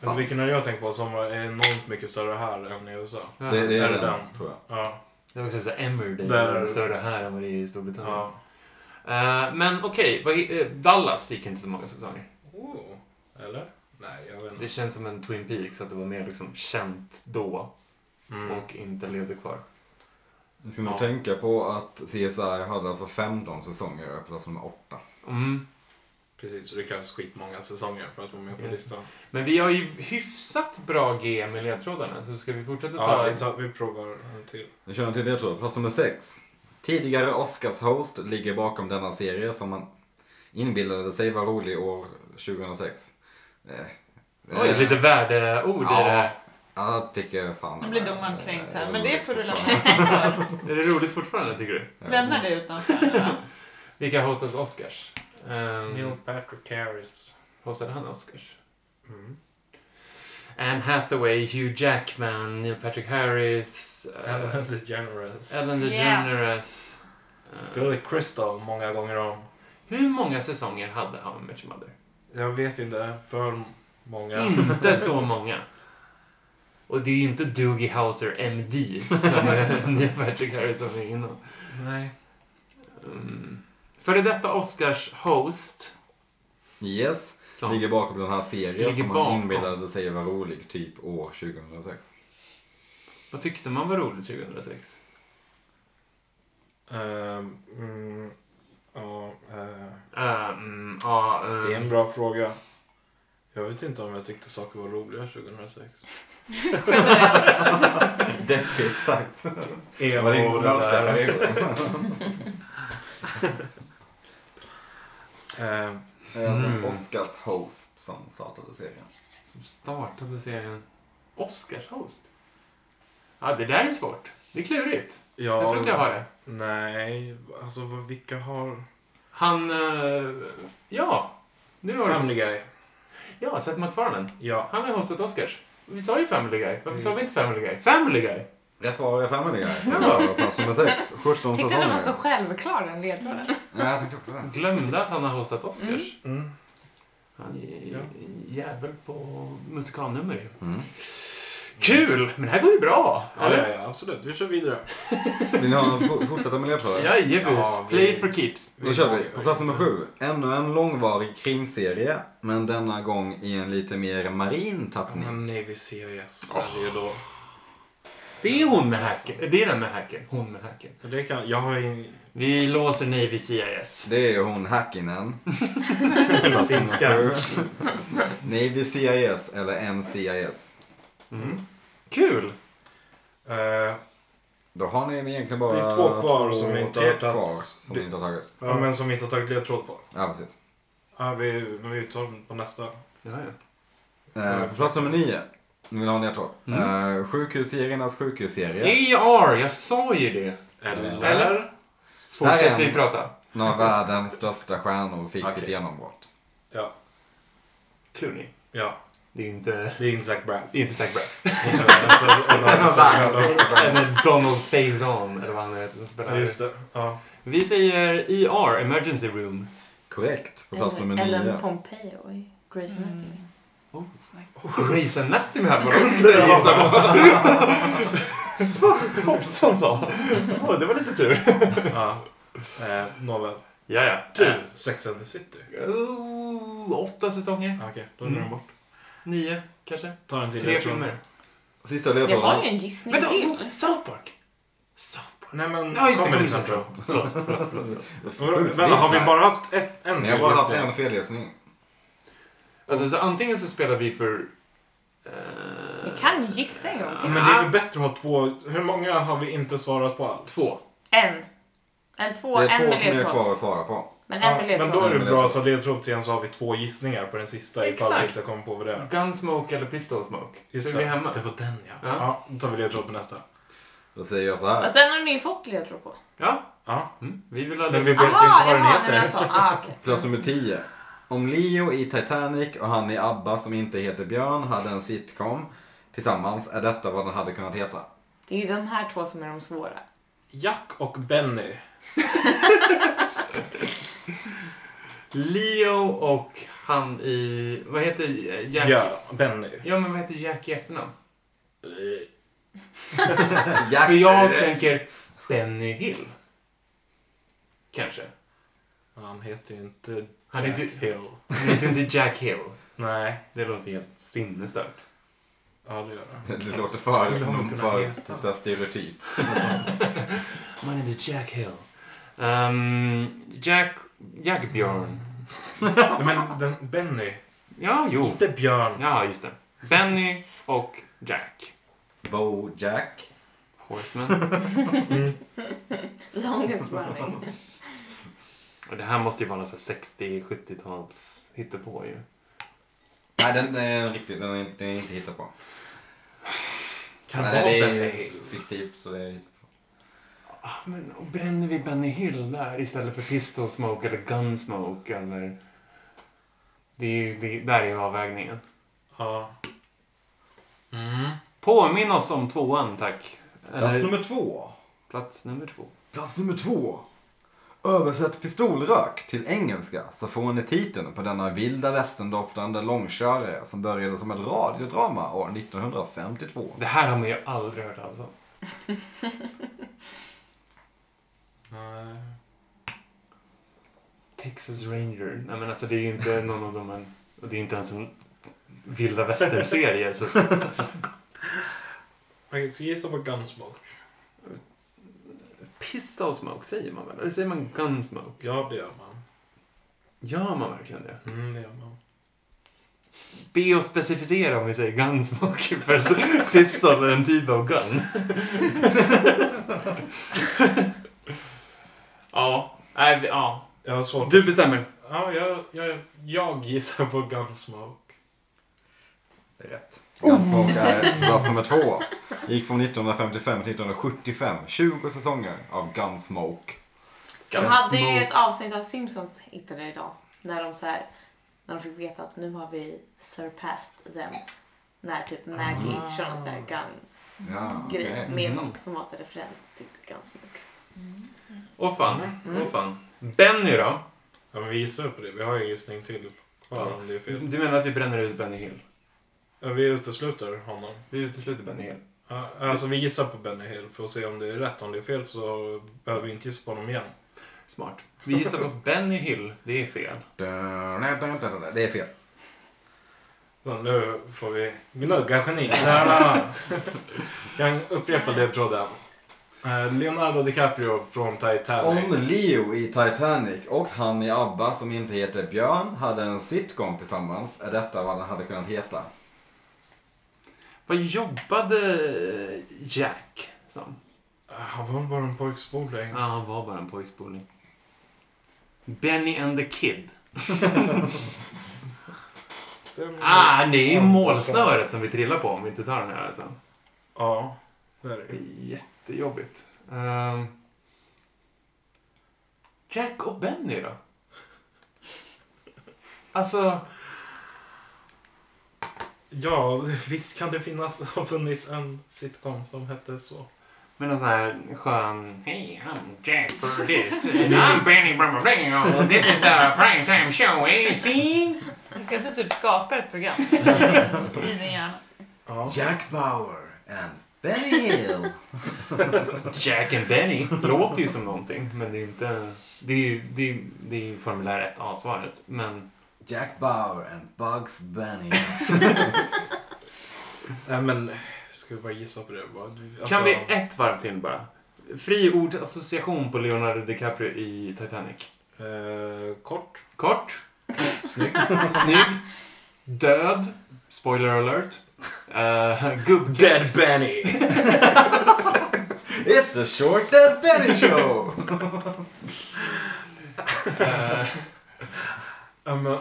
Speaker 4: Eller
Speaker 2: Fanns.
Speaker 4: vilken har jag tänkt på som var enormt mycket större här än i USA?
Speaker 2: Ja.
Speaker 1: Det, det är
Speaker 4: Är det
Speaker 1: den,
Speaker 4: den?
Speaker 1: tror jag.
Speaker 4: Ja.
Speaker 2: Det var också så Emmerdale.
Speaker 4: Där-
Speaker 2: Där... Det större här än vad det är i Storbritannien.
Speaker 4: ja.
Speaker 2: Eh, men okej, vad he- eh, Dallas gick inte så många säsonger.
Speaker 4: Oh, eller? Nej, jag vet
Speaker 2: Det
Speaker 4: inte.
Speaker 2: känns som en Twin Peaks, att det var mer liksom känt då
Speaker 4: Mm.
Speaker 2: och inte levde kvar.
Speaker 1: Ni ska nog
Speaker 4: Ja.
Speaker 1: tänka på att CSI hade alltså 15 säsonger och är på plats nummer 8.
Speaker 2: Mm.
Speaker 4: Precis, och det krävs skitmånga säsonger för att vara med på
Speaker 2: Ja.
Speaker 4: listan.
Speaker 2: Men vi har ju hyfsat bra G med ledtrådarna, så ska vi fortsätta
Speaker 4: Ja,
Speaker 2: ta...
Speaker 4: vi, tar, vi provar en till.
Speaker 1: Nu kör jag till det tror jag. Plats nummer 6. Tidigare Oscars-host ligger bakom denna serie som man inbillade sig var rolig år 2006. Eh,
Speaker 2: Oj,
Speaker 1: eh,
Speaker 2: lite värdeord i
Speaker 1: Ja.
Speaker 2: det
Speaker 4: <laughs>
Speaker 2: här.
Speaker 1: Ja, jag tycker fan...
Speaker 5: Nu blir
Speaker 1: det är-
Speaker 5: domaren kränkt här,
Speaker 1: eh,
Speaker 5: men det får du lämna
Speaker 1: fortfarande. <laughs>
Speaker 5: utanför.
Speaker 2: Är det roligt fortfarande, tycker du?
Speaker 5: Lämna det utanför. Ja.
Speaker 2: Vilka hostas Oscars? Ehm,
Speaker 4: Neil Patrick Harris.
Speaker 2: Postade han Oscars?
Speaker 4: Mm.
Speaker 2: Anne Hathaway, Hugh Jackman, Neil Patrick Harris, eh,
Speaker 4: Ellen DeGeneres.
Speaker 2: Ellen
Speaker 5: Yes.
Speaker 2: DeGeneres. Eh,
Speaker 4: Billy Crystal många gånger om.
Speaker 2: hur många säsonger hade How I Met Your Mother?
Speaker 4: Jag vet inte, för många.
Speaker 2: Inte så många. Och det är ju inte Doogie Howser MD som eh, Neil Patrick Harris var med innan.
Speaker 4: Nej.
Speaker 2: Mm. Före detta Oscars host
Speaker 1: Yes.
Speaker 2: som
Speaker 1: Ligger bakom den här serien
Speaker 2: Ligger
Speaker 1: som man
Speaker 2: bakom.
Speaker 1: inbillade sig var rolig typ år 2006.
Speaker 2: Vad tyckte man var roligt 2006?
Speaker 4: Ehm, mm, ja, eh,
Speaker 2: Eh, mm, ja, eh,
Speaker 4: det är en bra fråga. Jag vet inte om jag tyckte saker var roliga 2006.
Speaker 1: Deppig, exakt.
Speaker 4: Emo
Speaker 1: var din
Speaker 4: och det
Speaker 1: mörka
Speaker 4: där.
Speaker 1: period.
Speaker 4: Ehm,
Speaker 1: Eh, Alltså
Speaker 2: Mm.
Speaker 1: Oscars host som startade serien.
Speaker 2: som startade serien Oscars host. Ja, det där är svårt. Det är klurigt.
Speaker 4: ja,
Speaker 2: Jag tror inte jag har det.
Speaker 4: Nej, alltså vad- vilka har...
Speaker 2: Han... eh, ja. Nu har du...
Speaker 4: Family Guy.
Speaker 2: Ja, Seth MacFarlane.
Speaker 4: Ja.
Speaker 2: Han har hostat Oscars. Vi sa ju Family Guy. Varför sa vi inte Family Guy? Family Guy!
Speaker 1: Rätt svar är Family Guy.
Speaker 2: Ja.
Speaker 1: Ja. Plats nummer 6. 17
Speaker 3: Tyckte den var så
Speaker 1: säsonger.
Speaker 3: självklar den ledtråden.
Speaker 1: Ja, jag tänkte också det.
Speaker 2: Glömde att han har hostat Oscars.
Speaker 4: Mm.
Speaker 2: Han är
Speaker 4: Ja.
Speaker 2: jävel på musikalnummer ju.
Speaker 1: Mm.
Speaker 2: Kul! Men det här går ju bra!
Speaker 4: Ja, ja, ja, absolut. Vi kör vidare.
Speaker 1: Vill ni ha fo- fortsätta med ledtrådar?
Speaker 2: Jajebus!
Speaker 4: Ja, vi-
Speaker 2: Play it for keeps.
Speaker 1: Då kör vi. På plats nummer sju. Ännu en långvarig krimserie. Men denna gång i en lite mer marin tappning.
Speaker 4: Men Navy Series är det då.
Speaker 2: Det är hon med hacken. Det är den med hacken. Hon med hacken.
Speaker 4: Det kan, jag har ju...
Speaker 2: Vi låser Navy CIS.
Speaker 1: Det är hon Hackinen. Plats nummer <laughs>
Speaker 4: Finska.
Speaker 1: sju. Navy CIS eller NCIS.
Speaker 2: Kul!
Speaker 4: eh,
Speaker 1: Då har ni egentligen bara
Speaker 4: Det är två kvar som vi inte har tagit.
Speaker 1: kvar som ni inte har tagit.
Speaker 4: ja, men som vi inte har tagit ledtråd på.
Speaker 1: Ja, precis.
Speaker 4: Ja, vi, men vi tar den på nästa.
Speaker 2: Ja, ja.
Speaker 1: Eh, på plats nummer nio. Ni vill ha en ledtråd.
Speaker 4: Mm.
Speaker 1: Eh, sjukhusseriernas sjukhusserie.
Speaker 2: AR, jag sa ju det.
Speaker 1: Eller-
Speaker 2: Eller?
Speaker 1: Där är
Speaker 2: Fortsätt
Speaker 1: en.
Speaker 2: vi prata.
Speaker 1: När världens största stjärnor fick sitt
Speaker 4: Okej.
Speaker 1: genombrott.
Speaker 4: Ja,
Speaker 2: Clooney.
Speaker 4: ja.
Speaker 2: Det är inte...
Speaker 4: Det är inte Zac
Speaker 1: <laughs>
Speaker 4: Braff.
Speaker 2: Det är inte Zac Braff.
Speaker 4: Alltså,
Speaker 2: Eller Donald Faison, eller vad han heter. som spelar.
Speaker 4: Ja, Just det. Ja.
Speaker 2: Vi säger ER, Emergency Room.
Speaker 1: Korrekt. På plats nummer
Speaker 3: Eller
Speaker 1: nio.
Speaker 3: Ellen Pompeo i Grey's
Speaker 4: Mm.
Speaker 3: Anatomy.
Speaker 2: Grey's Anatomy hade <laughs> man också kunnat gissa på. Hoppsan sa. Åh, det var lite tur.
Speaker 4: ja. Eh, Nåväl.
Speaker 2: Ja, ja.
Speaker 4: Du, Sex and the City.
Speaker 2: Oh, åtta säsonger.
Speaker 4: Okej, då är
Speaker 2: Mm.
Speaker 1: Mm.
Speaker 4: den bort.
Speaker 2: Nio, kanske.
Speaker 4: Ta en till.
Speaker 2: Tre
Speaker 4: jag tror-
Speaker 2: filmer.
Speaker 1: Sista
Speaker 3: Jag har
Speaker 1: ledtråden.
Speaker 3: ju en gissning
Speaker 2: Vänta, oh,
Speaker 3: till.
Speaker 2: South Park. South Park.
Speaker 4: Nej men,
Speaker 2: Ja, just det,
Speaker 4: Comedy
Speaker 2: Comedy
Speaker 4: Central.
Speaker 2: Förlåt, förlåt, förlåt.
Speaker 1: Sjukt
Speaker 4: Vänta, har vi
Speaker 1: snyggt.
Speaker 4: bara haft ett, en
Speaker 1: Ni har bara haft
Speaker 4: filmlista?
Speaker 1: en felgissning.
Speaker 2: Alltså, så antingen så spelar vi för... eh,
Speaker 3: Jag kan ju gissa en gång
Speaker 4: Ja,
Speaker 3: till.
Speaker 4: Men det är väl bättre att ha två... Hur många har vi inte svarat på alls?
Speaker 2: Två.
Speaker 3: En. Eller två,
Speaker 1: Det är
Speaker 3: en
Speaker 1: två
Speaker 3: med
Speaker 1: som är
Speaker 3: ledtråd.
Speaker 1: kvar att svara på.
Speaker 3: Men en
Speaker 4: Ja,
Speaker 3: med
Speaker 4: men då är
Speaker 3: ledtråd.
Speaker 4: det bra att ha ledtråd till en så har vi två gissningar på den sista ifall vi
Speaker 2: Exakt.
Speaker 4: inte kommer på vad det är.
Speaker 2: Gunsmoke eller Pistol Smoke.
Speaker 4: Just
Speaker 2: så är vi hemma.
Speaker 4: Det var den ja.
Speaker 2: Ja.
Speaker 4: Ja, då tar vi ledtråd på nästa.
Speaker 1: Då säger jag så här.
Speaker 3: Att den har ni ju fått ledtråd på.
Speaker 2: Ja.
Speaker 4: Ja.
Speaker 2: Mm. Vi vill ha
Speaker 4: Men vi
Speaker 2: ledtråd.
Speaker 4: vet ju inte
Speaker 3: Jaha,
Speaker 4: vad den
Speaker 3: jaha, nej,
Speaker 4: heter.
Speaker 3: men alltså. Ah, okej.
Speaker 1: Plats nummer 10. Om Leo i Titanic och han i ABBA som inte heter Björn hade en sitcom tillsammans är detta vad den hade kunnat
Speaker 4: <laughs>
Speaker 1: heta.
Speaker 3: Det är ju de här två som är de svåra.
Speaker 4: Jack och Benny.
Speaker 2: Leo och han i... Vad heter Jack?
Speaker 4: Ja, Benny.
Speaker 2: Ja, men vad heter Jack i efternamn?
Speaker 1: Jack.
Speaker 2: För Eh, jag tänker Benny Hill. Kanske.
Speaker 4: Han heter ju inte
Speaker 2: Han
Speaker 4: Jack
Speaker 2: heter,
Speaker 4: Hill.
Speaker 2: han heter inte Jack Hill.
Speaker 4: Nej.
Speaker 2: Det låter helt sinnesstört.
Speaker 4: Ja, det gör
Speaker 2: <laughs>
Speaker 4: han.
Speaker 1: Det låter
Speaker 4: Skulle han
Speaker 1: för,
Speaker 4: kunna
Speaker 1: för
Speaker 4: heta?
Speaker 1: så här stereotypt.
Speaker 2: My name is Jack Hill. Ehm, Jack... Jack Björn.
Speaker 4: Nej, Men den, Benny.
Speaker 2: Ja, jo.
Speaker 4: Inte Björn.
Speaker 2: Ja, just det. Benny och Jack.
Speaker 1: Bo Jack.
Speaker 2: <laughs> Horseman.
Speaker 3: Longest running.
Speaker 2: Och det här måste ju vara någon sån här 60-70-tals hittepå ju.
Speaker 1: Nej, den är riktig. Den är, den är inte hittad på.
Speaker 4: Kan
Speaker 1: Nej,
Speaker 4: vara
Speaker 1: det
Speaker 4: Benny
Speaker 1: är
Speaker 4: Hill.
Speaker 1: fiktivt så det är
Speaker 2: ah, men och bränner vi Benny Hill där istället för Pistol Smoke eller Gunsmoke eller... Det är ju, det, där är ju avvägningen.
Speaker 4: Ja. Mm.
Speaker 2: Påminn oss om tvåan tack.
Speaker 1: Plats
Speaker 2: Eller-
Speaker 1: nummer två.
Speaker 2: plats nummer två.
Speaker 1: Plats nummer två. Översätt pistolrök till engelska så får ni titeln på denna vilda västern-doftande långkörare som började som ett radiodrama år 1952.
Speaker 2: Det här har man ju aldrig hört talas om.
Speaker 4: Nej.
Speaker 2: Texas Ranger. Nej men alltså det är ju inte någon av dem en, och det är inte ens en vilda västern-serie. <laughs> Så att,
Speaker 4: Jag ska gissa på Gunsmoke.
Speaker 2: pistol Smoke säger man väl? Eller säger man Gunsmoke?
Speaker 4: Ja, det gör man.
Speaker 2: Gör man verkligen det?
Speaker 4: Mm, det gör man.
Speaker 2: Be oss specificera om vi säger Gunsmoke <laughs> för att pistol är en typ av gun. <laughs> ja, nej, vi- ja.
Speaker 4: Jag har svårt
Speaker 2: Du bestämmer.
Speaker 4: Ja, jag, jag, jag gissar på Gunsmoke.
Speaker 1: Det är rätt. Gunsmoke är plats nummer två. Gick från 1955 till 1975. 20 säsonger av Gunsmoke.
Speaker 3: De hade ju ett avsnitt av Simpsons hittade jag idag. När de, så här, när de fick veta att nu har vi surpassed them. När typ Maggie kör en sån här gun-grej
Speaker 1: Ja, okej.
Speaker 3: med dem som var en referens till Gunsmoke.
Speaker 5: Mm.
Speaker 2: Åh fan, åh fan. Benny då?
Speaker 4: Ja, men vi gissar på det. Vi har ju en gissning till kvar
Speaker 2: Ja.
Speaker 4: om det är fel.
Speaker 2: Du menar att vi bränner ut Benny Hill?
Speaker 4: Ja, vi utesluter honom.
Speaker 2: Vi utesluter Benny Hill.
Speaker 4: Ja, Alltså vi gissar på Benny Hill för att se om det är rätt. Om det är fel så behöver vi inte gissa på honom igen.
Speaker 2: Smart. Vi gissar på Benny Hill. Det är fel.
Speaker 1: Det är fel.
Speaker 4: Så nu får vi gnugga geniet. Nej, nej, nej. Kan upprepa ledtråden. Eh, Leonardo DiCaprio från Titanic.
Speaker 1: Om Leo i Titanic och han i ABBA som inte heter Björn hade en sitcom tillsammans är detta vad den hade kunnat heta.
Speaker 2: Vad jobbade Jack som?
Speaker 4: Eh, Han var bara en pojkspoling.
Speaker 2: Ja, han var bara en pojkspoling. Benny and the Kid.
Speaker 4: Det-
Speaker 2: Ah, det är ju målsnöret som vi trillar på om vi inte tar den här alltså.
Speaker 4: Ja, det
Speaker 2: Det
Speaker 4: är det.
Speaker 2: är jättejobbigt. Ehm, Jack och Benny då? Alltså,
Speaker 4: Ja, <laughs> visst kan det finnas, <laughs> har funnits en sitcom som hette så.
Speaker 2: med någon sån här skön... Mm. Hej, I'm Jack for <laughs> this. And I'm Benny Brummerfield. This is a prime time show, <laughs> eh? See?
Speaker 5: Ska du typ skapa ett program? I din hjärna.
Speaker 4: Ja.
Speaker 1: Jack Bauer and Benny Hill.
Speaker 2: Jack and Benny låter ju som någonting, men det är inte... Det är ju, det är, det är ju formulär 1A-svaret, men...
Speaker 1: Jack Bauer and Bugs Bunny.
Speaker 4: Nej men, ska vi bara gissa på det? Bara, du- alltså-
Speaker 2: Kan vi ett varv till bara? Fri ordassociation på Leonardo DiCaprio i Titanic.
Speaker 4: Eh, kort. <laughs>
Speaker 2: Kort. Snygg. Snygg. Död. Spoiler alert. Uh, gubb...
Speaker 4: Dead Benny!
Speaker 1: It's a short dead Benny show!
Speaker 2: eh,
Speaker 4: um, eh,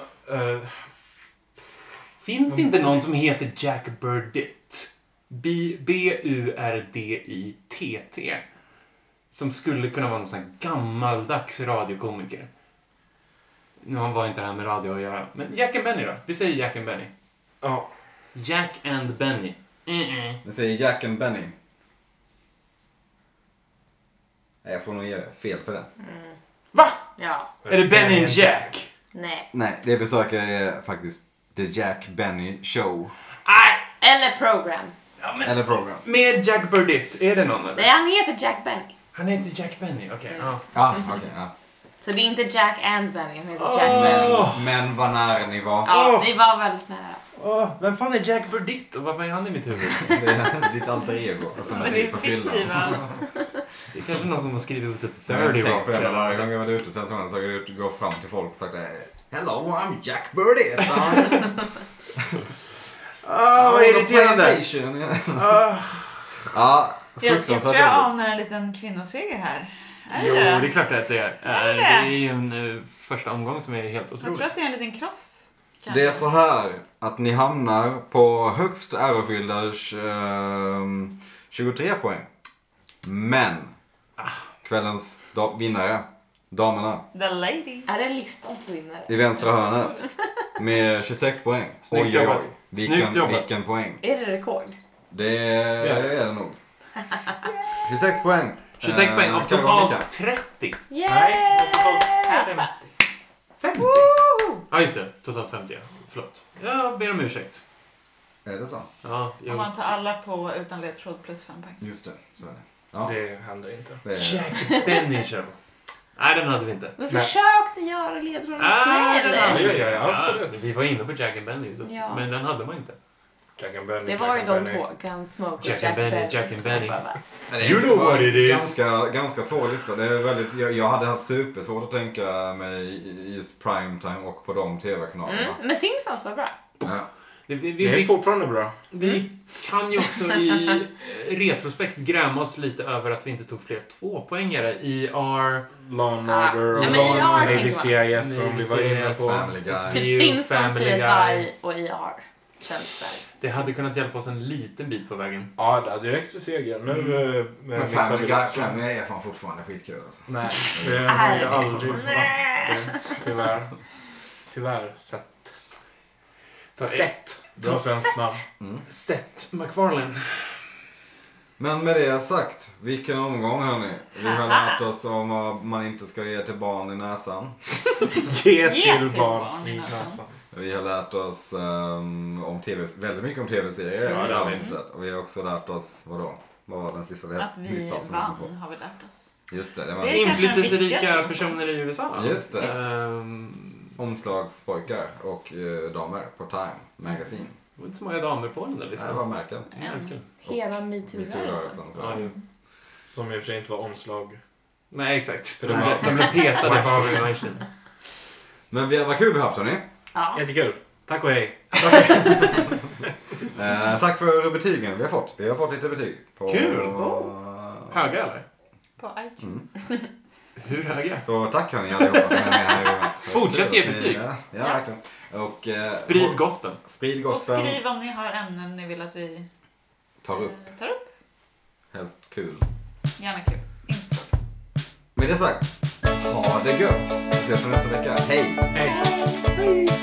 Speaker 2: finns det inte någon som heter Jack Burditt? B- B-U-R-D-I-T-T. Som skulle kunna vara någon sån här gammaldags radiokomiker. Nu var inte det här med radio att göra. Men Jack and Benny då? Vi säger Jack and Benny.
Speaker 4: ja.
Speaker 2: Jack and Benny. Mm-mm.
Speaker 1: Vi säger Jack and Benny. Nej, jag får nog ge det. Fel för det.
Speaker 3: Ja,
Speaker 2: Är det Benny and Jack?
Speaker 3: nej.
Speaker 1: Nej, det jag besöker är faktiskt The Jack Benny Show.
Speaker 2: Nej!
Speaker 3: Eller program.
Speaker 1: Eller program.
Speaker 2: Med Jack Burditt. Är det någon eller?
Speaker 3: Nej, han heter Jack Benny.
Speaker 2: Han heter Jack Benny, okej. ja.
Speaker 1: Ja, Ah, okej. ja.
Speaker 3: Så det är inte Jack and Benny, han heter Jack
Speaker 1: Ah.
Speaker 3: Benny.
Speaker 1: Men vad nära ni var.
Speaker 3: Ja, vi var väldigt nära.
Speaker 2: Vem fan är Jack Burditt och varför är han i mitt huvud?
Speaker 1: Det är <laughs> ditt alter ego som är
Speaker 5: Men det
Speaker 1: ditt på <laughs>
Speaker 5: är
Speaker 1: fyllan.
Speaker 5: fiktiva.
Speaker 2: Det är kanske någon som har skrivit ut ett
Speaker 1: Jag har inte
Speaker 2: 30
Speaker 1: tänkt
Speaker 2: rock.
Speaker 1: på <laughs> det men
Speaker 2: eller-
Speaker 1: varje gång jag var ute så har jag tvungen att såg ut och gå fram till folk och sagt eh, Hello, I'm Jack Birdie. I'm
Speaker 2: <laughs> Ah, vad
Speaker 1: on a
Speaker 2: irriterande! Ah.
Speaker 1: plantation." Ja,
Speaker 5: Jag, jag tror
Speaker 1: fruktansvärt
Speaker 5: jag
Speaker 1: jobbigt.
Speaker 5: anar en liten kvinnoseger här. Är
Speaker 2: Jo, det
Speaker 5: det?
Speaker 2: är klart att det är.
Speaker 5: Är
Speaker 2: Eh,
Speaker 5: det?
Speaker 2: Det är ju en eh, första omgång som är helt
Speaker 5: Jag tror
Speaker 2: otrolig.
Speaker 5: att det är en liten kross. kanske.
Speaker 1: Det är så här att ni hamnar på högst ehm,
Speaker 2: Ah.
Speaker 1: ärofyllda eh, 23 poäng. Men kvällens da- vinnare. Damerna.
Speaker 5: The lady.
Speaker 3: Är det listans vinnare?
Speaker 1: I vänstra hörnet. Med 26 poäng.
Speaker 2: Snyggt jobbat. Snyggt
Speaker 1: Vilken,
Speaker 2: jobbat.
Speaker 1: vilken poäng.
Speaker 3: Är det rekord?
Speaker 1: Det är det nog. 26 poäng.
Speaker 2: 26
Speaker 1: Eh,
Speaker 2: poäng av
Speaker 1: Veronica.
Speaker 2: totalt 30.
Speaker 3: Yay!
Speaker 2: Nej, totalt
Speaker 3: Femma.
Speaker 2: 50? Ja, just det. Totalt 50. ja. Förlåt. Jag ber om ursäkt.
Speaker 1: Är det så?
Speaker 2: Ja,
Speaker 5: Om
Speaker 2: jag...
Speaker 5: man tar alla på utan ledtråd plus fem poäng.
Speaker 1: Just det. Så är det. Ja,
Speaker 4: Det händer inte.
Speaker 1: det är...
Speaker 2: Jack Benny show. Nej, Ah, den hade vi inte.
Speaker 3: Men försökte göra ledtråden snäll.
Speaker 4: Ja, ja, ja, absolut.
Speaker 2: vi var inne på Jack and Benny, så att,
Speaker 3: Ja.
Speaker 2: men den hade man inte.
Speaker 4: Jack and Benny,
Speaker 3: Det
Speaker 4: Jack
Speaker 3: var ju
Speaker 4: and
Speaker 3: de
Speaker 4: Benny.
Speaker 3: två, Gunsmoke och
Speaker 2: Jack and Benny, Jack and Benny.
Speaker 1: You Ganska, ganska svår lista. Det är väldigt, jag, jag hade haft supersvårt att tänka mig i just primetime och på de tv-kanalerna.
Speaker 3: Mm. Men Simpsons var bra.
Speaker 1: Ja.
Speaker 2: Vi, vi, vi,
Speaker 4: Det är fortfarande bra.
Speaker 2: vi kan ju också i eh, retrospekt gräma oss lite över att vi inte tog fler tvåpoängare i R...
Speaker 4: Law and
Speaker 3: Ah,
Speaker 4: Order
Speaker 3: nej,
Speaker 4: och
Speaker 3: men jag
Speaker 4: Law and
Speaker 3: tänker
Speaker 4: Order,
Speaker 3: bara-
Speaker 4: CIS som vi var inne
Speaker 2: CIS.
Speaker 4: på.
Speaker 1: Family Guy.
Speaker 3: Typ
Speaker 2: You,
Speaker 3: Simpsons,
Speaker 2: Family Guy.
Speaker 3: CSI och ER. Känns det.
Speaker 2: Det hade kunnat hjälpa oss en liten bit på vägen.
Speaker 4: Ja, det hade direkt till seger. Nu eh,
Speaker 1: Men
Speaker 4: missar
Speaker 1: Family
Speaker 4: vi
Speaker 1: Guy
Speaker 4: det.
Speaker 1: Family Guy är fan fortfarande skitkul alltså.
Speaker 4: Nej, det har jag aldrig varit.
Speaker 3: Nej.
Speaker 4: Tyvärr. Tyvärr sett. Ta-
Speaker 2: Sett.
Speaker 4: Bra svenskt namn.
Speaker 1: Mm.
Speaker 2: Sett MacFarlane.
Speaker 1: Men med det sagt, vilken omgång hörni. Vi har lärt oss om vad man inte ska ge till barn i näsan.
Speaker 4: Ge
Speaker 5: Ge
Speaker 4: till
Speaker 5: till
Speaker 4: barn
Speaker 5: barn
Speaker 4: i
Speaker 5: i
Speaker 3: alltså.
Speaker 5: näsan.
Speaker 4: näsan.
Speaker 1: Vi har lärt oss ehm, om TV, väldigt mycket om tv-serier i
Speaker 2: Ja, det
Speaker 1: det här
Speaker 2: har vi.
Speaker 1: avsnittet. Och vi har också lärt oss, vadå? Vad var den sista li-
Speaker 5: Att vi
Speaker 1: listan som vi kom
Speaker 5: vann har vi lärt oss.
Speaker 1: på? Just det, det var
Speaker 5: Det är kanske den
Speaker 2: Inflytelserika
Speaker 5: viktigaste.
Speaker 2: personer i USA.
Speaker 1: Just det.
Speaker 2: Ehm,
Speaker 1: omslagspojkar och eh, damer på Time Magazine.
Speaker 2: det var inte så många damer på den
Speaker 1: Det
Speaker 2: där
Speaker 1: var
Speaker 2: listan.
Speaker 1: märken.
Speaker 2: Märkligt.
Speaker 3: Hela
Speaker 1: Metoo-rörelsen.
Speaker 3: metoo-rörelsen.
Speaker 2: Ja, jo.
Speaker 4: Som i och för sig inte var omslag.
Speaker 2: Nej, exakt. De blev- de blev petade efter Harvey Weinstein.
Speaker 1: Men vi, vad kul vi har haft
Speaker 2: <laughs>
Speaker 1: hörni.
Speaker 3: Ja.
Speaker 4: Jättekul. Tack och hej.
Speaker 1: Eh, tack för betygen vi har fått. Vi har fått lite betyg. På, eh,
Speaker 2: Kul! Höga eller?
Speaker 5: På iTunes.
Speaker 2: Hur höga?
Speaker 1: Så tack hörni allihopa som är med här i rummet.
Speaker 2: <laughs> Fortsätt ge betyg.
Speaker 1: Ja, ja, verkligen. Och, eh,
Speaker 2: Sprid gospel.
Speaker 1: sprid
Speaker 5: Och
Speaker 1: gospel.
Speaker 5: skriv om ni har ämnen ni vill att vi
Speaker 1: Tar upp.
Speaker 5: eh, tar upp.
Speaker 1: Helst kul.
Speaker 5: Gärna kul. Inte så.
Speaker 1: Med det sagt, ha det gött. Vi ses nästa vecka. Hej!
Speaker 3: Hej.